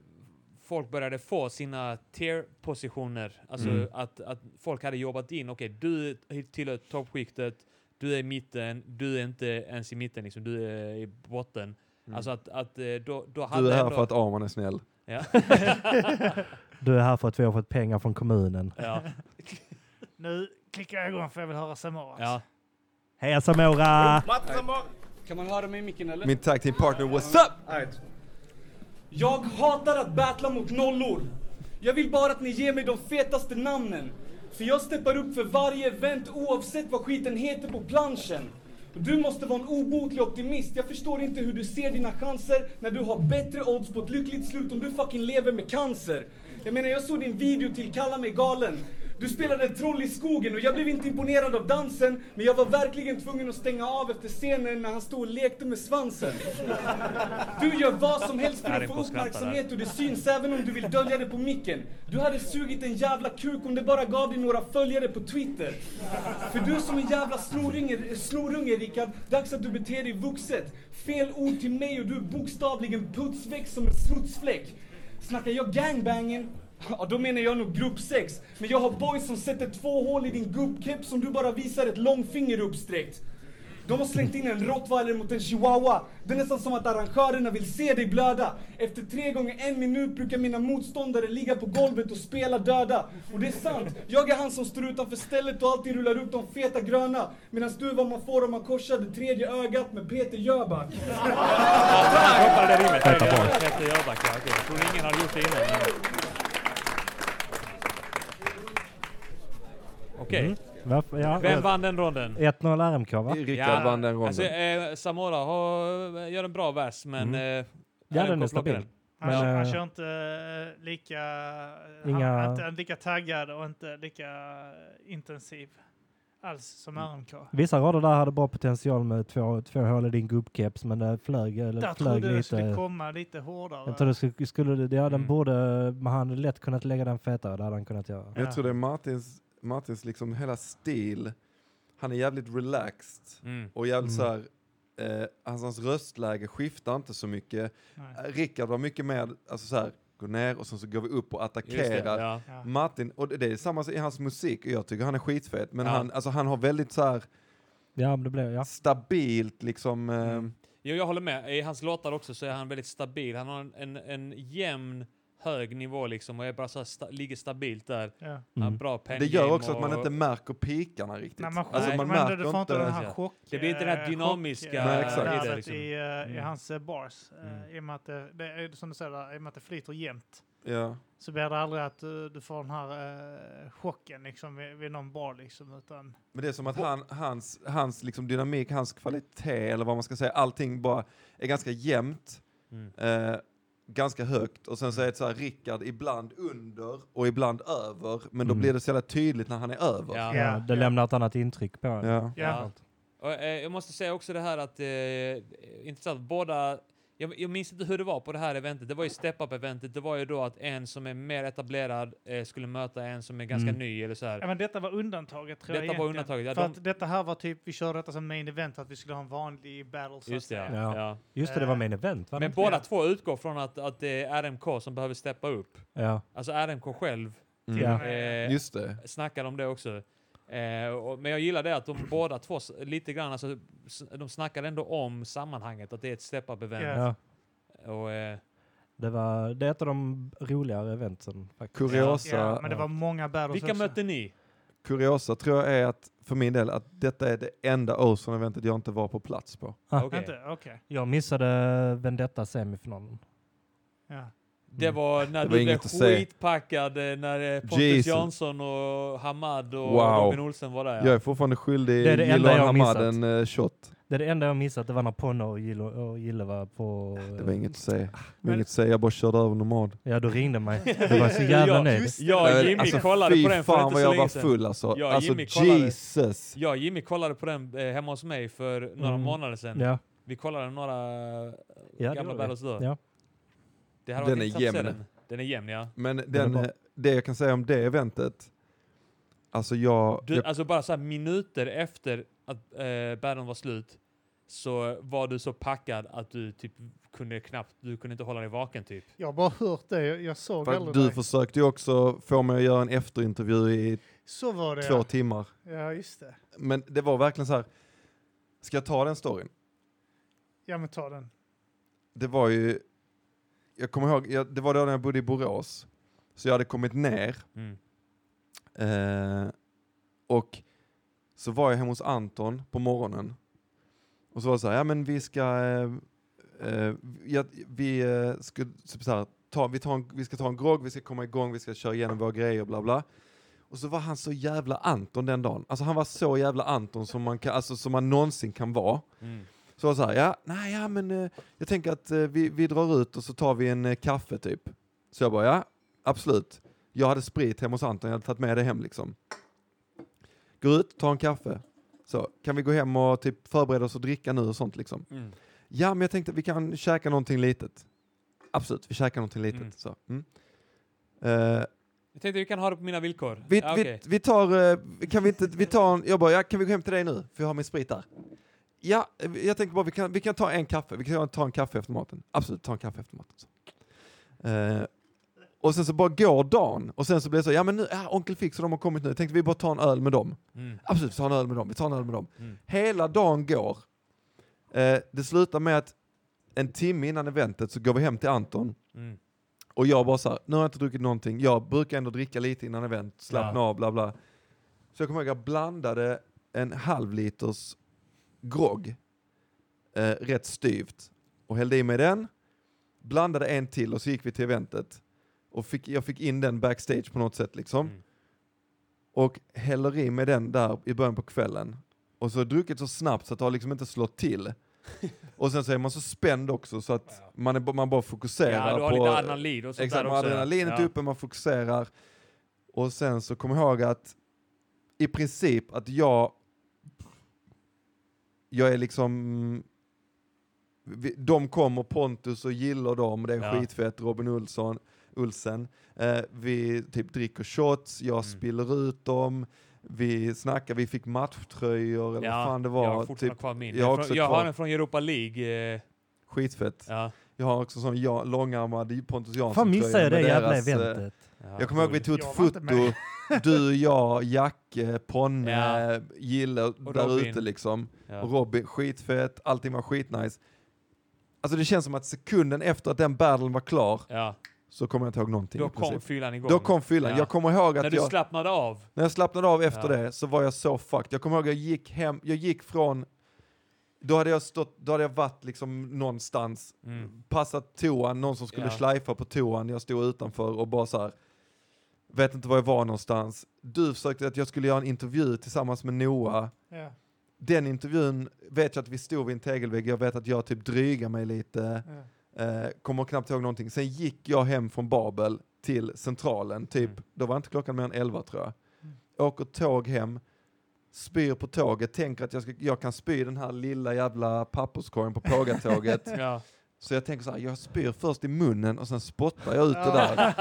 B: folk började få sina tier-positioner. Alltså
D: Mm.
B: att, att folk hade jobbat in, okej du tillhör toppskiktet, du är i mitten, du är inte ens i mitten liksom, du är i botten.
D: Mm.
B: Alltså att, att eh, då, då hade
D: Du är här
B: ändå,
D: för att Arman är snäll.
C: Du är här för att vi har fått pengar från kommunen.
B: Ja,
A: Nu klickar jag igång för jag vill höra Samaras.
B: ja.
C: Heja Samora!
I: Mats Amar.
H: Kan man höra mig i micken eller?
D: Min tag team partner, what's up?
H: Alright. Jag hatar att battla mot nollor. Jag vill bara att ni ger mig de fetaste namnen. För jag steppar upp för varje event oavsett vad skiten heter på planschen. Du måste vara en obotlig optimist. Jag förstår inte hur du ser dina chanser när du har bättre odds på ett lyckligt slut om du fucking lever med cancer. Jag menar, jag såg din video till Kalla mig galen. Du spelade en troll i skogen och jag blev inte imponerad av dansen men jag var verkligen tvungen att stänga av efter scenen när han stod och lekte med svansen. Du gör vad som helst för
B: Där är
H: att få
B: på skratta där.
H: uppmärksamhet och det syns även om du vill dölja det på micken. Du hade sugit en jävla kuk om det bara gav dig några följare på Twitter. För du är som en jävla snorunge, snorunge Rickard. Dags att du beter dig vuxet. Fel ord till mig och du är bokstavligen putsväck som en smutsfläck. Snackar jag gangbangen? Ja, då menar jag nog gruppsex. Men jag har boys som sätter två hål i din gubbkeps som du bara visar ett långfinger uppsträckt. De har slängt in en rottweiler mot en chihuahua. Det är nästan som att arrangörerna vill se dig blöda. Efter tre gånger en minut brukar mina motståndare ligga på golvet och spela döda. Och det är sant, jag är han som står utanför stället och alltid rullar upp de feta gröna. Medan du är vad man får om man korsar det tredje ögat med Peter Jöback.
B: Jag hoppade det rimmet.
C: Vänta på.
B: Efter Jöback, ja. okej. Jag tror ingen hade gjort det innan. men- Okej.
C: Varför? Ja. eh,
B: Vem vann den ronden?
C: 1-0 RMK va?
D: Rickard vann den ronden.
B: Alltså, eh, Samora har, gör en bra vers, men... Eh,
C: Ja,
B: han
C: den
B: kommer plocka
C: är stabil.
B: den.
A: Han,
C: Men,
A: kör,
C: eh,
A: han kör inte eh, lika...
C: Inga-
A: Han, inte lika taggad och inte lika eh, intensiv alls som
C: Mm.
A: RMK.
C: Vissa rader där hade bra potential med två, två hål i din gubbkeps men det flög, eh, eller
A: Där
C: flög
A: trodde
C: lite.
A: du skulle komma lite hårdare.
C: Jag trodde det skulle, skulle det- ja, den
B: Mm.
C: borde, men han hade lätt kunnat lägga den fetare, det hade han kunnat göra.
D: Jag tror det är Martins, Martins liksom hela stil. Han är jävligt relaxed
B: Mm.
D: och jävligt
C: Mm.
D: så här, eh, alltså hans röstläge skiftar inte så mycket.
A: Nej.
D: Eh, Rickard var mycket mer, alltså så här, gå ner och sen så går vi upp och
B: Just det,
D: attackerar.
B: ja.
A: Ja.
D: Martin, och det det är samma i hans musik, och jag tycker han är skitfet, men
B: Ja.
D: han, alltså, han har väldigt så här
C: Ja, men det blev, ja.
D: stabilt liksom, eh,
B: Jo, jag håller med. I hans låtar också så är han väldigt stabil. Han har en, en, en jämn, hög nivå liksom och är bara så här sta, ligger stabilt där.
A: Ja.
B: Han har
C: Mm.
B: bra pen
D: det gör
B: game
D: också att man
B: och-
D: inte märker pikarna riktigt.
A: Nej, man,
D: alltså,
A: nej,
D: man
A: men
D: märker
A: du får inte den här
B: Ja.
A: chock...
B: Det blir inte det här
A: eh,
B: dynamiska
A: chock, eh,
D: Nej, exakt.
A: värdet
D: i
B: det, liksom.
A: i, eh, i
B: Mm.
A: hans eh, bars. eh,
B: Mm.
A: I och med att det, det är som du säger, där, i och med att det flyter jämnt.
D: ja.
A: Så blir det aldrig att du, du får den här eh, chocken liksom, vid, vid någon bar. Liksom, utan,
D: Men det är som att han, hans, hans liksom dynamik, hans kvalitet eller vad man ska säga, allting bara är ganska jämnt,
B: Mm.
D: eh, ganska högt och sen så är det så här Rickard ibland under och ibland över, men då
C: Mm.
D: blir det så jävla tydligt när han är över.
B: Ja.
C: Ja,
A: Ja, ja.
C: det lämnar ett annat intryck på en.
D: Ja.
A: ja.
B: Och, eh, jag måste säga också det här att, eh, intressant, båda, jag, jag minns inte hur det var på det här eventet, det var ju step-up-eventet, det var ju då att en som är mer etablerad eh, skulle möta en som är ganska
C: Mm.
B: ny eller så här.
A: Ja, men detta var undantaget tror jag
B: Detta var
A: egentligen.
B: undantaget, ja,
A: För
B: de-
A: att detta här var typ, vi körde detta som main event för att vi skulle ha en vanlig battle. Så
B: Just det, ja.
A: att
C: Ja.
B: ja.
C: Just det, det var main event va?
B: Men båda två utgår från att, att det är RMK som behöver steppa upp.
C: Ja.
B: Alltså RMK själv
D: Mm.
C: Ja.
B: eh,
D: Just det.
B: snackar om det också. Eh, och, men jag gillar det att de båda två s- lite grann, alltså, s- de snackar ändå om sammanhanget, att det är ett step-up-event.
C: ja.
B: Och, eh,
C: Det, var, det är ett av de roligare eventen. Faktiskt.
D: Kuriosa,
A: Ja, men det var många battles
B: vilka
A: också.
B: mötte ni?
D: kuriosa tror jag är att, för min del, att detta är det enda Ozone-eventet jag inte var på plats på.
C: Ah.
B: Okej.
A: Inte? Okej.
C: Jag missade Vendetta-semifinalen.
A: Ja.
B: Det var när
D: Mm. Det var
B: du blev
D: inget att säga.
B: skitpackad eh, när eh, Pontus
D: Jesus.
B: Jansson och Hamad och
D: Wow.
B: Robin Olsen var där.
D: Jag är fortfarande skyldig
C: Det är det
D: Jill
C: enda
D: och
C: jag har
D: Hamad
C: missat.
D: en eh, shot.
C: Det är det enda jag missat, det var när Ponno och Gille, och Gille var på...
D: Ah, Det var inget att
C: Mm.
D: säga.
C: Ah,
D: Det var
A: Men-
D: inget att säga, jag bara körde över Nomad.
C: Ja, du ringde mig. Det var så jävla
B: Ja,
C: nöjd.
B: just det. Jag och Jimmy kollade
D: Alltså, fy
B: på den för
D: fan
B: inte så
D: vad jag var
B: länge sedan.
D: full alltså.
B: Ja,
D: alltså
B: Jimmy kollade.
D: Jesus.
B: Jag och Jimmy kollade på den eh, hemma hos mig för några
C: Mm.
B: månader sedan.
C: Ja,
B: Vi kollade några eh,
C: ja det
B: gamla
C: var det.
B: battles då.
C: Ja.
B: Det hade
D: Den
B: varit
D: är
B: intressant att se
D: jämn.
B: Den. den är jämn, ja.
D: Men den,
C: var-
D: eh, det jag kan säga om det eventet, alltså jag...
B: Du,
D: jag
B: Alltså bara så här minuter efter att eh, battlen var slut så var du så packad att du typ kunde knappt, du kunde inte hålla dig vaken typ.
A: Jag har bara hört det, jag, jag såg
D: för
A: aldrig
D: att du
A: dig.
D: försökte ju också få mig att göra en efterintervju i
A: Så var det
D: två
A: ja.
D: timmar.
A: ja, just det.
D: Men det var verkligen så här. ska jag ta den storyn?
A: Ja men ta den.
D: Det var ju, jag kommer ihåg, jag, det var då när jag bodde i Borås. Så jag hade kommit ner
B: Mm.
D: Eh, och Så var jag hemma hos Anton på morgonen. Och så var det så här, ja men vi ska, eh, eh, ja, vi, eh, ska så så här, ta, vi, tar en, vi ska ta en grogg, vi ska komma igång, vi ska köra igenom våra grejer, bla bla. Och så var han så jävla Anton den dagen. Alltså han var så jävla Anton som man, kan, alltså, som man någonsin kan vara.
B: Mm.
D: Så var det så här, ja, nej, ja men eh, jag tänker att eh, vi, vi drar ut och så tar vi en eh, kaffe typ. Så jag bara, ja absolut. Jag hade sprit hemma hos Anton, jag hade tagit med det hem liksom. Går ut, tar en kaffe. Så, kan vi gå hem och typ förbereda oss och dricka nu och sånt liksom.
B: Mm.
D: Ja, men jag tänkte att vi kan käka någonting litet. Absolut, vi käkar någonting litet.
B: Mm.
D: Så. Mm. Eh,
B: Jag tänkte du kan ha det på mina villkor.
D: vi,
B: Ja,
D: vi,
B: okej.
D: vi tar, eh, kan vi inte, vi tar en, jag bara, ja, kan vi gå hem till dig nu? För jag har min sprit där. Ja, eh, jag tänkte bara, vi kan, vi kan ta en kaffe, vi kan ta en kaffe efter maten. Absolut, ta en kaffe efter maten. Så. Eh, och sen så bara går dagen, och sen så blir det så, ja men nu, ja, onkel Fix och de har kommit nu, tänkte vi bara ta en öl med dem.
B: Mm.
D: Absolut, vi tar en öl med dem, vi tar en öl med dem.
B: Mm.
D: Hela dagen går. Eh, det slutar med att en timme innan eventet så går vi hem till Anton.
B: Mm.
D: Och jag bara så här, nu har jag inte druckit någonting. Jag brukar ändå dricka lite innan event, slappna av, bla bla. Så jag kommer ihåg att jag blandade en halv liters grogg, eh, rätt styvt, och hällde i mig den. Blandade en till och så gick vi till eventet. Och fick, jag fick in den backstage på något sätt liksom.
B: Mm.
D: Och häller i mig den där i början på kvällen. Och så har jag druckit så snabbt så att det har liksom inte slått till. och sen så är man så spänd också så att man, är, ba- man bara fokuserar
B: Ja, du har
D: på...
B: lite adrenalin och sånt
D: Exakt,
B: där
D: man har
B: också.
D: adrenalinet
B: ja.
D: uppe, man fokuserar. Och sen så kom ihåg att i princip att jag jag är liksom vi- de kommer, Pontus och Jill och dem, det är
B: Ja.
D: skitfett, Robin Olsson, Olsen. Eh, vi typ dricker shots, jag
B: Mm.
D: spiller ut dem, vi snackar, vi fick matchtröjor eller vad fan det
B: jag
D: var.
B: har
D: Typ,
B: fortfarande kvar min.
D: jag har
B: Jag,
D: också
B: från, jag har
D: kvar.
B: den från Europa League. Eh,
D: skitfett.
B: ja,
D: Jag har också sån ja, långärmad Pontus Jansson-tröja.
C: Fan missade jag det
D: med
C: jävla
D: deras, eh,
C: eventet.
B: ja, Mm.
D: Jag kommer ihåg vi tog ett
A: Jag var inte
D: foto, du, jag, Jacke, Ponne,
B: Ja.
D: Gille där
B: Robin.
D: ute liksom.
B: Ja.
D: Och Robin, skitfett, allting var skitnice. Alltså det känns som att sekunden efter att den battlen var klar
B: ja.
D: så kommer jag inte ihåg någonting.
B: Då
D: i
B: kom
D: princip.
B: fyllan igång.
D: Då kom fyllan.
B: Ja.
D: Jag kommer ihåg
B: När
D: att
B: du
D: jag,
B: slappnade av.
D: när jag slappnade av efter
B: Ja.
D: det så var jag så fucked. Jag kommer ihåg att jag gick hem, jag gick från, då hade jag stått, då hade jag varit liksom någonstans
B: Mm.
D: passat toan, någon som skulle
B: Ja.
D: schleifa på toan, jag stod utanför och bara så här, vet inte var jag var någonstans. Du försökte att jag skulle göra en intervju tillsammans med Noah.
A: Ja,
D: Den intervjun vet jag att vi stod vid en tegelvägg, jag vet att jag typ drygar mig lite,
A: ja.
D: eh, kommer knappt ihåg någonting. Sen gick jag hem från Babel till Centralen, typ,
B: Mm.
D: då var inte klockan mer än 11 tror jag.
A: Mm.
D: Åker tåg hem, spyr på tåget, tänker att jag, ska, jag kan spy i den här lilla jävla papperskorgen på Pågatåget.
B: Ja.
D: Så jag tänker så här, jag spyr först i munnen och sen spottar jag ut det där.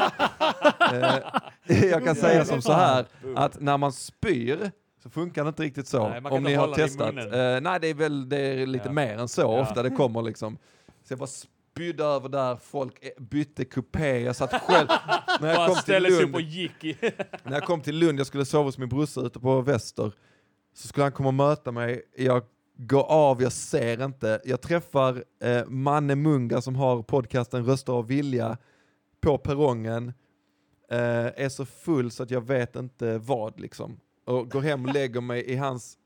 D: Eh, jag kan säga som så här, att när man spyr så funkar det inte riktigt så.
B: Nej, man kan
D: om
B: inte
D: ni har
B: hålla det i
D: testat.
B: munnen.
D: Eh, nej, det är väl det är lite
B: Ja.
D: mer än så
B: Ja.
D: ofta det kommer liksom. Så jag bara spydde över där, folk eh, bytte kupé, jag satt själv. när, jag
B: Bara
D: kom till
B: ställde sig upp och
D: Lund,
B: gick. i-
D: när jag kom till Lund, jag skulle sova hos min brorsa ute på Väster, så skulle han komma och möta mig. Jag går av, jag ser inte. Jag träffar eh, Manne Munga som har podcasten Röster av vilja på perrongen. Eh, är så full så att jag vet inte vad liksom. Och går hem och lägger mig i hans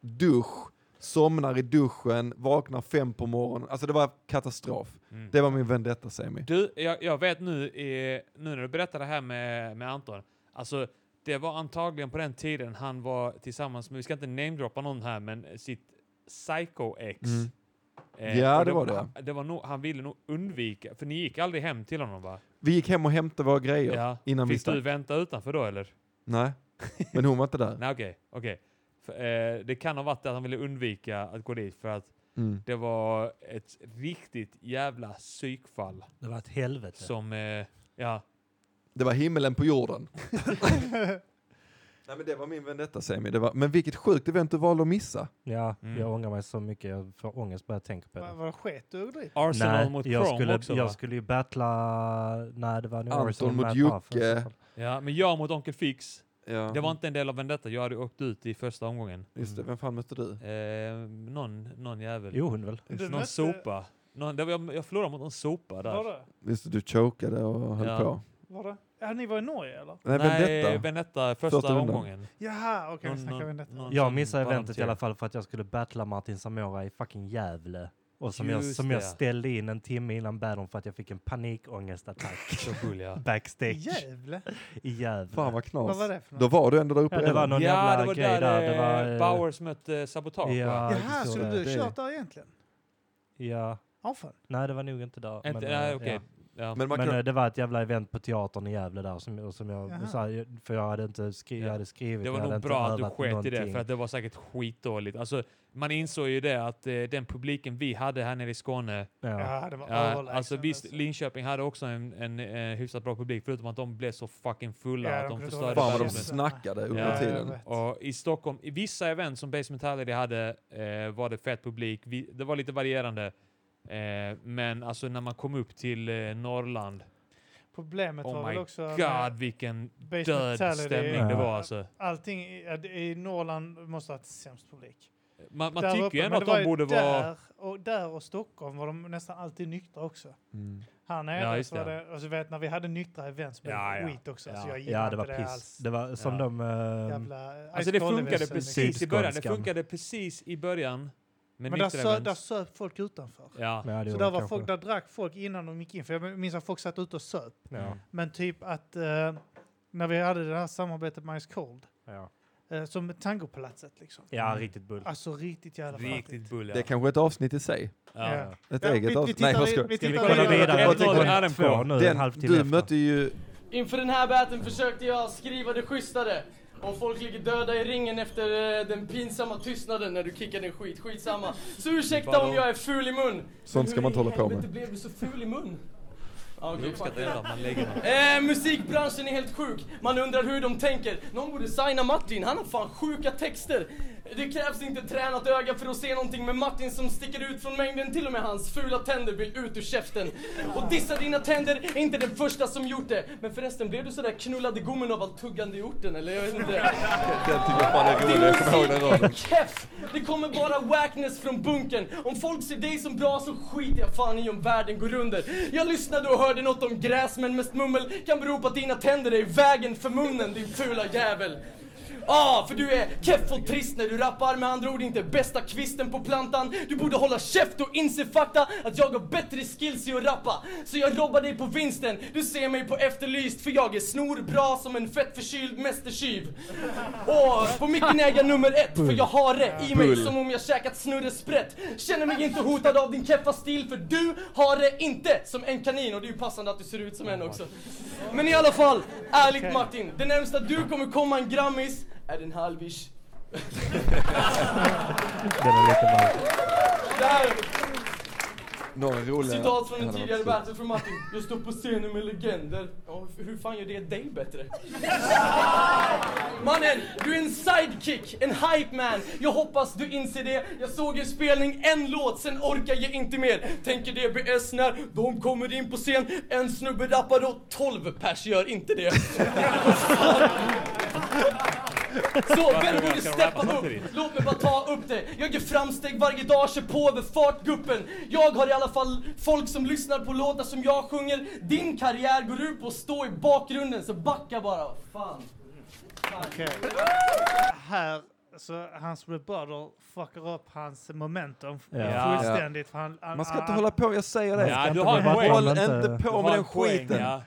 D: dusch. Somnar i duschen, vaknar fem på morgonen. Alltså det var katastrof.
B: Mm.
D: Det var min vendetta Semi.
B: Du, jag, jag vet nu, eh, nu när du berättar det här med, med Anton, alltså det var antagligen på den tiden han var tillsammans med, vi ska inte namedroppa någon här, men sitt psycho-ex.
D: Mm.
B: Eh,
D: Ja,
B: och
D: det var det.
B: Han, det var nog, han ville nog undvika, för ni gick aldrig hem till honom va?
D: Vi gick hem och hämtade våra grejer innan vi
B: Fick
D: stack.
B: du vänta utanför då eller?
D: Nej, men hon var inte där.
B: Nej okej, okej. För, Eh, det kan ha varit att han ville undvika att gå dit för att
D: Mm.
B: det var ett riktigt jävla psykfall
C: Det var ett helvete.
B: som, eh, ja,
D: Det var himmelen på jorden. Nej men det var min vendetta Semi. Det var, men vilket sjukt event du valde att missa.
C: Ja,
B: Mm.
C: jag ångrar mig så mycket. Jag får ångest bara jag tänker på
A: Vad
C: det.
A: var det sket du överdrift?
B: Arsenal mot
C: jag
B: Chrome
C: skulle,
B: också va?
C: jag skulle ju battla... Nej, det var nog
D: Anton
C: Arsenal
D: mot
C: Matt
D: Jocke.
C: Arthur.
B: Ja, men jag mot Onkel Fix,
D: Ja.
B: det var inte en del av vendetta. Jag hade åkt ut i första omgången.
D: Just det, vem fan mötte du?
B: Eh, någon, någon jävel.
C: Jo, hon väl.
A: Du
B: Någon
A: mötte-
B: sopa. Någon, det var, jag, jag förlorade mot någon sopa
A: Var
B: där.
A: det?
D: Visst du chokade och höll
B: Ja.
D: på.
A: Var det? Hade ni varit i Norge eller?
B: Nej,
D: Nej, Vendetta.
B: Vendetta, första
D: Första rundan.
B: omgången.
A: Jaha, okej, vi
B: Någon-
A: snackar
B: någon-
A: Vendetta.
B: någon
C: Jag
B: som typ.
C: missade eventet i
B: volunteer.
C: alla fall för att jag skulle battla Martin Samora i fucking Gävle. Och som, jag,
B: Just
C: som jag
B: det.
C: ställde in en timme innan battle för att jag fick en panikångestattack
B: Så cool, ja.
C: backstage
A: Jävlar,
C: i Gävle.
D: Fan vad knas.
A: vad var det för
D: Då
A: något?
D: var du ändå där uppe
C: Ja, det var
D: redan.
C: någon
B: ja, det
C: jävla
B: var
C: grej
B: där,
C: där. Det var,
B: eh,
C: eh,
B: Bowers mötte Sabotage va?
C: Ja,
A: Jaha,
C: så
A: skulle
C: det-
A: du
D: det-
A: kört där egentligen?
C: ja.
A: Ja, fan.
C: Nej, det var nog inte där.
B: Inte,
C: eh,
B: nej, okej.
C: ja.
B: Ja.
D: Men man
C: Men
D: kan...
C: eh, det var ett jävla event på teatern i Gävle där som, och som
A: Jaha.
C: jag, så här, för jag hade inte skri-
B: Ja.
C: jag hade skrivit.
B: Det
C: jag
B: var
C: hade
B: nog
C: inte
B: bra att du
C: övat
B: sket i det,
C: någonting.
B: för att det var säkert skitdåligt. Alltså, man insåg ju det att eh, den publiken vi hade här nere i Skåne,
C: Ja.
A: Ja, det var
B: ja,
A: överlägsen.
B: alltså visst,
A: alltså.
B: Linköping hade också en, en, eh, hyfsat bra publik, förutom att de blev så fucking fulla
A: Ja,
B: att
A: de
B: de
A: kunde inte
B: förstörde
A: hålla
D: Fan vad de
A: kändes-
B: världen.
D: snackade under
B: Ja.
A: Ja, jag
D: tiden.
A: vet.
B: Och i Stockholm, i vissa event som Base Mentality hade, eh, var det fett publik. Vi, det var lite varierande. Eh, men alltså när man kom upp till eh, Norrland,
A: Problemet var
B: oh
A: väl
B: my
A: också... med
B: god vilken
A: Base
B: död
A: Mentality.
B: stämning det var alltså.
A: Allting i, ja, det- i Norrland måste ha haft sämst publik.
B: Man, man
A: Där
B: tycker
A: uppe,
B: ju ändå
A: men
B: att
A: det var
B: de
A: ju
B: borde vara...
A: där, Och där och Stockholm var de nästan alltid nyktra också.
D: Mm.
A: Här nere
B: Ja, just
A: så var
B: det.
A: det, alltså, vet, när vi hade nyktra event så blev
B: Ja,
A: det
B: ja.
A: skit också. Så
B: Ja.
A: alltså, jag gillar
C: ja, det
A: inte
C: var
A: det
C: piss.
A: alls.
C: Det var som
B: Ja.
C: de... eh,
A: Jävla,
B: Alltså det funkade
A: alkoholevent, liksom.
B: precis i början. Det
C: Sydskånskan.
B: funkade precis i början. Med
A: Men där,
B: nyktra
A: sö,
B: event.
A: där söp folk utanför.
B: Ja.
C: ja, det
A: Så
C: gjorde
A: där,
C: de
A: var
C: kanske.
A: folk, där drack folk innan de gick in. För jag minns att folk satt ute och söp.
C: Ja.
A: Men typ att eh, när vi hade det här samarbetet med Ice Cold,
C: Ja.
A: eh, som Tangopalatset liksom.
C: ja, riktigt bull.
A: Alltså riktigt jävla fattigt.
B: Riktigt bull ja.
D: Det är kanske ett avsnitt i sig.
A: Ja.
B: ja.
D: Ett
A: Ja, vi- vi
D: eget avsnitt.
A: tittar
D: Nej, vad
A: i-
D: ska
A: vi
D: jag?
C: Ska vi
A: tittar
C: kolla
B: Jag
C: vidare? Jag
B: tycker-
C: tycker
B: är
C: är
B: den på?
C: två nu, en
D: Den,
C: halvtimme
D: du
C: efter.
D: mötte ju...
H: Inför den här batten försökte jag skriva det schysstare. Och folk ligger döda i ringen efter eh, den pinsamma tystnaden när du kickar din skit. Skitsamma. Så ursäkta om jag är ful i mun.
D: Sånt ska man inte hålla på
H: Hur i
D: med.
H: helvete blev du så ful i mun? Ja,
B: Jag
H: okej, fuck
B: uppskattar
H: it.
B: ändå att man lägger något.
H: Eh, musikbranschen är helt sjuk. Man undrar hur de tänker. Någon borde signa Martin, han har fan sjuka texter. Det krävs inte tränat öga för att se någonting med Martin som sticker ut från mängden. Till och med hans fula tänder vill ut ur käften. Och dissa dina tänder är inte den första som gjort det. Men förresten, blev du sådär knullad i gommen av allt tuggande i orten eller? Jag vet inte.
D: Den tycker jag fan är
H: Din
D: rolig, jag kommer ihåg den
H: musik är
D: raden.
H: keff! Det kommer bara wackness från bunken. Om folk ser dig som bra så skiter jag fan i om världen går under. Jag lyssnade och hörde något om gräs men mest mummel kan bero på att dina tänder är i vägen för munnen din fula jävel. Ah, för du är keff och trist när du rappar med andra ord inte bästa kvisten på plantan. Du borde hålla käft och inse fakta att jag har bättre skills i att rappa. Så jag robbar dig på vinsten, du ser mig på Efterlyst för jag är snorbra som en fett förkyld mästertjuv. Och på micken är jag nummer ett för jag har det i mig som om jag käkat snurresprätt. Känner mig inte hotad av din keffa stil för du har det inte som en kanin och det är ju passande att du ser ut som en också. Men i alla fall, ärligt Martin, det närmsta du kommer komma en grammis är en halvish.
C: Det var lite ball.
H: Det här
D: Några roliga...
H: Citat från
D: Ja,
H: en
D: det var
H: tidigare
D: precis.
H: battle från Martin. Jag står på scenen med legender. Ja, hur fan gör det dig bättre? Mannen, du är en sidekick, en hype man. Jag hoppas du inser det. Jag såg er spelning en låt, sen orkar jag inte mer. Tänker DBS när de kommer in på scen. En snubbe rappar och 12 pers gör inte det. Så vem borde steppa upp? Låt mig bara ta upp det. Jag gör framsteg varje dag, kör på över fartguppen. Jag har i alla fall folk som lyssnar på låtar som jag sjunger. Din karriär går ut på att stå i bakgrunden, så backa bara. Vad Fan.
A: Okej. Här, så hans rebuttal fuckar upp hans momentum f-
C: Ja.
A: fullständigt. För han, han,
D: Man ska
A: han,
D: inte hålla på, jag säger det.
B: Ja,
C: inte
B: du har en
C: bara
B: poäng.
D: Håll
C: Håll
D: inte
C: inte-
B: Du
D: på
B: har
D: med
B: en
D: den
B: poäng,
D: skiten.
B: ja.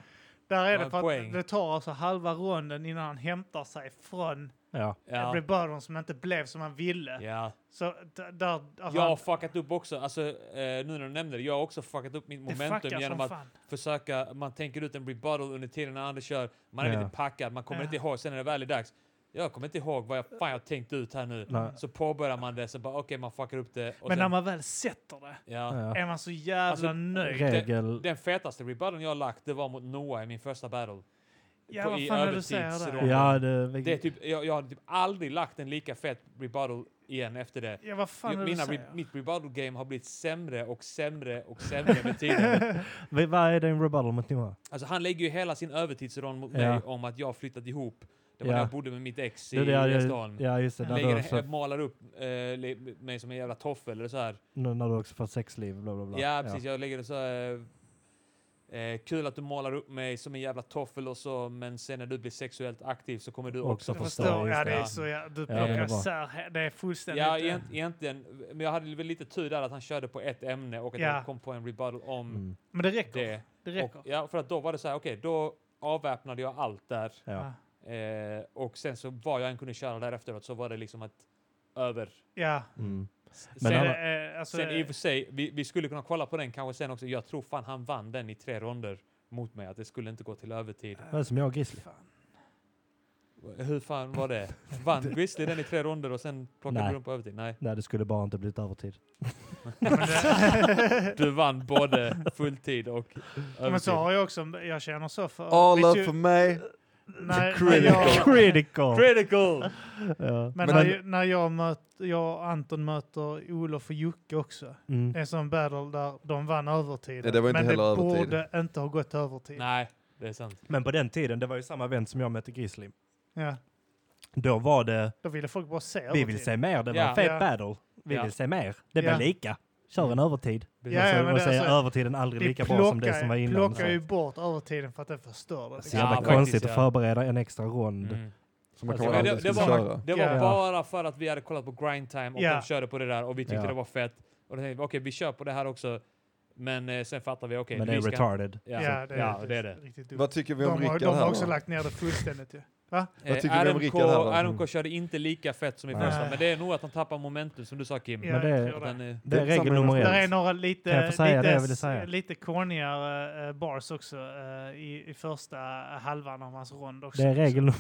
A: Där är
B: Ja,
A: det för
B: poäng.
A: att det tar alltså halva ronden innan han hämtar sig från
C: Ja.
A: ja.
B: Ja.
A: rebuttalen som inte blev som han ville.
B: Ja.
A: Så d- där... Alltså,
B: Jag har
A: han-
B: fuckat upp också, alltså, eh, nu när du nämnde det, jag har också fuckat upp mitt
A: det
B: momentum
A: fuckar
B: genom
A: som
B: att
A: fan.
B: försöka, man tänker ut en rebuttal under tiden när andra kör, man är
C: Ja.
B: lite packad, man kommer
A: Ja.
B: inte ihåg, sen när det väl är dags, jag kommer inte ihåg vad jag fan jag tänkt ut här nu.
C: Nej.
B: Så påbörjar man det, så bara okej, man fuckar upp det. Och
A: Men när
B: sen,
A: man väl sätter det
B: ja.
C: Ja.
A: är man så jävla
B: Alltså,
A: nöjd.
C: Regel...
B: Den fetaste rebutton jag har lagt, det var mot Noah i min första battle.
A: Ja,
B: på-
A: vad
B: i
A: fan är du säger
B: övertidsronden.
A: det?
C: Ja, det...
B: Det är typ, jag, jag har typ aldrig lagt en lika fet rebuttal igen efter det.
A: Ja, vad fan
B: Jag-
A: är det du
B: mina, re,
A: säger?
B: mitt rebuttal game har blivit sämre och sämre och sämre med tiden.
C: Vad vad är din rebuttal mot Noah?
B: Alltså han lägger ju hela sin övertidsrond mot
C: Ja.
B: mig om att jag har flyttat ihop. Det var
C: Ja.
B: när jag bodde med mitt ex i
C: Det- det-
B: lilla
C: ja,
B: stan.
C: Ja, just det. När
B: Lägger,
C: du,
B: he-
C: så,
B: målar upp eh, le, mig som en jävla toffel eller så här.
C: när du också får sexliv, bla bla bla.
B: Ja, precis. Jag lägger det så här. Eh, kul att du målar upp mig som en jävla toffel och så, men sen när du blir sexuellt aktiv så kommer du
C: Också
B: också
A: Jag
C: förstå,
A: förstår,
C: just
A: ja
B: det.
A: det är så, ja, du
C: Ja, det
A: plockar
C: var bra.
A: isär, he- det är fullständigt...
B: Ja,
A: eh,
B: egent- egentligen. Men jag hade väl lite tur där att han körde på ett ämne och att
A: Ja.
B: jag kom på en rebuttal om
C: Mm.
A: Men det räcker. Det,
B: det.
A: räcker.
B: Och, ja, för att då var det så här, okej, då avväpnade jag allt där.
A: Ah.
C: Ja.
B: Eh, och sen så vad jag än kunde köra där efteråt så var det liksom att över.
A: ja.
C: Mm.
A: Men
C: Men
A: sen,
C: han-
A: eh, alltså,
B: Sen i och för sig, vi, vi skulle kunna kolla på den kanske sen också. Jag tror fan han vann den i tre ronder mot mig, att det skulle inte gå till övertid.
C: Det är som jag och Grizzly.
B: Hur fan var det? Vann Grizzly den i tre ronder och sen plockade
C: Nej.
B: du den på övertid? Nej.
C: Nej, det skulle bara inte blivit övertid.
B: Du vann både fulltid och övertid.
A: men så har jag också, jag känner så för...
D: All
A: vet
D: up
A: ju-
D: for me.
A: när, när
D: critical.
A: jag,
C: Critical!
B: Critical!
C: ja.
A: men
D: Men-
A: när, när jag, möt, jag och Anton möter Olof och Jocke också.
C: Mm.
A: Det är en sån battle där de vann övertiden.
D: Ja, det var inte
A: men
D: heller
A: det
D: övertid.
A: borde inte ha gått övertid.
B: Nej, det är sant.
C: Men på den tiden, det var ju samma event som jag mötte Grizzly.
A: Ja,
C: Då var det,
A: då ville folk bara se
C: vi
A: övertid.
C: vill se mer, det var
B: Ja.
C: en fet
A: Ja.
C: battle. Vi
B: Ja.
C: vill se mer. Det
A: Ja.
C: var lika. Kör en övertid.
A: Ja,
C: och
A: ja,
C: så,
A: men
C: och
A: det,
C: så är
A: alltså,
C: övertiden aldrig
A: vi
C: lika
A: plockar,
C: bra som det som var innan. Så,
A: plockar ju bort övertiden för att det förstör det.
C: så
A: Liksom.
B: Ja,
C: jävla
B: faktiskt,
C: konstigt
B: ja.
C: att förbereda en extra rond.
B: Mm.
D: Som man
C: Alltså,
D: kan
B: Men
D: aldrig
B: det, det,
D: skulle
B: var,
D: köra.
B: det var
A: Ja.
B: bara för att vi hade kollat på grind time och
A: Ja.
B: de körde på det där och vi tyckte
C: Ja.
B: det var fett. Och då tänkte vi, okej, vi kör på det här också. Men eh, sen fattar vi, okej,
C: Men det är
B: vi ska...
C: retarded.
B: Ja,
A: Ja, det,
B: ja, det är det.
A: Riktigt dumt.
D: Vad tycker vi om
A: De har,
D: Rickard
A: de har
D: här
A: också
D: då?
A: lagt ner det fullständigt ju.
D: Vad
B: Eh,
D: tycker vi om
B: RMK,
D: Rickard här då? Mm.
B: RMK körde inte lika fett som i
C: Nej.
B: första, men det är nog att han tappar momentum, som du sa Kim.
A: Ja,
C: Men det-
A: jag tror
B: Att han, eh,
C: Det är
D: Det är
C: regel
D: samma-
C: nummer
A: Där är
C: ett.
A: några lite,
C: Kan jag få säga
A: lite,
C: det jag ville säga?
A: lite kornigare eh, bars också eh, i, i första eh, halvan av hans rond också.
C: Det är regel nummer...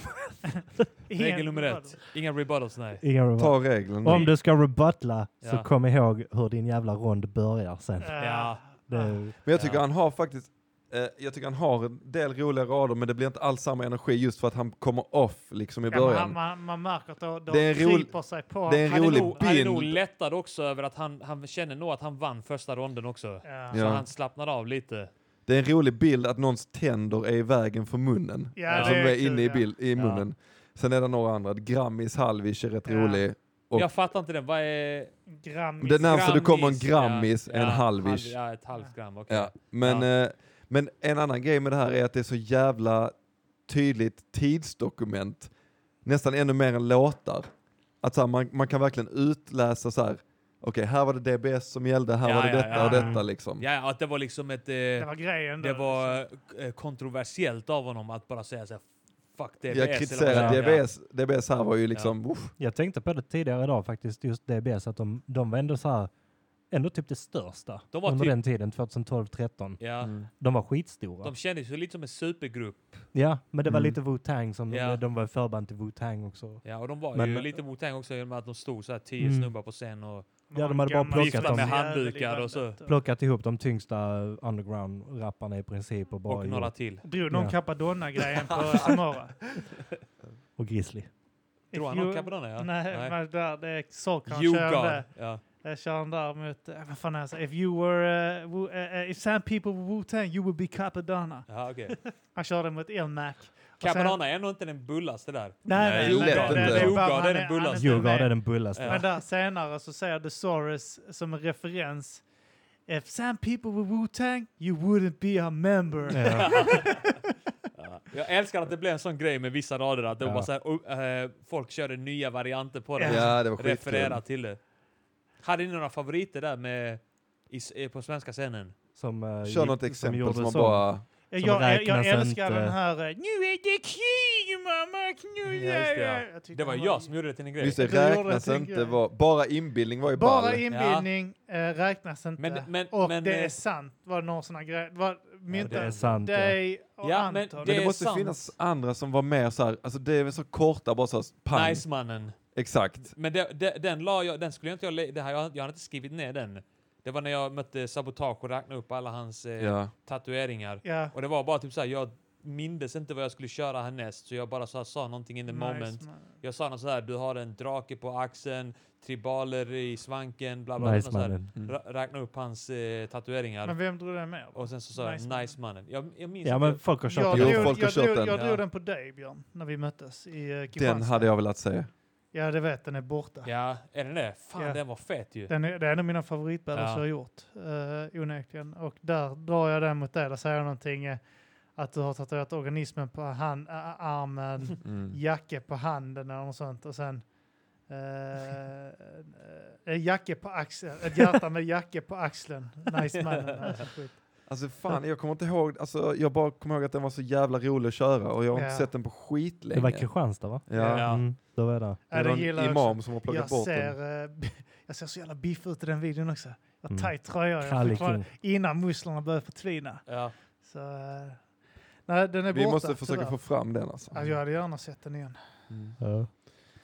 A: Ingen-
B: regel nummer ett, inga rebuttals, nej.
C: Inga
D: Ta regeln.
C: Om du ska rebuttla
B: Ja.
C: så kom ihåg hur din jävla rond börjar sen.
A: Eh,
B: Ja.
C: Det är,
D: Men jag tycker
B: Ja.
D: han har faktiskt, eh, jag tycker han har en del roliga rader men det blir inte alls samma energi just för att han kommer off liksom i
A: ja, man,
D: början.
A: man, man märker att de, de
D: Det är en rolig-
A: kryper sig på
D: det är en
A: honom.
B: Han är,
D: rolig
B: nog, han är nog
D: bild.
B: lättad också över att han, han känner nog att han vann första ronden också.
A: Ja.
B: Så
D: Ja.
B: han slappnar av lite.
D: Det är en rolig bild att någons tänder är i vägen för munnen.
A: Ja,
D: som
A: det
D: är,
A: är
D: inne
A: kul,
D: i,
A: ja.
D: bild, i
B: Ja.
D: munnen. Sen är det några andra, Grammis Halvish är rätt
A: Ja.
D: rolig. Och-
B: jag fattar inte den, vad är...
A: Grammis.
D: Det är närmsta du kommer en
B: Grammis,
D: grammis, en halvish.
B: halv- Ja, ett halvt gram. okej.
D: Ja, men, Eh, men en annan grej med det här är att det är så jävla tydligt tidsdokument. Nästan ännu mer än låtar. Att så här, man, man kan verkligen utläsa så här, okej här var det DBS som gällde, här
B: Ja,
D: var det
B: ja,
D: detta
B: ja.
D: och detta liksom.
B: Ja, ja, att det var liksom ett... Eh,
A: Det var grejen. då,
B: det var eh, kontroversiellt av honom att bara säga så här, fuck DBS.
D: Jag
B: eller
D: kritiserar
B: vad det var.
D: DBS, DBS här var ju liksom, uff,
C: jag tänkte på det tidigare idag faktiskt, just DBS, att de, de var ändå så här, ändå typ det största
B: De var
C: under
B: typ-
C: den tiden, 2012-13.
B: Ja.
A: Mm.
C: De var skitstora.
B: De kändes ju lite som en supergrupp.
C: Ja, men det var
D: Mm.
C: lite Wu-Tang som,
B: Ja.
C: de, de var förband till Wu-Tang också.
B: Ja, och de var
C: Men-
B: ju lite Wu-Tang också genom att de stod så här tio
C: Mm.
B: snubbar på scen och...
C: Ja, de hade bara
A: Gammal
C: plockat
A: gifta
C: dem.
A: med
B: handdukar
A: jävel i
B: och så.
A: bandet.
C: Plockat ihop de tyngsta underground-rapparna i princip och bara
B: och några
C: gjort-
B: till.
A: Drog någon
C: Ja.
A: Capadonna-grejen på Samora?
C: och Grizzly.
B: Tror han
A: If
B: om
A: you-
B: Capadonna? Ja.
A: Nej, men där, det är Sorkan
B: You
A: kör det.
B: God. Ja.
A: Jag kör den där mot, eh, vad fan är det? så? If you were, uh, Wu- eh, eh, if some people were Wu-Tang, you would be Capadonna.
B: Ja, okay.
A: Han kör den mot Elmac. Och sen-
B: Capadonna är nog inte den bullaste där.
A: Nej, nej,
D: lätt
A: nej,
D: inte.
A: nej, nej,
B: Jo,
A: bara-
B: God,
A: han
B: det är den
A: han
B: bullaste.
A: inte
C: Djurgården
A: med.
C: är den bullaste.
B: Ja.
A: Men där senare så säger The Soros som en referens. If some people were Wu-Tang, you wouldn't be a member.
C: Ja.
B: Ja. Jag älskar att det blev en sån grej med vissa rader, att det
C: Ja.
B: var så här, oh, eh, folk körde nya varianter på det.
D: ja det var
B: Referera
D: skitkul.
B: till det. Hade ni några favoriter där med, i, s- eh, på svenska scenen?
C: Som, eh,
D: Kör
C: gick-
D: något exempel
C: gjorde
D: som man
C: sång.
D: bara,
A: jag,
C: Som
A: jag, jag
C: räknas
A: älskar
C: inte.
A: den här. eh, Nu är det krig mamma, nu
B: Ja, just
A: är
B: det, ja.
A: det. Jag tyckte
B: Det var
A: den
B: jag som gjorde det till en grej.
D: just det,
A: Jag tror jag
D: räknas
A: gjorde det, tänker
D: inte,
A: jag.
D: var, bara inbildning var ju
A: Bara
D: ball.
A: inbildning eh, räknas inte.
B: Men- men-
A: och
B: men,
A: det
B: eh,
A: är sant, var det någon sån här grej. Var, mynta
C: det är sant, ja.
A: dig och
B: Ja, men
A: Anton.
B: det
D: Men det
B: är
D: måste
B: sant.
D: finnas andra som var med så här, alltså det är väl så korta, bara så här, pang.
B: Nice-mannen.
D: Exakt.
B: Men det, det, den la jag, den skulle jag inte jag, lä- det här, jag, jag hade inte skrivit ner den. Det var när jag mötte Sabotage och räknade upp alla hans eh,
D: Ja.
B: tatueringar.
A: Ja.
B: Och det var bara typ såhär, jag mindes inte vad jag skulle köra härnäst, så jag bara så här, sa någonting in the moment.
A: Nice, man.
B: Jag sa något såhär, du har en drake på axeln, tribaler i svanken, bla bla.
C: Nice
B: bla såhär,
C: mannen.
D: Mm.
B: ra- räkna upp hans eh, tatueringar.
A: Men vem drog den med?
B: och sen så sa
A: Nice
B: jag
A: mannen.
B: nice mannen. Jag, jag minns
C: Ja
B: inte.
C: men folk har kört
A: Jag,
D: Jo,
C: den.
A: drog,
D: folk har
A: jag,
D: kört
A: drog,
D: den,
A: jag
B: ja.
A: drog den på dig Björn, när vi möttes i eh,
D: Den
A: Kristianstad.
D: hade jag velat se.
A: Ja, det vet den är borta.
B: Ja, är den det? Fan,
A: Ja.
B: den var fet ju.
A: Den är, det är en av mina favoritbattles
B: Ja.
A: jag har gjort, uh, onekligen. Och där drar jag den mot dig, där säger jag någonting eh, att du har tatuerat organismen på hand, a- a- armen,
D: Mm.
A: jacke på handen eller något sånt. Och sen eh, eh, jacke på axeln, ett hjärta med jacke på axeln. Nice man. Alltså, skit.
D: Alltså fan, jag kommer inte ihåg, alltså, jag bara kommer ihåg att den var så jävla rolig att köra och jag har
A: Ja.
D: inte sett den på skitlänge.
C: Det var Kristianstad va?
D: Ja.
B: Ja.
C: Mm, då var det.
D: Det är
A: Ja, den
D: någon
A: gillar jag också.
D: imam som har plockat
A: Jag
D: bort den.
A: ser, eh, b- jag ser så jävla biff ut i den videon också. Jag har
C: Mm.
A: tajt tröja. Jag
C: Krallig
A: fortfarande-
C: king.
A: innan musslorna börjar förtvina.
B: Ja.
A: Så, eh, nej, den är
D: Vi
A: borta,
D: måste försöka
A: tyvärr.
D: få fram den alltså.
A: Ja, jag hade gärna sett den igen.
C: Ja.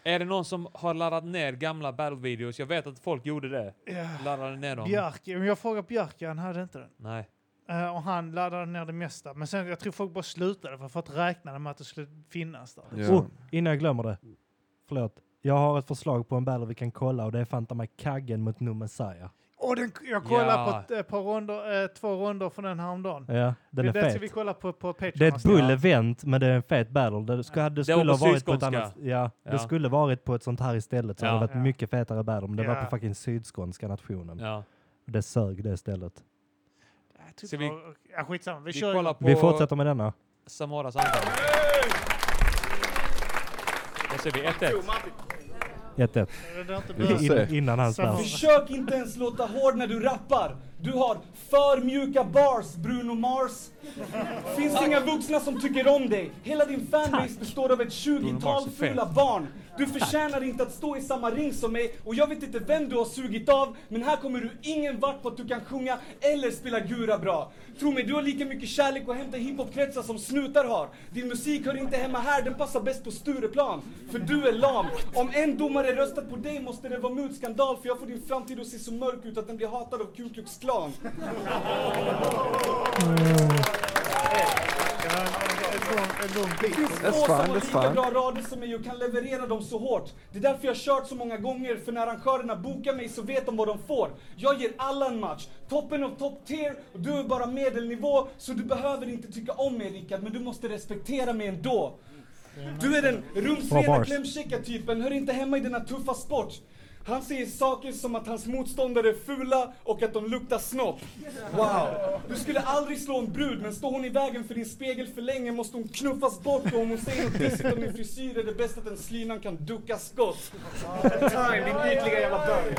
B: Är det någon som har laddat ner gamla battle-videos? Jag vet att folk gjorde det.
A: Ja.
B: Laddade ner dem.
A: Björk, men jag frågade Björk, ja, han hade inte den.
B: Nej.
A: Eh, och han laddade ner det mesta. Men sen, jag tror folk bara slutade för att räkna med att det skulle finnas där.
D: Ja.
C: Oh, innan jag glömmer det. Förlåt. Jag har ett förslag på en battle vi kan kolla och det är Fanta mig Kaggen mot No Messiah.
A: Och den, jag kollade
B: Ja.
A: på ett, eh, par ronder, eh, två ronder från den häromdagen.
C: Ja, den är
A: det ska
C: fet.
A: vi kolla på på Patreon.
C: Det är ett
A: nästa
C: bull
A: gång.
C: event, men det är en fet battle. Det skulle, det skulle
B: var
C: ha
B: på
C: varit på ett
B: sydskånska.
C: annat... Ja,
B: Ja.
C: det skulle varit på ett sånt här istället så
B: Ja.
C: hade det varit
A: Ja.
C: mycket fetare battle. Men det var
A: Ja.
C: på fucking sydskånska nationen.
B: Ja.
C: Det sög det istället.
A: Nej, typ
B: Ska vi-
A: av- Ja, skitsamma. Vi,
B: Vi
A: kör
B: kollar
A: kollar
B: på
C: Vi fortsätter med denna.
B: Samaras anfall. Vad säger vi? 1-1.
C: 1-1.
D: Vi får se.
C: In, innan hans
A: Samma.
C: namn.
J: Försök inte ens låta hård när du rappar. Du har för mjuka bars, Bruno Mars. Finns inga vuxna som tycker om dig. Hela din fanbase består av ett
B: Mars är
J: tjugotal
B: fet.
J: fula barn. Du förtjänar inte att stå i samma ring som mig och jag vet inte vem du har sugit av men här kommer du ingen vart på att du kan sjunga eller spela gura bra. Tro mig, du har lika mycket kärlek att hämta i hiphopkretsar som snutar har. Din musik hör inte hemma här, den passar bäst på Stureplan. För du är lam. Om en domare röstat på dig måste det vara mutskandal för jag får din framtid att se så mörk ut att den blir hatad av Ku Klux Klan.
D: That's
J: få som
D: fine,
J: har
D: that's
J: lika
D: fine.
J: bra rader som mig och kan leverera dem så hårt. Det är därför jag har kört så många gånger, för när arrangörerna bokar mig så vet de vad de får. Jag ger alla en match. Toppen av top tier, och du är bara medelnivå, så du behöver inte tycka om mig Rickard, men du måste respektera mig ändå. Du är den
C: Bra
J: rumsrena
C: bars.
J: klämkäcka-typen, hör inte hemma i denna tuffa sport. Han säger saker som att hans motståndare är fula och att de luktar snopp. Wow! Du skulle aldrig slå en brud, men står hon i vägen för din spegel för länge måste hon knuffas bort och om hon säger något pissigt om din frisyr är det bäst att den slynan kan ducka skott. Time, din ytliga jävla bög.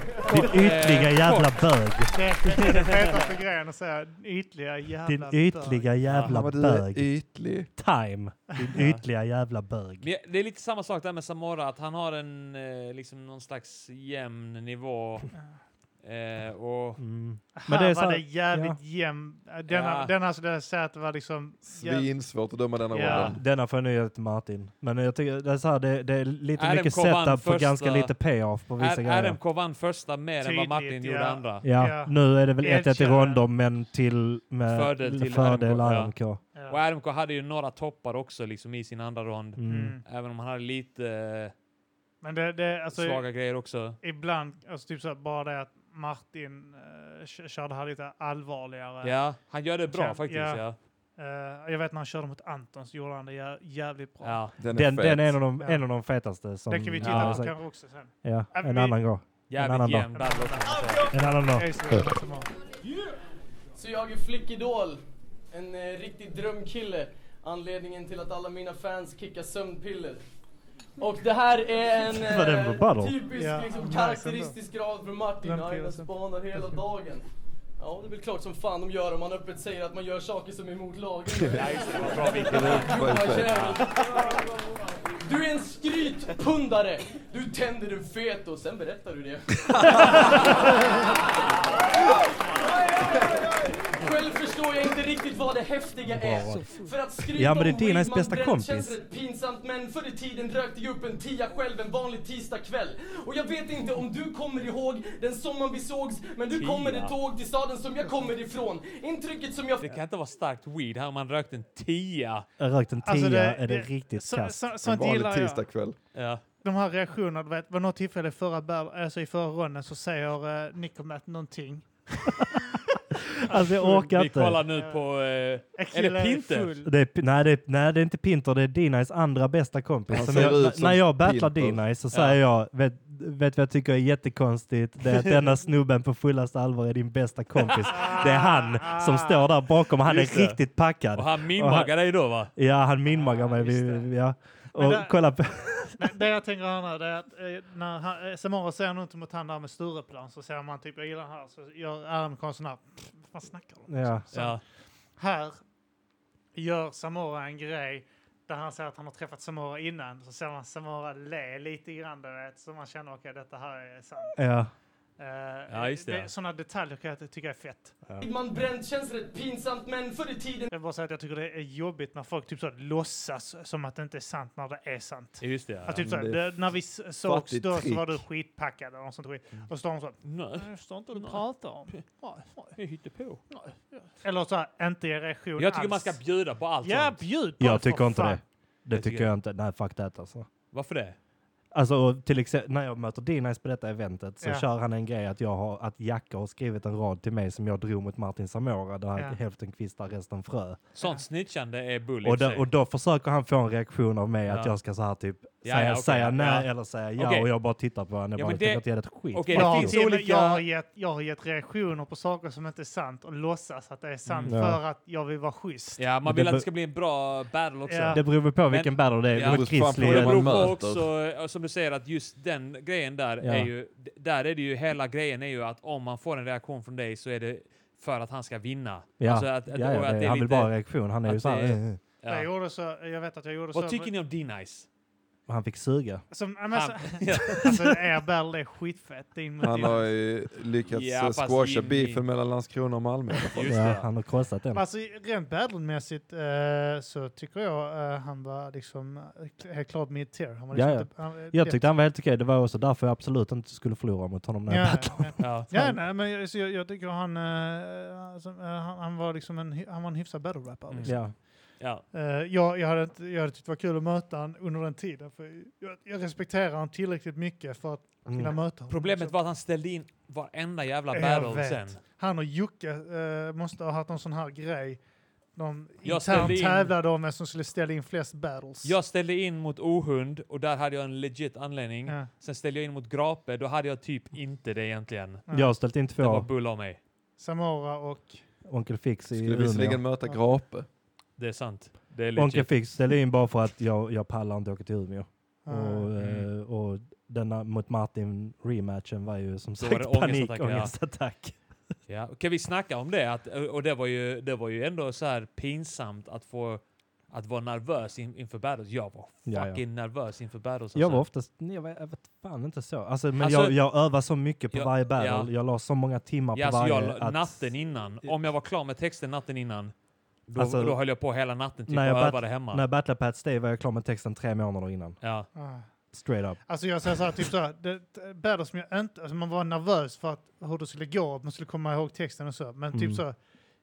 C: Din ytliga
B: Eh,
C: jävla bög.
A: Det det är den fetaste grejen att säga. Ytliga jävla
C: Din
A: bög.
C: ytliga jävla
D: Fan vad du är
C: bög.
D: ytlig.
C: Time. Din ytliga jävla bög.
B: Men Det är lite samma sak där med Samora, att han har en eh, liksom någon slags jämn nivå. Eh, och
C: Mm.
A: Men det är
C: så
A: var det
C: här-
A: jävligt äh, jämn. Denna,
B: Ja.
A: denna skulle jag säga att det var liksom... jävligt-
D: Svinsvårt att döma denna
A: Ja.
D: rollen.
C: Denna får jag nu ge till Martin. Men jag tycker det är, så här, det, det är lite
B: RMK
C: mycket
B: vann
C: setup för
B: första-
C: ganska lite payoff på vissa
B: R-
C: grejer.
B: RMK vann första mer än vad
A: Tydligt,
B: Martin gjorde
A: ja.
B: andra.
C: Ja,
A: Ja.
C: nu är det väl 1-1 i
A: Erkänn.
C: ronder men till med
B: Fördel till
C: fördel
B: RMK, ja.
C: RMK.
B: Och
A: Ja.
B: RMK hade ju några toppar också liksom i sin andra rond.
C: Mm.
A: Mm.
B: Även om han hade lite eh,
A: Men det, det alltså...
B: svaga grejer också.
A: Ibland, alltså typ så här, bara det att Martin eh, kö- körde här lite allvarligare.
B: Ja, han gör det bra
A: Sen-
B: faktiskt.
A: ja.
B: Ja.
A: Eh, jag vet när han körde mot Anton så gjorde han det jä- jävligt bra.
B: Ja.
D: Den är
C: Den,
D: fet.
C: den är en av, de,
A: Ja.
C: en av de fetaste. Som,
A: Det kan vi titta
B: Ja.
A: på
C: säkert.
A: kanske också sen.
C: Ja,
A: Ja,
C: en
A: vi- Eh,
C: annan gång. En
B: Jävligt
C: annan dag.
B: jämn battle. kan man säga.
C: En annan dag.
A: Jag är så jävla smart.
H: Så jag är flickidol, en eh, riktig drömkille. Anledningen till att alla mina fans kickar sömnpiller. Och det här är en eh,
C: Vad det var battle.
H: typisk
A: Ja, nice
H: liksom,
A: ändå.
H: karaktäristisk rad från Martin.
A: Glömt
H: Han
A: hela
H: den
A: sömn.
H: spanar hela dagen. Ja, det är väl klart som fan de gör om man öppet säger att man gör saker som är emot lagen. Du är en skrytpundare! Du tänder en fet och sen berättar du det. Själv förstår jag inte riktigt vad det häftiga är. För att skryta
C: Ja, men det är
H: om
C: Dinas
H: Weedman
C: bästa
H: Brent
C: kompis.
H: känns rätt pinsamt men förr i tiden rökte jag upp en tia själv en vanlig tisdagkväll. Och jag vet inte om du kommer ihåg den sommaren vi sågs men du kommer ett tåg till staden som jag kommer ifrån. Intrycket som jag
B: Det kan inte vara starkt weed här om man rökt en tia.
C: Jag har rökt en tia,
A: Alltså,
C: är det riktigt
A: så,
C: kast.
A: så,
D: En
A: Sånt
D: vanlig
A: gillar jag.
D: tisdagkväll.
B: Ja.
A: de här reaktionerna, du vet, vid något tillfälle i förra, bär- alltså i förra ronden så säger eh, Nicomat någonting.
C: Alltså jag orkar
B: Vi kollar
C: inte.
B: nu på... Eh, är
A: Akilla
B: det
A: är
B: Pinter?
A: full.
C: Det är, P- nej, det är, nej, det är inte Pinter, det är D-Nice andra bästa kompis.
D: Han
C: Som
D: ser
C: jag,
D: ut
C: n-
D: som
C: när jag battlar
D: Pinter.
C: D-Nice så säger jag, vet, vet vad jag tycker är jättekonstigt? Det är att denna snubben på fullaste allvar är din bästa kompis. Det är han som står där bakom och han
B: Just
C: är
B: det.
C: riktigt packad.
B: Och han mimaggar dig då va?
C: Ja, han minmaggar mig. Vi, ja. Och
A: där-
C: kolla på...
A: Nej, det jag tänker här nu det är att eh, när han, eh, Samara ser något mot han där med Stureplan så ser man typ, jag gillar den här, så gör Adam sån här, "Pff, vad fan snackar du om?
C: Ja.
A: Så
B: Ja.
A: Här gör Samora en grej där han säger att han har träffat Samora innan, så ser man Samora le lite grann, du vet, så man känner, okej, detta här är sant.
C: Ja.
A: Eh,
B: Ja, just det.
A: Sådana detaljer kan jag tycka är fett.
H: Man bränt känns rätt pinsamt men förr i tiden
A: Jag vill bara säga att jag tycker det är jobbigt när folk typ så låtsas som att det inte är sant när det är sant.
B: Just det. Ja.
A: Att typ så här,
D: det är
A: det, när vi s- sågs
D: fattigt
A: då så var du
D: trick.
A: skitpackad eller något sånt skit.
B: Mm.
A: Och så står hon så
B: Nej,
A: jag förstår inte vad du
B: Nej.
A: pratar om.
B: jag hittar på.
A: Eller så här, inte i reaktion
B: Jag tycker
A: alls.
B: man ska bjuda på allt
A: Ja,
B: sånt.
A: bjud på det,
C: Jag
A: för
C: tycker inte
A: fan.
C: det. Det
B: Jag tycker-
C: tycker jag inte. Nej, fuck that alltså.
B: Varför det?
C: Alltså och till exempel när jag möter D-Nice på detta eventet så
A: Ja.
C: kör han en grej att jag har, att Jacka har skrivit en rad till mig som jag drog mot Martin Samora där han
A: Ja.
C: hälften kvistar resten frö.
B: Sånt snitchande är bull i
C: Och,
B: och för
C: då-
B: sig.
C: och då försöker han få en reaktion av mig att
B: Ja.
C: jag ska så här typ
B: Ja,
C: säga,
B: ja, okej,
C: säga
B: ja,
C: nej
B: ja.
C: eller säga ja
B: Okej.
C: och jag bara tittar på honom och
B: Ja, men
C: bara, jag tänker
B: det-
C: inte ge det ett skit.
B: Okej,
A: Jag har,
B: det finns
A: till och med-
B: olika...
A: jag, har gett, jag har gett reaktioner på saker som inte är sant och låtsas att det är sant
C: Mm. Ja.
A: för att jag vill vara schysst.
B: Ja, man
C: Det
B: vill att
C: be-
B: det ska bli en bra battle också.
A: Ja.
C: Det beror väl på vilken battle det är.
B: Ja. Alltså,
C: Ja.
D: Det beror fan på
C: Grizzly
D: hur
B: Det
C: eller...
D: man-
B: beror på
D: möter.
B: också, eh, som du säger, att just den grejen där
C: Ja.
B: är ju... d- Där är det ju hela grejen är ju att om man får en reaktion från dig så är det för att han ska vinna.
C: Ja,
B: Alltså att- att-
C: ja,
B: och
C: ja,
B: att det
C: det,
B: är
C: han vill
B: lite-
C: bara ha reaktion. Han är ju
B: att
C: så här,
B: det är-
C: eh, eh.
A: Jag,
B: Ja.
A: gjorde så, jag vet att jag gjorde så.
B: Vad tycker ni om D-Nice?
C: Och han fick suga.
A: Som, ja, men,
B: Han-
A: så, alltså, er battle är skitfett. Din mot
D: Han
A: din.
D: har ju lyckats
B: Ja,
D: eh,
B: fast
D: squasha
B: in i-
D: beefen mellan Landskrona och Malmö.
B: Just
C: Ja,
B: det.
C: han har krossat den.
A: Alltså rent battlemässigt eh, så tycker jag eh, han var liksom eh, helt klart mid-tier. Han var liksom
C: Ja, ja.
A: inte- han-
C: Jag tyckte han var helt okej. Det var också därför jag absolut inte skulle förlora mot honom när jag
A: Ja,
C: battlade.
A: ja,
B: Ja.
A: ja, nej, men jag, så jag, jag tycker han, eh, alltså, eh, han, han var liksom en, hy- han var en hyfsad battle-rapper.
B: Mm.
A: Liksom.
C: Ja.
B: Ja.
A: Eh, jag, jag, hade inte, jag hade tyckt det var kul att möta honom under den tiden. För jag, jag respekterar honom tillräckligt mycket för att kunna
C: Mm.
A: möta honom. Alltså,
B: Problemet
A: Så-
B: var att han ställde in varenda jävla
A: Jag
B: battle
A: vet.
B: sen.
A: Han och Jocke eh, måste ha haft någon sån här grej. De
B: Jag
A: internt
B: ställde in-
A: tävlade om vem som skulle ställa in flest battles.
B: Jag ställde in mot Ohund och där hade jag en legit anledning.
A: Ja.
B: Sen ställde jag in mot Grape, då hade jag typ inte det egentligen.
C: Jag har ställt in
B: Det var
C: två
B: bull av mig.
A: Samora och...
C: Onkel Fix i
D: Skulle visserligen
C: Umeå.
D: möta Grape.
B: Det är sant. Det är
C: Onkel
B: legit.
C: Fix ställde in bara för att jag, jag pallar inte åka till Umeå.
A: eh,
C: Och,
B: Mm.
C: eh, och denna mot Martin rematchen var ju som
B: var det
C: sagt panik,
B: ångestattack, ja.
C: ångestattack.
B: Ja. Kan vi snacka om det? Att, och det var, ju, det var ju ändå så här pinsamt att få att vara nervös in, inför battles. Jag var
C: Ja, ja.
B: fucking alltså. nervös inför battles.
C: Jag
B: alltså.
C: var oftast, nej, jag, vet- jag vet fan inte så. Alltså, men
B: Alltså-
C: jag, jag övar så mycket på
B: Ja,
C: varje battle.
B: ja.
C: Jag la så många timmar
B: ja,
C: på
B: alltså
C: varje.
B: jag, la-
C: att-
B: Natten innan, om jag var klar med texten natten innan, då,
C: Alltså,
B: då höll jag på hela natten typ, och
C: när jag
B: övade
C: batt-
B: hemma.
C: När jag battlade Pat Stay var jag klar med texten tre månader innan.
B: Ja.
A: ah.
C: Straight up.
A: Alltså jag säger så här, typ så här, det, det- battle som jag inte, alltså man var nervös för att, hur det skulle gå, man skulle komma ihåg texten och så. Men typ
C: Mm.
A: så,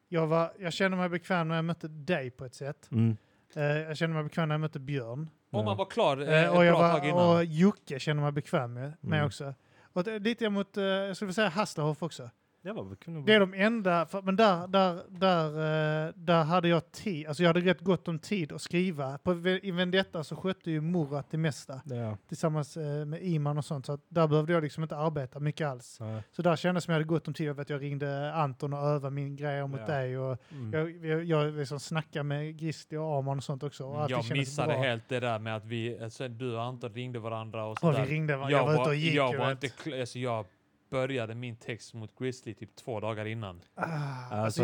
A: jag, var, jag kände mig bekväm när jag mötte dig på ett sätt.
C: Mm.
A: Eh, jag kände mig bekväm när jag mötte Björn.
B: Om man var klar eh,
A: Eh,
B: ett
A: och, jag
B: bra tag innan.
A: var, och Jocke kände mig bekväm med, med
C: Mm.
A: också. Och det, lite mot, eh, jag skulle vilja säga Hasselhoff också.
C: Det var kunde
A: Det är de enda, för, men där, där, där, eh, där hade jag tid, alltså jag hade rätt gott om tid att skriva. På, Ve- I Vendetta så skötte ju Morat det mesta
C: Ja.
A: tillsammans eh, med Iman och sånt, så att där behövde jag liksom inte arbeta mycket alls.
C: Nej.
A: Så där kändes det som jag hade gott om tid, jag vet att jag ringde Anton och övade min grej mot
C: Ja.
A: dig och
C: Mm.
A: jag, jag, jag liksom snackade med Gristi och Arman och sånt också. Och allting
B: Jag
A: kändes
B: missade
A: bra.
B: helt det där med att vi, alltså, du och Anton ringde varandra och
A: Och vi
B: sådär.
A: ringde, varandra. jag, var ute och gick.
B: jag
A: ju,
B: var
A: vet.
B: inte kl- alltså, jag började min text mot Grizzly typ två dagar innan.
A: Ah,
C: Alltså,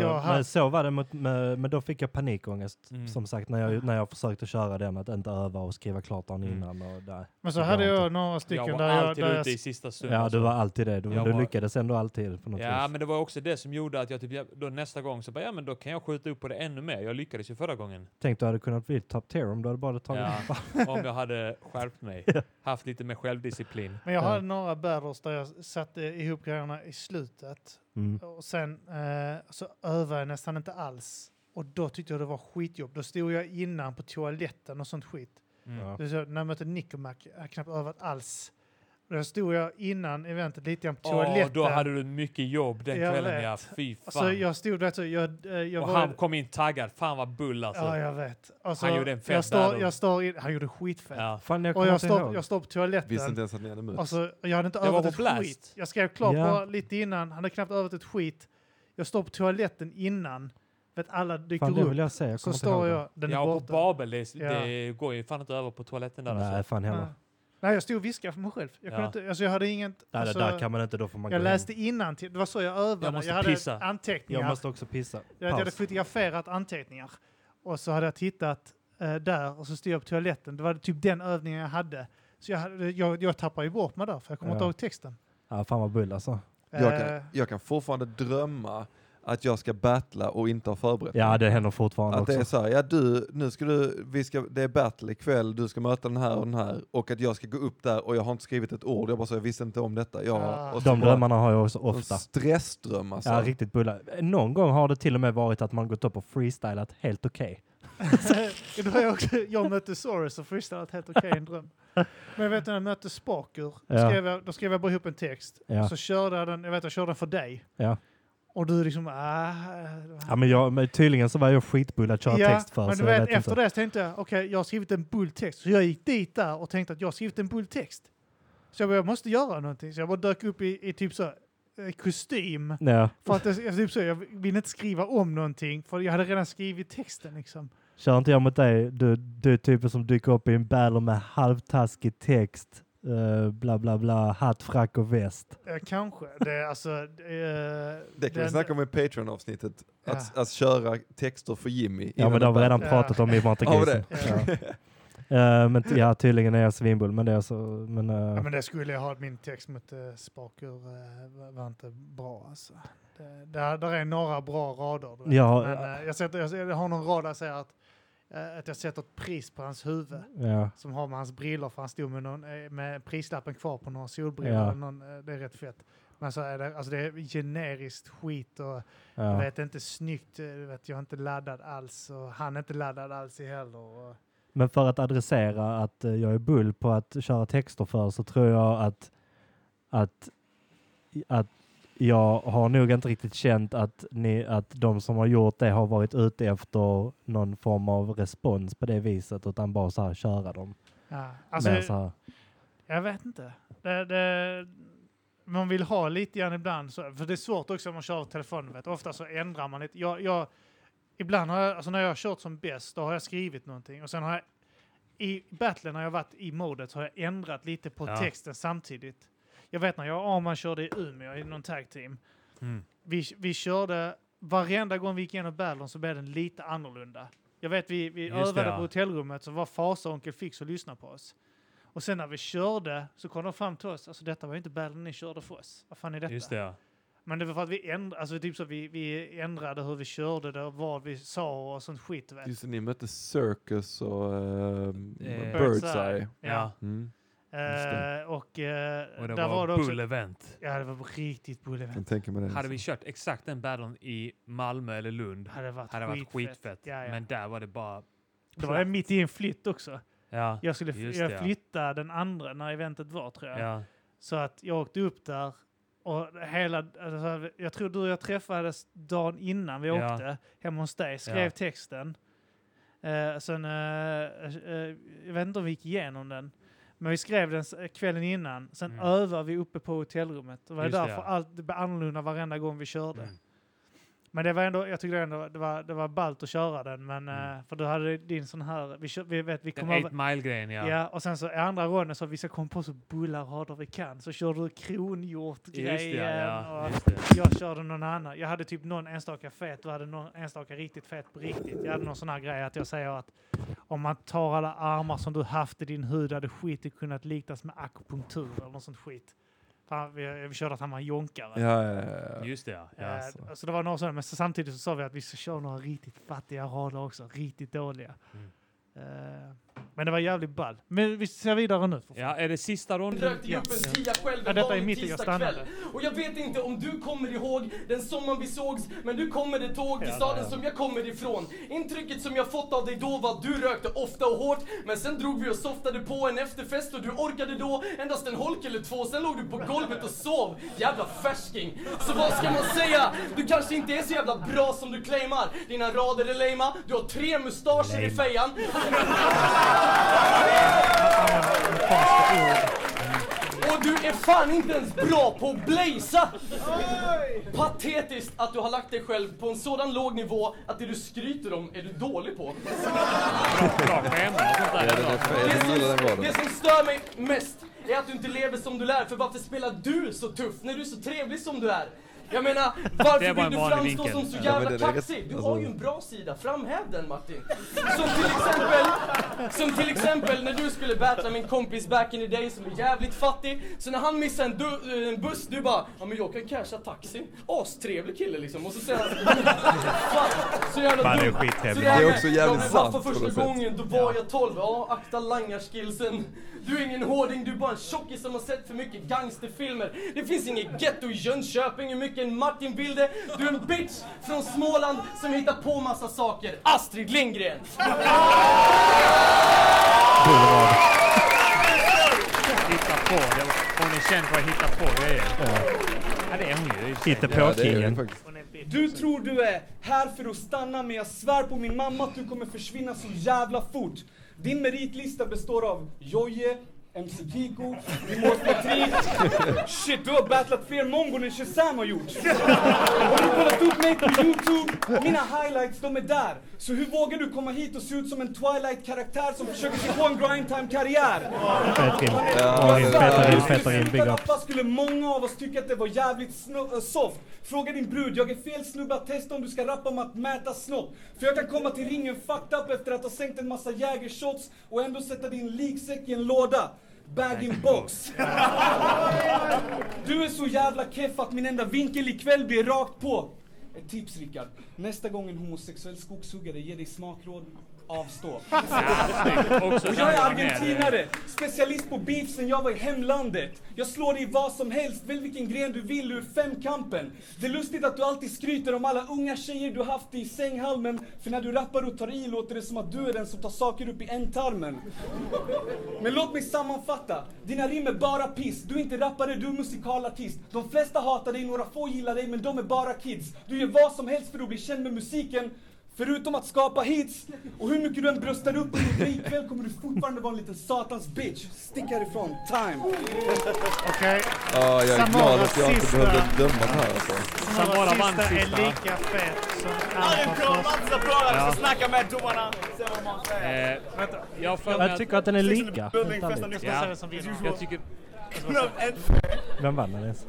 A: alltså jag har
C: men så var det, mot, med, men då fick jag panikångest
B: Mm.
C: som sagt när jag, när jag försökte köra den att inte öva och skriva klart dagen
B: Mm.
C: innan. Och där.
A: Men så
C: Det går
A: hade jag
C: inte.
A: några stycken
B: jag var
A: där jag...
B: alltid
A: Där jag
B: ute i sista stund.
C: Ja,
B: alltså.
C: du var alltid det. Du,
B: Jag
C: du
B: var-
C: lyckades ändå alltid på något
B: Ja,
C: vis.
B: men det var också det som gjorde att jag typ, jag- då nästa gång så bara, ja men då kan jag skjuta upp på det ännu mer. Jag lyckades ju förra gången.
C: Tänk du hade kunnat bli top tier om du hade bara tagit...
B: Ja, om jag hade skärpt mig. Haft lite mer självdisciplin.
A: men jag
C: Ja.
A: hade några battles där jag satte ihop grejerna i slutet
C: Mm.
A: och sen eh, så övade jag nästan inte alls. Och då tyckte jag det var skitjobb. Då stod jag innan på toaletten och sånt skit.
B: Mm.
C: Ja.
A: Det är så, när jag mötte Nikomak, jag har knappt övat alls. Då stod jag innan eventet lite grann på
B: Åh,
A: toaletten.
B: då hade du mycket jobb den
A: Jag
B: kvällen
A: vet.
B: ja. Fy fan.
A: Alltså, jag stod där, så jag, eh, jag
B: och
A: var-
B: han kom in taggad. Fan vad bull alltså.
A: Ja, jag vet. Alltså,
B: Han gjorde en fett
A: jag står,
B: där då.
A: jag står in, Han gjorde skitfett.
B: Ja.
C: Fan, jag
A: och
C: kommer
A: jag
C: inte
A: står,
C: ihåg.
A: jag står på toaletten.
D: Visste inte ens att ni hade mötts.
A: Alltså, jag hade inte
B: Det var
A: övat
B: på
A: ett
B: blast.
A: skit. Jag skrev klart
C: Ja.
A: bara lite innan. Han hade knappt övat ett skit. Jag står på toaletten innan. Vet alla dyker
C: Fan, det vill
A: upp.
C: jag säga. Jag
A: Så
C: kommer inte ihåg
A: står
C: det.
A: jag, den
B: Ja,
A: är
B: och
A: borta.
B: på Babel, det, det
A: Ja.
B: går ju fan inte över på toaletten där
C: Nej,
B: alltså.
C: fan heller.
A: Nej. Nej, jag stod och viskade för mig själv. Jag, kunde
B: Ja.
A: inte, alltså, jag hade inget...
C: Nej,
A: Alltså,
C: det där kan man inte. Då får man
A: jag
C: gå
A: läste innan till. Det var så jag övade.
B: Jag måste
A: hade
B: pissa.
C: hem.
A: anteckningar.
C: Jag måste också pissa.
A: Jag hade
C: Paus.
A: fotograferat anteckningar och så hade jag tittat eh, där och så stod jag på toaletten. Det var typ den övningen jag hade. Så jag, hade, jag, jag tappade ju bort mig där för jag kommer
C: Ja.
A: inte ihåg texten.
C: Ja, fan vad bull alltså.
D: Jag
A: Eh,
D: kan, jag kan fortfarande drömma att jag ska battla och inte ha förberett mig.
C: Ja, det händer fortfarande
D: Att det
C: också.
D: är så här, ja du, nu ska du, vi ska, det är battle ikväll, du ska möta den här och den här och att jag ska gå upp där och jag har inte skrivit ett ord, jag bara så, jag visste inte om detta. Jag,
A: Ah.
D: och så
C: De
D: bara-
C: drömmarna har jag också
D: en
C: ofta.
D: Stressdröm alltså.
C: Ja, riktigt bulla. Någon gång har det till och med varit att man gått upp och freestylat helt okej.
A: det var jag, också, jag mötte Soros och freestylat helt okej i en dröm. Men vet du när jag mötte Spaker, då,
C: Ja.
A: skrev jag, då skrev jag bara ihop en text.
C: Ja.
A: Så körde jag den, jag vet jag körde den för dig.
C: Ja.
A: Och du liksom, ah, det var-
C: Ja, men jag, men tydligen så var jag skitbull att köra text för.
A: men
C: så
A: du
C: jag
A: vet,
C: vet
A: efter
C: inte.
A: det så tänkte jag, okej, jag har skrivit en bulltext. Så jag gick dit där och tänkte att jag har skrivit en bulltext. Så jag, bara, jag måste göra någonting. Så jag bara dök upp i, i typ så eh, kostym.
C: Ja,
A: För att det, jag, typ så, jag ville inte skriva om någonting, för jag hade redan skrivit texten liksom.
C: kör inte jag mot dig. Du, du är typen som dyker upp i en battle med halvtaskig text. Uh, bla bla bla, hatt, frack och väst.
A: Eh, kanske. Det, är alltså, eh,
D: det kan vi
A: den-
D: snacka om i Patreon-avsnittet, att, att köra texter för Jimmy.
C: Ja,
D: innan
C: men det har vi
D: en
C: redan
A: Ja.
C: pratat om i
D: Har vi
C: Montagrisen. Ja. Eh, men t- ja, tydligen är jag svinbull, men det är så... Men, eh,
A: Ja, men det skulle jag ha, min text mot eh, Spaker eh, var- var inte bra alltså. Det, där, där är några bra rader. du vet.
C: Ja,
A: men,
C: ja.
A: eh, jag, sätter, jag, jag har någon rad där jag säger att, eh, att jag sätter ett pris på hans huvud
C: ja.
A: som har med hans briller för han stod med, någon, eh, med prislappen kvar på några solbrillor.
C: Ja.
A: eller Någon, eh, det är rätt fett. Men så är det, alltså det är generiskt skit och jag
C: Ja.
A: vet inte snyggt. eh, Du vet, jag är inte laddad alls och han är inte laddad alls i heller. Och,
C: Men för att adressera att eh, jag är bull på att köra texter för så tror jag att, att, att jag har nog inte riktigt känt att, ni, att de som har gjort det har varit ute efter någon form av respons på det viset utan bara så här köra dem.
A: ja. alltså,
C: Mer så här,
A: Jag vet inte. Det, det, man vill ha lite grann ibland, så, för det är svårt också om man kör telefonen. Vet. du. Ofta så ändrar man lite. Jag, jag, ibland har jag, alltså när jag har kört som bäst, då har jag skrivit någonting och sen har jag i battlen när jag varit i modet så har jag ändrat lite på
B: Ja.
A: texten samtidigt. Jag vet när jag och Arman körde i Umeå i någon tag team.
B: Mm.
A: Vi, vi körde, varenda gång vi gick igenom battlen så blev den lite annorlunda. Jag vet vi, vi
B: Just det,
A: övade
B: ja.
A: på hotellrummet så var Fasa och Onkel Fix och lyssnade på oss. Och sen när vi körde så kom de fram till oss. Alltså detta var ju inte battlen ni körde för oss. Vad fan är detta?
B: Just det ja.
A: Men det var för att vi ändrade, alltså typ så vi, vi ändrade hur vi körde det och vad vi sa och sånt skit. Vet.
D: Just det, ni mötte Circus och uh,
B: Eh,
A: Birdseye.
D: Birdseye.
B: ja.
D: Mm. just det.
A: Eh, och, eh,
B: Och det
A: där
B: var,
A: var det också...
B: bull event.
A: Ja, det var riktigt
D: Kan
A: bullevent.
D: tänka mig
C: Mm.
D: det.
B: Hade vi kört exakt den battlen i Malmö eller Lund
A: Hade varit
B: hade det varit
A: skitfett.
B: skitfett.
A: Ja, ja.
B: Men där var det bara...
A: det var jag mitt i en flytt också.
B: Ja.
A: Jag skulle
B: Just det, ja.
A: jag flytta den andra när eventet var tror jag.
B: ja.
A: Så att jag åkte upp där och hela, alltså, jag tror du och jag träffades dagen innan vi
B: Ja.
A: åkte hemma hos dig, skrev
B: Ja.
A: texten. Eh, sen, eh, eh, jag vet inte om vi gick igenom den, men vi skrev den s- kvällen innan. Sen
B: Mm.
A: övade vi uppe på hotellrummet. Det var
B: Just det,
A: därför
B: ja.
A: allt det blev annorlunda varenda gång vi körde.
B: Mm.
A: Men det var ändå, jag tyckte ändå det var, det var ballt att köra den, men
B: Mm.
A: eh, för du hade din sån här, vi, kö- vi vet, vi
B: Den
A: kom
B: 8
A: över,
B: mile-grejen ja.
A: Ja. och sen så i andra ronden så vi ska komma på så bulla rader vi kan. Så körde du
B: Just det,
A: kronhjort-grejen
B: ja.
A: och
B: Just det.
A: jag körde någon annan. Jag hade typ någon enstaka fet, du hade någon enstaka riktigt fet på riktigt. Jag hade någon sån här grej att jag säger att om man tar alla armar som du haft i din hud hade skitet kunnat liknas med akupunktur eller något sånt skit. Fan, vi, vi körde att han var en jonkare.
D: Ja, ja, ja, ja.
B: Just det ja.
A: Eh,
B: ja.
A: så. det var några sådana, men så samtidigt
B: Mm.
A: så sa vi att vi ska köra några riktigt fattiga rader också, riktigt dåliga. Eh, Men det var jävligt ball. Men vi ser vidare nu. För
B: Ja, är det sista ronden?
H: Rökte upp en tia själv
A: Ja,
H: en
A: detta är
H: vanlig
A: mitt i, jag
H: tisdagkväll.
A: stannade.
H: Och jag vet inte om du kommer ihåg den sommaren vi sågs, men du kommer det tåg till staden som jag kommer ifrån. Intrycket som jag fått av dig då var att du rökte ofta och hårt, men sen drog vi och softade på en efterfest och du orkade då endast en holk eller två, sen låg du på golvet och sov. Jävla färsking! Så vad ska man säga? Du kanske inte är så jävla bra som du claimar. Dina rader är lame, du har tre mustascher i fejan. Och du är fan inte ens bra på att blazea! Patetiskt att du har lagt dig själv på en sådan låg nivå att det du skryter om är du dålig på.
B: Bra skämt och sånt där.
D: Den är fel,
H: Det
D: jag gillar den
H: som, det
D: raden.
H: som stör mig mest är att du inte lever som du lär, för varför spelar du så tuff när du är så trevlig som du är? Jag menar, varför
B: Det var
H: vill
B: en
H: du
B: vanlig
H: framstå
B: vinkel.
H: som så
D: Ja, men
H: jävla
D: det är rätt.
H: kaxig? Du
D: Alltså-
H: har ju en bra sida, framhäv den Martin. Som till exempel, som till exempel när du skulle battla min kompis back in the day som är jävligt fattig. Så när han missar en, du, en buss, du bara ja men jag kan casha taxin. Astrevlig kille liksom. Och så säger han fan, så jävla
B: Fan, det är
H: dumt.
B: skittrevligt.
H: här
D: Det är
H: med-
D: också jävligt
H: jag blev
D: sant
H: baffad
D: på något
H: första
D: sätt.
H: gången, då var jag 12. Ja, akta langarskillsen. Du är ingen hårding, du är bara en tjockis som har sett för mycket gangsterfilmer. Det finns inget getto i Jönköping hur mycket en Martin Wilde. Du är en bitch från Småland som hittar på massa saker. Astrid Lindgren!
B: Hitta på. Det var- Hon är känd för att hitta på grejer. Ja, det är hon ju. i och för sig.
C: Hitta
D: Ja,
C: på
D: det är
C: killen.
D: det faktiskt.
J: Du tror du är här för att stanna men jag svär på min mamma att du kommer försvinna så jävla fort. Din meritlista består av Jojje, MC Kiko, Mimos Patrik. Shit, du har battlat fler mongon än Shazam har gjort. Har du kollat upp mig på Youtube? Mina highlights, de är där. Så hur vågar du komma hit och se ut som en Twilight-karaktär som försöker sig på en grindtime-karriär?
C: Fett rim.
D: Ja, det-
C: Fett rim,
J: Om vi
C: fett
J: skulle
C: rim. Big
J: sluta
C: up.
J: rappa skulle många av oss tycka att det var jävligt sno- äh, soft. Fråga din brud, jag är fel snubbe att testa om du ska rappa om att mäta snopp. För jag kan komma till ringen fucked up efter att ha sänkt en massa jägershots och ändå sätta din liksäck i en låda. Bag in box. Du är så jävla keff att min enda vinkel ikväll blir rakt på. Ett tips Rickard. Nästa gång en homosexuell skogshuggare ger dig smakråd, avstå.
B: Också
J: Och jag är
B: känd för att vara med.
J: argentinare, specialist på beef sen jag var i hemlandet. Jag slår dig i vad som helst, välj vilken gren du vill ur femkampen. Det är lustigt att du alltid skryter om alla unga tjejer du haft i sänghalmen, för när du rappar och tar i låter det som att du är den som tar saker upp i ändtarmen. Men låt mig sammanfatta. Dina rim är bara piss. Du är inte rappare, du är musikalartist. De flesta hatar dig, några få gillar dig, men de är bara kids. Du gör vad som helst för att bli känd med musiken. Förutom att skapa hits. Och hur mycket du än bröstar upp under ikväll kommer du fortfarande vara en liten satans bitch. Stick härifrån, time!
A: Okej,
D: Ja, jag är glad att jag inte
A: Sista-
D: behövde döma den här alltså.
B: Samara
A: Samara
B: vann
A: sista är
B: sista.
A: lika fet som
G: Hade en bra
A: Anton
G: match applåder, så snacka med domarna. Se vad man säger.
B: Eh, Jag har för mig
C: Jag
B: att...
C: tycker att den är
G: Six in the
C: lika.
G: building,
C: Vänta
G: fest
C: lite.
G: on next
B: Ja,
G: person.
A: som vinner.
B: jag tycker...
G: No, and
C: Vem vann den ens?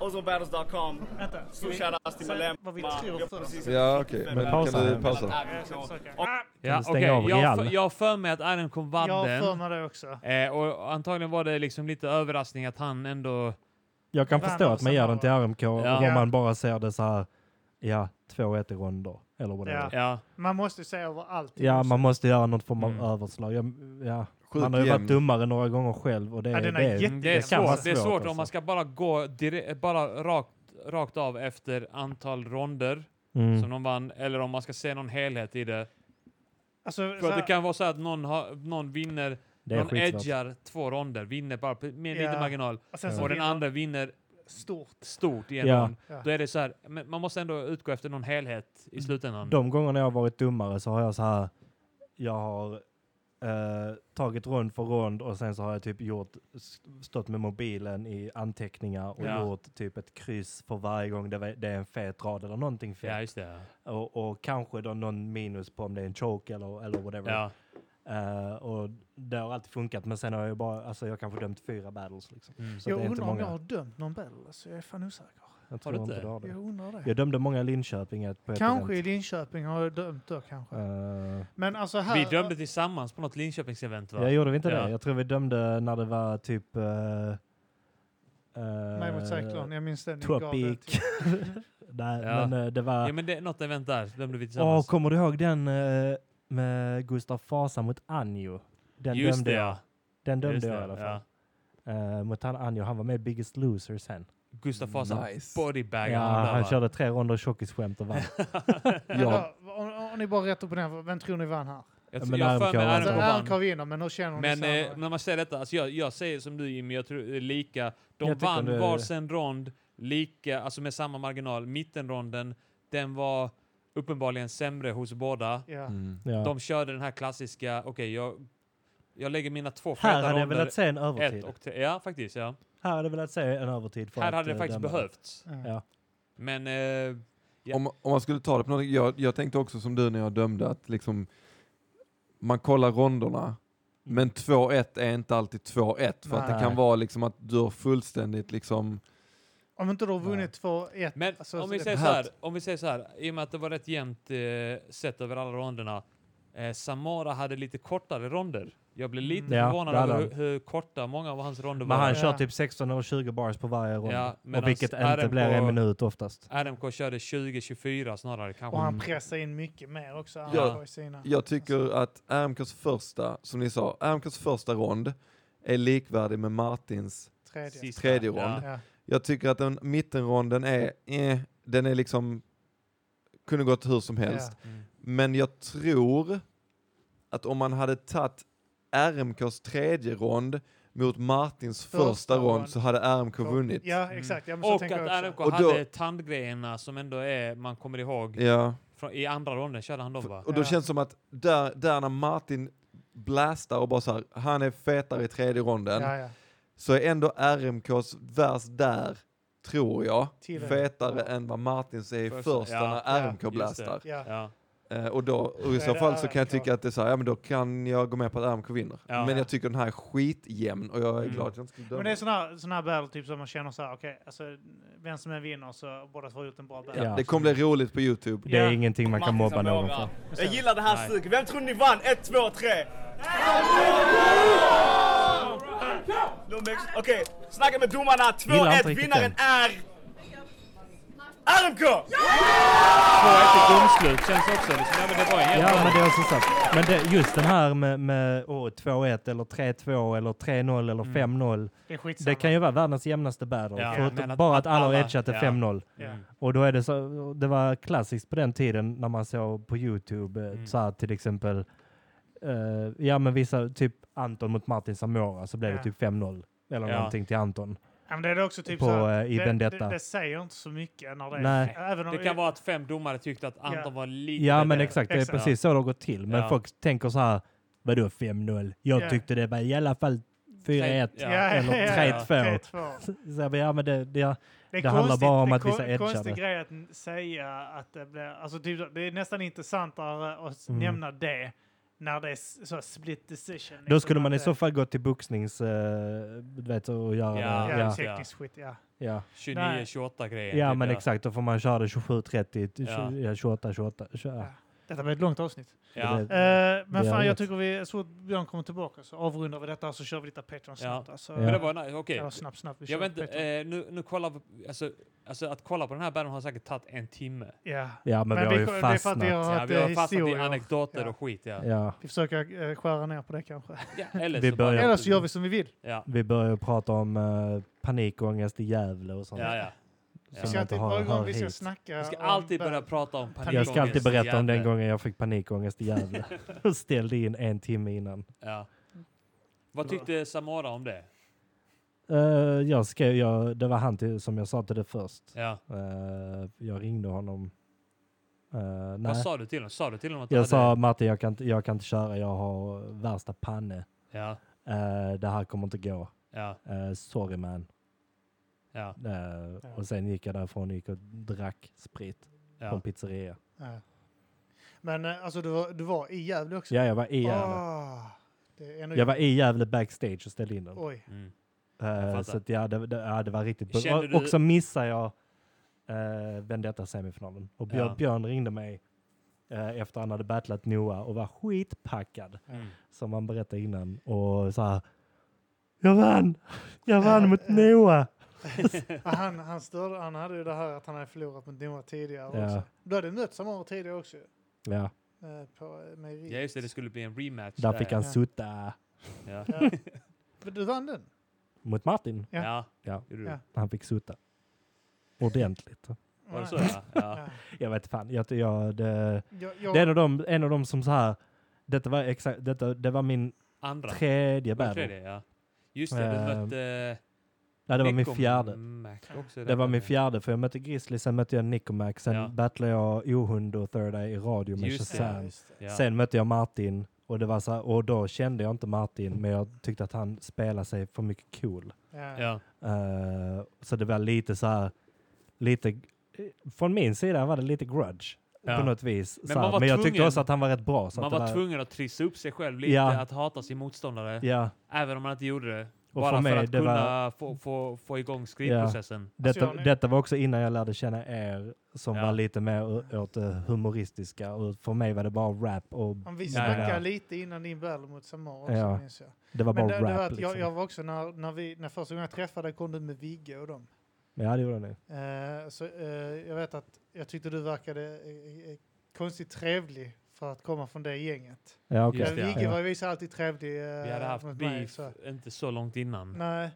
G: Ozonbattles.com.
A: Vänta, ska
G: Stor
A: vi-
G: shoutout till
A: säg
G: Malem.
A: vad vi tror först. Eh,
D: Ja, okej. Men
C: Pausa.
D: kan du pausa?
A: Jag ska försöka. Ah,
B: Ja,
C: stänga
B: okay. jag,
C: av
B: har
C: Real?
B: för- jag har för mig att Adam vann
A: Jag har för
B: den.
A: mig det också.
B: Eh, och antagligen var det liksom lite överraskning att han ändå...
C: Jag kan
A: Vann alltså?
C: förstå att man ger
A: Samara.
C: den till RMK
B: Ja.
C: om man bara ser det så här, ja, 2-1 i ronder. Eller vad det
A: Ja.
C: är.
B: Ja,
A: Man måste se över allt.
C: Ja, man måste göra någon form av
B: Liksom. Mm.
C: överslag. Ja, ja.
D: Sjukt
C: Man har ju
D: jämn.
C: varit dummare några gånger själv och det,
A: Ja,
C: det,
A: den är
C: är,
A: jätte-
B: det är
A: Mm, Det kan
B: svårt.
A: vara
B: Det är
C: svårt,
B: svårt om
C: alltså.
B: man ska bara gå dire- bara rakt, rakt av efter antal ronder som
C: mm.
B: de vann, eller om man ska se någon helhet i det.
A: Alltså,
B: För
A: så
B: att det
A: här,
B: kan vara så att någon, har, någon vinner,
C: det är
B: någon
C: skitsvårt.
B: edgar två ronder, vinner bara på- med en
A: Ja.
B: liten marginal,
A: och sen alltså, så
B: och den
A: vinner
B: andra vinner
A: stort.
B: stort i en
C: Ja.
B: rond.
A: Ja.
B: Då är det så här, men man måste ändå utgå efter någon helhet i slutändan.
C: De gångerna jag har varit dummare så har jag så här, jag har eh, tagit rond för rond och sen så har jag typ gjort, st- stått med mobilen i anteckningar och
B: Ja.
C: gjort typ ett kryss för varje gång det, var- det är en fet rad eller någonting
B: Ja,
C: fett.
B: just det.
C: Och, och kanske då någon minus på om det är en choke eller, eller whatever.
B: Ja.
C: Eh, och det har alltid funkat men sen har jag ju bara, alltså jag har kanske dömt fyra battles liksom.
B: Mm.
C: Så
A: Jag
C: det är inte
A: undrar om
C: många.
A: jag har dömt någon battle. Alltså, jag är fan osäker.
C: Jag
B: du
C: tror
B: inte?
C: inte du har
A: Jag
C: det.
A: undrar det.
C: Jag dömde många i Linköping ett- på ett
A: Kanske i
C: event.
A: Linköping har jag dömt då kanske.
C: Eh,
A: Men alltså här...
B: Vi dömde tillsammans på något Linköpings-event va?
C: ja, gjorde vi inte
B: Ja.
C: det? Jag tror vi dömde när det var typ... eh, eh,
A: Mig mot Cyclone, jag minns den. ni gav det
C: Tropic.
A: till-
C: Nej,
B: Ja.
C: men eh, det var...
B: Ja men det, något event där dömde vi
C: Åh,
B: tillsammans.
C: kommer du ihåg den eh, med Gustav Fasa mot Anjo. Den
B: Just
C: dömde
B: det,
C: jag.
B: ja.
C: Den dömde
B: Just
C: jag
B: det,
C: i alla fall.
B: ja.
C: Eh, mot han Anjo. Han var med i Biggest Loser sen.
B: Gustav Fasa
D: Nice.
B: bodybagade
C: ja,
B: honom där,
C: han
B: va?
C: körde tre ronder tjockisskämt och vann.
D: Ja,
A: Vadå? Om, om ni bara rätt upp och ner, vem tror ni vann här?
B: Jag,
C: Ja,
B: tror-
C: men
B: jag har för mig
C: Armkov-
A: Alltså,
B: Armkov vann.
A: Ernkrov vinner, men hur känner ni
B: Men eh,
A: senare?
B: när man säger detta, alltså jag, jag säger som du Jimmy, jag tror det är lika. De
C: Jag tycker
B: vann
C: det-
B: varsin rond, lika, alltså med samma marginal. Mittenronden, den var uppenbarligen sämre hos båda.
A: Ja.
D: Mm.
C: Ja.
B: De körde den här klassiska, okej jag, jag lägger mina två
C: här hade
B: ronder,
C: jag velat se en övertid.
B: ett och tre. Ja, faktiskt. Ja.
C: Här hade jag velat se en övertid. för
B: Här
C: att,
B: hade det
C: eh,
B: faktiskt
C: döma.
B: behövts.
A: Ja.
C: Ja.
B: Men eh, Ja.
D: Om, om man skulle ta det på något, jag, jag tänkte också som du när jag dömde att liksom man kollar ronderna
A: Mm.
D: men 2-1 är inte alltid 2-1 för att det
C: Nej.
D: kan vara liksom att du har fullständigt liksom
A: Om inte du har vunnit 2-1.
B: Men
A: alltså,
B: om, vi
A: det-
B: säger så här, om vi säger så här, i och med att det var rätt jämnt eh, sett över alla ronderna. Eh, Samara hade lite kortare ronder. Jag blev lite
C: Ja,
B: förvånad
C: det hade
B: över hur,
C: han.
B: hur korta många av hans ronder var.
C: Men
A: Ja.
C: han kör typ 16 eller 20 bars på varje rond.
B: Ja, medans
C: och vilket inte
B: RMK
C: blir en minut oftast.
B: RMK körde 20-24 snarare
A: Och
B: kanske.
A: han pressar in mycket mer också. Han
D: Ja.
A: har i sina. alltså,
D: Jag tycker att RMKs första, som ni sa, RMKs första rond är likvärdig med Martins.
A: Tredje.
B: Sista.
D: Tredje rond.
A: Ja.
D: Jag tycker att den mittenronden är, eh, den är liksom, kunde gått hur som helst.
B: Ja. Mm.
D: Men jag tror att om man hade tagit RMKs tredje rond mot Martins första,
A: Första
D: rond
A: rond.
D: så hade RMK vunnit.
A: Ja, exakt. Ja, men så
B: Och att
A: tänker jag
B: RMK
A: också.
D: Och då-
B: hade tandgrejerna som ändå är, man kommer ihåg,
D: Ja.
B: från, i andra ronden körde han dem va?
D: Och då
A: Ja.
D: känns det som att där, där när Martin blastar och bara så här, han är fetare i tredje ronden.
A: Ja, ja.
D: så är ändå RMKs vers där, tror jag,
A: Till och med.
D: fetare än vad Martins är i
B: Första,
D: första
B: ja,
D: när
A: ja,
D: RMK blastar.
A: Ja.
B: Ja.
D: Eh, och, då, och i
A: är
D: så
A: det
D: fall så kan jag
A: RMK.
D: tycka att det är så här, ja men då kan jag gå med på att RMK vinner.
B: Ja.
D: Men jag tycker den här är skitjämn och jag är
B: Mm.
D: glad att jag inte skulle döma.
A: Men det är sån här, sån här battle typ som man känner så här, okej, alltså vem som än vinner så båda två har gjort en bra battle.
D: ja. det kommer bli roligt på Youtube.
C: Det är
A: Ja.
C: ingenting man kan
G: Martin
C: mobba någon
G: Samora.
C: för.
G: Jag gillar det här suget. Vem tror ni vann? 1, 2, 3. Okej, snacka med domarna. 2,
C: Gillar inte
G: 1.
C: riktigt
G: Vinnaren är... RMK!
B: Två domslut känns också, liksom, ja, men det var en
C: Ja,
B: jävla...
C: men det är också sant. Men det, just den här med, med åh, 2-1 eller 3-2 eller 3-0 eller 5-0.
A: Det är skitsamma.
C: Det kan ju vara världens jämnaste battle.
B: Mm. Ja, men
C: förutom
B: att-
C: bara att alla har
B: alla-
C: edgat till
B: ja.
C: 5-0.
A: Ja.
B: Mm.
C: Och då är det så, det var klassiskt på den tiden när man såg på Youtube, eh,
B: Mm.
C: så här, till exempel, eh, ja men vissa, typ Anton mot Martin Samora så blev
A: Ja.
C: det typ 5-0. Eller
B: Ja.
C: någonting till Anton.
A: Ja, men det är också typ
C: På,
A: så här,
C: eh, i
A: det,
C: Vendetta.
A: Det, det säger inte så mycket när det är...
C: Nej.
A: Även om,
B: Det kan vara att fem domare tyckte att Anton
A: Ja.
B: var lite
C: Ja men
B: bättre.
C: exakt, det är
A: Exakt.
C: precis så det har gått till. Men
B: Ja.
C: folk tänker så här, vadå 5-0? Jag
A: Ja.
C: tyckte det var i alla fall 4-1.
B: Ja.
C: eller
A: ja,
C: 3-2.
A: ja, 3-2.
C: Så jag bara, ja men det, det, ja.
A: Det, är
C: Det handlar bara om att
A: det är
C: vissa
A: kon-
C: edgar
A: konstig
C: det.
A: grej att n- säga att det blir... Alltså typ, så- det är nästan intressantare att s-
C: Mm.
A: nämna det när det är s- så här split decision.
C: Då skulle
A: liksom,
C: man i
A: att
C: så
A: det-
C: fall gå till boxnings, eh, du vet, och göra
B: Ja,
C: det.
A: Ja,
C: Ja,
A: teknisk skit, ja.
C: ja.
B: 29-28 grejer.
C: ja
B: typ,
C: men exakt, då får man köra det 27-30,
B: Ja.
C: 20 ja. 28, 28, 28.
A: Detta blir ett långt avsnitt.
B: Ja.
A: Eh, men
C: Det är
A: fan, jag
C: rätt.
A: tycker vi, så fort Björn kommer tillbaka så avrundar vi detta och så kör vi lite Patreon snabbt. Alltså,
C: Ja.
B: Men det var nice, okej.
A: Eller snabbt, snabbt. Vi
B: Jag
A: kör
B: vet inte,
A: Patreon.
B: eh, nu, nu kollar vi, alltså, alltså att kolla på den här bandet har säkert tagit en timme.
A: Ja.
C: Ja, men,
A: Men
C: vi
A: vi,
C: har
A: det
C: ju
A: är för att
C: fastnat.
A: vi har
B: eh, Ja,
A: haft
B: vi har
A: eh,
B: fastnat i
A: historier.
B: anekdoter
A: Ja.
B: och skit. Ja.
C: Ja,
A: Vi försöker eh, skära ner på det kanske.
B: Ja, eller
C: Vi
B: så bara-
C: börjar-
A: Eller så gör vi som vi vill.
B: Ja,
C: vi börjar ju prata om uh, panikångest i Gävle och sånt.
B: ja, ja.
C: Som
B: Ja.
A: Vi ska
C: man inte
A: alltid,
C: har,
A: varje
C: hör
A: gång vi ska
C: hit.
A: snacka
B: Vi ska
A: om
B: alltid börja
A: band.
B: prata om panikångest.
C: Jag ska alltid berätta om den
B: Jävlar.
C: gången jag fick panikångest i Gävle. och ställde in en timme innan.
B: Ja. Vad tyckte Samara om det?
C: Eh, jag skrev, jag, det var han till, som jag sa till det först.
B: Ja.
C: Eh, jag ringde honom. Eh, nej.
B: Vad sa du till honom? Sa du till honom att du
C: Jag
B: hade-
C: sa Martin, jag kan, inte- jag kan inte köra, jag har värsta panne.
B: Ja,
C: Eh, det här kommer inte gå.
B: ja,
C: Eh, sorry man.
B: ja.
C: Eh,
A: Ja.
C: Och sen gick jag därifrån och gick och drack sprit på
B: ja.
C: en pizzeria.
A: Ja. Men eh, alltså du var, du var i Gävle också?
C: Ja, jag var i Gävle.
A: Ah, det är ännu
C: Jag var i Gävle backstage och ställde in den.
A: Oj.
B: Mm.
C: Eh,
B: fattar.
C: så att, ja, det, det, ja, det var riktigt bra.
B: Kände
C: Och,
B: du-
C: och så missade jag eh, Vendetta-semifinalen. Och Björn,
B: Ja.
C: Björn ringde mig eh, efter han hade battlat Noah och var skitpackad,
B: Mm.
C: som han berättade innan. Och så här, jag vann! Jag vann mot Noah!
A: Ja, Han, han, störde, han hade ju det här att han hade förlorat mot Noah tidigare
C: Ja.
A: också. Du hade mött Samara tidigare också.
C: Ja,
A: eh, på eh, mejeriet.
B: Ja just det, det skulle bli en rematch
C: Där fick han
A: Ja.
C: sutta
B: Ja,
A: Ja. Men Du vann den.
C: mot Martin.
B: ja.
A: Ja.
B: ja.
C: Ja.
B: gjorde du.
A: Ja.
C: Han fick sutta. Ordentligt.
B: Var det så? Ja. ja.
A: Ja.
C: Jag vet fan, jag, jag, det,
A: Jag, jag,
C: det är en av dem, en av dem som så här, detta var exakt, detta, det var min
B: Andra.
C: tredje
B: Var det
C: battle.
B: tredje, ja. Just det, du
C: Ehm,
B: mötte...
C: Nej, det var min
B: Nico
C: fjärde.
B: Mac också.
C: Det var min fjärde, för jag mötte Grizzly, sen mötte jag Nicomac, sen
B: Ja.
C: battlade jag Ohund och Third Eye i radio med
B: Just det.
A: ja,
C: Shazam.
A: just det.
B: Ja.
C: Sen mötte jag Martin och, det var så här, och då kände jag inte Martin, men jag tyckte att han spelade sig för mycket cool.
A: Ja.
B: Ja.
C: Eh, så det var lite så här, lite, från min sida var det lite grudge
B: Ja.
C: på något vis.
B: Men
C: Men, så
B: man
C: här.
B: var
C: men jag tyckte
B: tvungen-
C: också att han var rätt bra. Så
B: Man
C: att det
B: var
C: var,
B: tvungen att trissa upp sig själv lite,
C: Ja.
B: att hata sin motståndare.
C: Ja,
B: Även om man inte gjorde det.
C: och
B: bara
C: för
B: för,
C: mig,
B: att
C: det
B: kunna
C: var,
B: få, få, få igång skrivprocessen.
C: detta,
A: Alltså, jag-
C: detta var också innan jag lärde känna er som
B: Ja.
C: var lite mer å- åt det humoristiska. Och för mig var det bara rap och
A: Om vi
B: Ja, ja, ja.
A: snackade lite innan din battle mot Samar också,
C: Ja.
A: minns jag.
C: det var bara
A: Men det, det var
C: rap.
A: att jag,
C: liksom.
A: jag var också, när, när, vi, när första gången jag träffade kom du med Vigge och dem.
C: Ja, det gjorde ni.
A: Eh, så, eh, jag vet att jag tyckte du verkade eh, eh, konstigt trevlig för att komma från det gänget.
C: Ja, okej.
B: Just
A: Ja,
B: det,
A: Vigge
C: ja.
A: var ju visst alltid trevlig eh,
B: Vi hade haft
A: mot mig.
B: beef,
A: Så.
B: inte så långt innan.
A: Nej,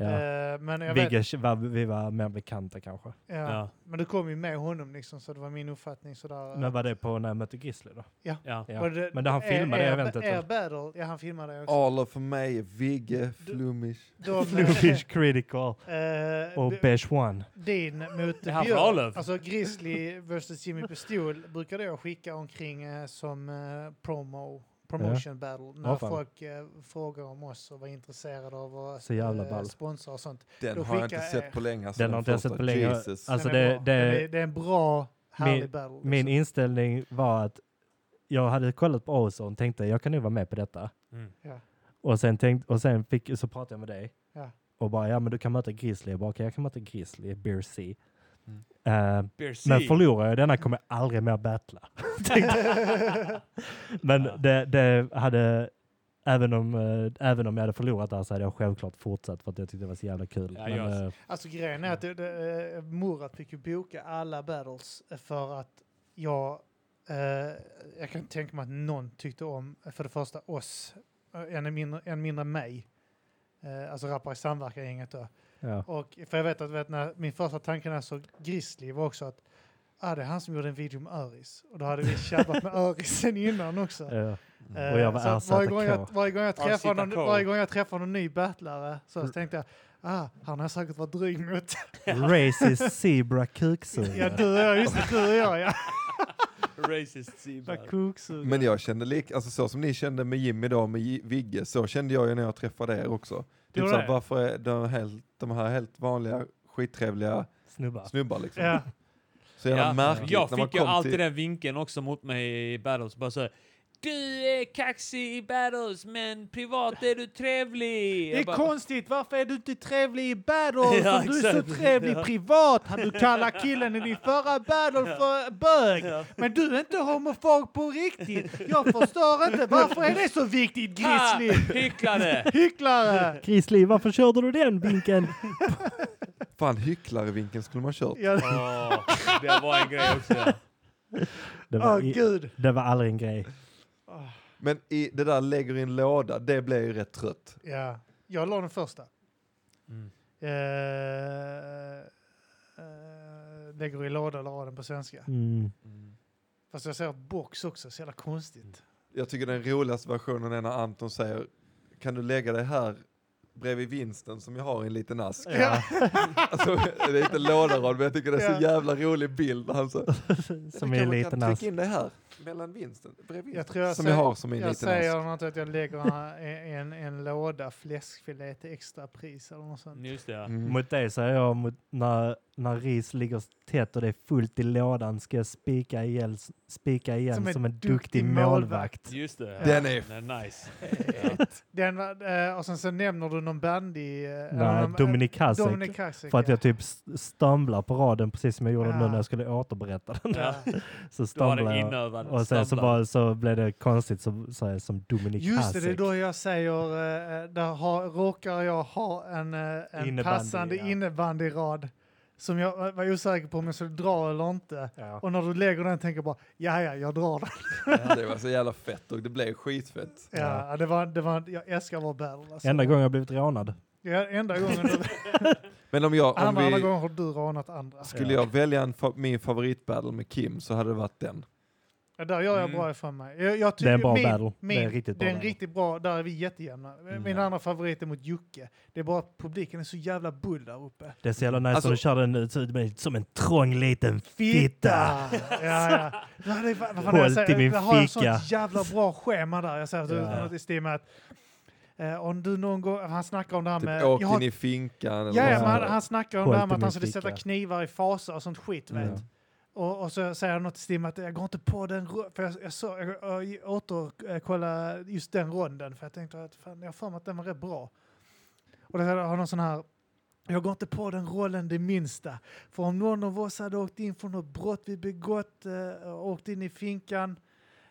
C: Ja.
A: eh, men jag vet,
C: Vigge var, vi var mer bekanta kanske.
A: ja,
B: Ja.
A: Men du kom ju med honom liksom, så det var min uppfattning sådär.
C: Men var det på när jag mötte Grizzly då?
B: Ja.
C: Ja.
A: Var det-
C: Men det han
A: er-
C: filmade
A: er,
C: eventet,
A: Er
C: eller?
A: battle, ja han filmade det också.
D: Arla för mig, Vigge, Flummish.
A: De,
C: Bluefish Critical
A: eh,
C: och
A: d-
C: Beige One.
A: Din mot
B: Det här för
A: Björn,
B: Arlöv.
A: alltså Grizzly vs Jimmy Pistol brukade jag skicka omkring eh, som eh, promo, promotion battle när
C: Ja, fan.
A: folk eh, frågar om oss och var intresserade av att
C: Så jävla
A: eh,
C: ball.
A: sponsra och sånt.
D: Den
A: Då
D: har jag
A: skickar
D: inte
A: jag er.
D: sett på länge. alltså,
C: Den har inte jag
D: första.
C: sett på länge.
D: Jesus.
C: Alltså
A: Den är
C: det,
A: bra. Den är,
C: det,
A: det är en bra, härlig battle. Liksom.
C: min inställning var att jag hade kollat på Ozone och tänkte jag kan nog vara med på detta.
B: Mm.
A: Ja.
C: Och sen, tänkt, och sen fick, så pratade jag med dig
A: Ja.
C: och bara ja men du kan möta Grizzly. Jag bara okej jag kan möta Grizzly, Beer C.
D: Mm.
C: Eh,
B: Beer
C: men
B: C.
C: förlorar jag denna kommer jag aldrig mer battla. Tänkte jag. men
B: Ja.
C: det, det hade, även om, eh, även om jag hade förlorat där så hade jag självklart fortsatt för att jag tyckte det var så jävla kul.
B: Ja,
C: men,
B: jag-
C: eh,
A: Alltså grejen är att det, det, eh, Murat fick ju boka alla battles för att jag, eh, jag kan tänka mig att någon tyckte om, eh, för det första oss, eh, än mindre, än mindre mig. Eh, alltså Rappare i samverkan-gänget då.
C: eh, ja.
A: Och, för jag vet att vet, när min första tanke när jag såg Grizzly var också att ah, det är han som gjorde en video med Öris. Och då hade vi tjabbat med Öris sen innan också.
C: eh,
A: Eh,
C: Och jag var
A: så att varje,
C: RZK.
A: gång jag, varje, gång jag träffar någon,
B: RZK.
A: varje gång jag träffar någon ny battlare så
C: Mm.
A: tänkte jag ah, han har säkert varit dryg mot.
C: Eh, Racist Zebra kuksugare.
A: ja, du och jag, just det, du och jag ja.
B: Racist Zebra.
A: Kuksugare.
D: Men jag kände lik, alltså så som ni kände med Jimmy då, med J- Vigge, så kände jag ju när jag träffade er också.
A: Gjorde
D: Typ så
A: det?
D: här, varför är de, helt, de här helt vanliga, skittrevliga
C: Snubbar.
D: snubbar liksom?
A: Ja,
D: Så jävla märkligt
B: Jag
D: när man
B: fick ju
D: kom
B: alltid
D: till...
B: den vinkeln också mot mig i battles. Bara så här, du är kaxig i battles, men privat är du trevlig.
A: det är
B: Jag bara,
A: konstigt, varför är du inte trevlig i battle?
B: Ja,
A: om du är så
B: exakt.
A: trevlig
B: Ja.
A: privat. Du kallar killen i din förra battle för bög. Men du är inte homofob på riktigt. Jag förstår inte, varför är det så viktigt
B: "Ah,
A: Grizzly?
B: Hycklare!
A: Hycklare!
C: Grizzly, varför körde du den vinkeln?
D: Fan, hycklarvinkeln skulle man kört.
A: Ja,
B: Åh, det var en grej också. ja.
C: Det var,
A: Åh
C: i,
A: gud.
C: det var aldrig en grej.
D: Men i, det där lägger i en låda, det blev ju rätt trött.
A: Ja, jag la den första.
B: Mm.
A: Eh, eh, lägger i låda eller la den på svenska.
C: Mm.
A: Fast jag säger box också, så jävla konstigt.
D: Jag tycker den roligaste versionen är när Anton säger, kan du lägga dig här bredvid vinsten som jag har i en liten ask?
A: Ja.
D: Alltså, det är inte en lådarad, men jag tycker det är så
A: Ja.
D: jävla rolig bild. när Han så,
C: Som är en liten ask.
D: in det här mellan vinsten, bredvid.
A: Jag tror jag
D: som
A: säger-
D: jag har som en
A: Jag
D: liten ask.
A: säger något att jag lägger en, en, en låda fläskfilé till extra pris eller något sånt.
B: Just det, ja.
D: Mm.
C: Mot dig säger jag, mot, när, när ris ligger tätt och det är fullt i lådan ska jag spika igen, spika igen som, en duktig, målvakt.
B: Just det.
D: Den är
B: Den är nice. Ja.
A: Den, var- eh, och sen så nämner du någon bandy... eh, eller
C: Nej,
A: någon-
C: Dominik Hasek.
A: Dominic Hasek.
C: För att
A: ja.
C: jag typ s- stumlar på raden precis som jag gjorde nu
A: Ah.
C: när jag skulle återberätta den.
B: Ja.
C: Så
B: Då var
C: stumlar
B: det
C: jag.
B: inövad.
C: Och sen så,
B: Snubblar.
C: bara, så blev det konstigt som, så här, som Dominik
A: Just det,
C: Hasek.
A: det är då jag säger, eh, där har, råkar jag ha en, eh, en
C: Innebandy,
A: passande
C: ja.
A: innebandyrad som jag eh, var osäker på om jag skulle dra eller inte.
C: Ja.
A: Och när du lägger den tänker jag bara, ja, ja, jag drar den.
D: Det var så jävla fett och det blev skitfett.
A: Ja, det var, det var, jag älskar vår battle. Alltså.
C: Enda gången jag blivit rånad.
A: Ja, enda gången. Du,
D: Men om jag, om
A: andra, andra
D: vi,
A: gången har du rånat andra.
D: skulle jag välja en fa- min favoritbattle med Kim så hade det varit den.
A: Ja, där gör jag
B: Mm.
A: bra ifrån mig. Jag, jag
C: Det är en bra
A: min,
C: battle.
A: Min,
C: Det är en riktigt bra
A: Det är en
C: battle. Mm,
A: riktigt bra, där är vi jättejämna. Min
C: ja.
A: andra favorit är mot Jocke. Det är bara att publiken är så jävla bull där uppe.
C: Det är så jävla nice
D: Alltså-
C: när du kör den ut så- men som en trång liten fitta.
A: Ja, ja. Det här är- vad fan är det
C: Håll
A: jag säger?
C: till min
A: Där har jag
C: fika.
A: sånt jävla bra schema där. Jag säger att
C: Ja.
A: något i stil med att eh, om du någon gång, han snackar om det här
D: Typ
A: med...
D: åk
A: jag har-
D: in i finkan eller
A: Ja,
D: något
A: ja,
D: sånt
A: men han,
D: där.
A: han snackar om
C: Håll
A: det här
C: till
A: med att han
C: min
A: skulle
C: fika.
A: sätta knivar i fasor och sånt skit, vet.
C: Ja.
A: Och, och så säger han något i stil med att jag går inte på den ro- för jag, jag, så, jag, jag återkollade just den ronden för jag tänkte att fan, jag har för mig att den var rätt bra. Och det här har någon sån här jag går inte på den rollen det minsta. För om någon av oss hade åkt in för något brott vi begått eh, och åkt in i finkan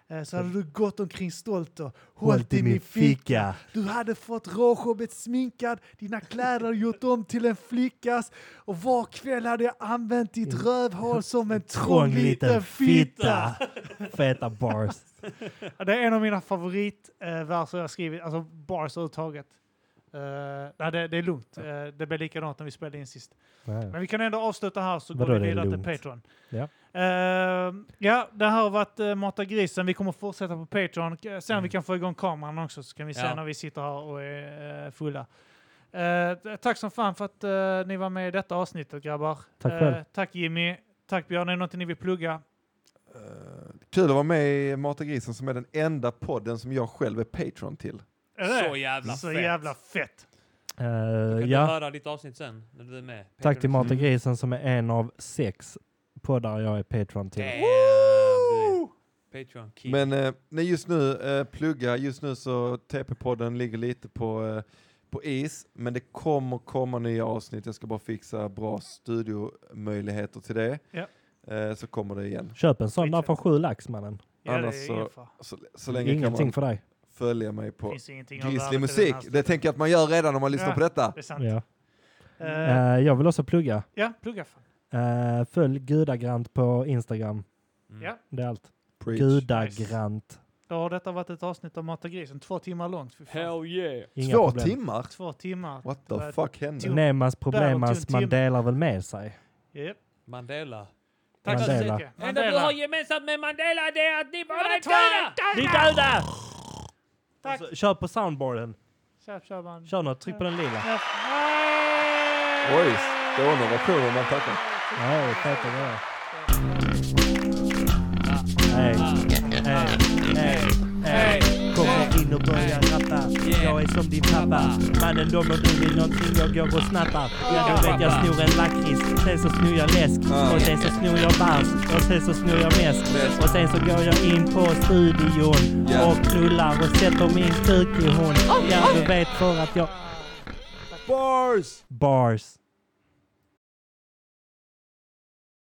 A: eh, så hade du gått omkring stolt och hållit i min ficka. Du hade fått råsjobbet sminkad, dina kläder gjort om till en flickas och var kväll hade jag använt ditt rövhål som en trång liten fitta.
C: Feta bars.
A: Ja, Det är en av mina favoritverser jag skrivit, alltså bars överhuvudtaget. Eh, nej, det, det är lugnt. Eh, det blev likadant när vi spelade in sist.
C: Eh,
A: Men vi kan ändå avsluta här så
C: Vadå,
A: går
C: det
A: vi
C: är
A: vidare till
C: lugnt?
A: Patreon.
C: Ja.
A: Eh, ja, det här har varit uh, Mata grisen. Vi kommer fortsätta på Patreon. K-
C: Mm.
A: Sen vi kan få igång kameran också så kan vi se
B: Ja.
A: när vi sitter här och är eh, fulla. Eh, t- tack som fan för att eh, ni var med i detta avsnittet grabbar.
C: Tack
A: Eh,
C: själv.
A: tack Jimmy. Tack Björn. Är det någonting ni vill plugga?
D: Eh, Kul att vara med i Mata Grisen som är den enda podden som jag själv är Patreon till.
A: Är det?
B: Så jävla
A: Så
B: fett.
A: jävla fett.
C: Eh,
B: Kan du
C: ja,
B: höra ditt avsnitt sen? När du är med.
C: tack till
B: Patreon.
C: Martin Grisen som är en av sex poddar jag är Patreon till.
B: Damn, du är Patreon king.
D: Men eh, nej, just nu, eh, plugga, just nu så TP-podden ligger lite på, eh, på is, men det kommer komma nya avsnitt. Jag ska bara fixa bra studiomöjligheter till det.
A: Ja.
D: Eh, så kommer det igen.
C: Köp en sån där
A: Skitfett.
C: för sju lax mannen.
A: Ja, det är
D: Annars så-
A: ingen fara.
D: Så, så länge kan
C: Ingenting
D: man
C: för dig.
D: följa mig på
A: Finns ingenting av värde
D: Grizzly
A: till
D: Musik.
A: den här
D: Det tänker jag att man gör redan om man lyssnar
A: Ja.
D: på detta.
A: Det är sant.
C: Ja.
A: Eh,
C: Eh, jag vill också plugga.
A: ja, plugga fan.
C: Eh, följ Gudagrant på Instagram.
B: Mm.
A: Ja.
C: Det är allt.
D: Preach.
C: Gudagrant.
A: Då har detta varit ett avsnitt av Mata grisen. Två timmar långt. Fy fan.
B: Hell yeah!
C: Inga
D: Två
C: problem.
D: timmar?
A: Två timmar.
D: What the
A: Vad-
D: fuck hände?
C: Nemas
A: Där och
C: problemas,
A: till
C: man
A: Tim.
C: delar väl med sig.
A: Japp.
B: Mandela.
A: Tack så
C: Mandela.
A: mycket.
B: Det enda du har
A: Mandela.
B: gemensamt med Mandela det är att ni båda är döda!
C: Ni döda!
A: Tack.
C: Alltså, kör på soundboarden.
A: Tja, tja, man.
C: Kör något, tryck på den lila.
A: Ja.
D: Oj, stående versioner man tackar.
C: Nej, feta grejer. Hej, hej, hej, hej. Kommer in och börjar rappa. Jag är som din pappa. Mannen dom om du vill någonting jag går och snappar. Ja, du vet jag snor en lakrits. Sen så snor jag läsk. Och sen så snor jag bärs. Och sen så snor jag mäsk. Och sen så går jag in på studion.
D: Ja.
C: Och knullar och sätter min kuk i hon. Ja, du vet för att jag...
F: Bars!
C: Bars.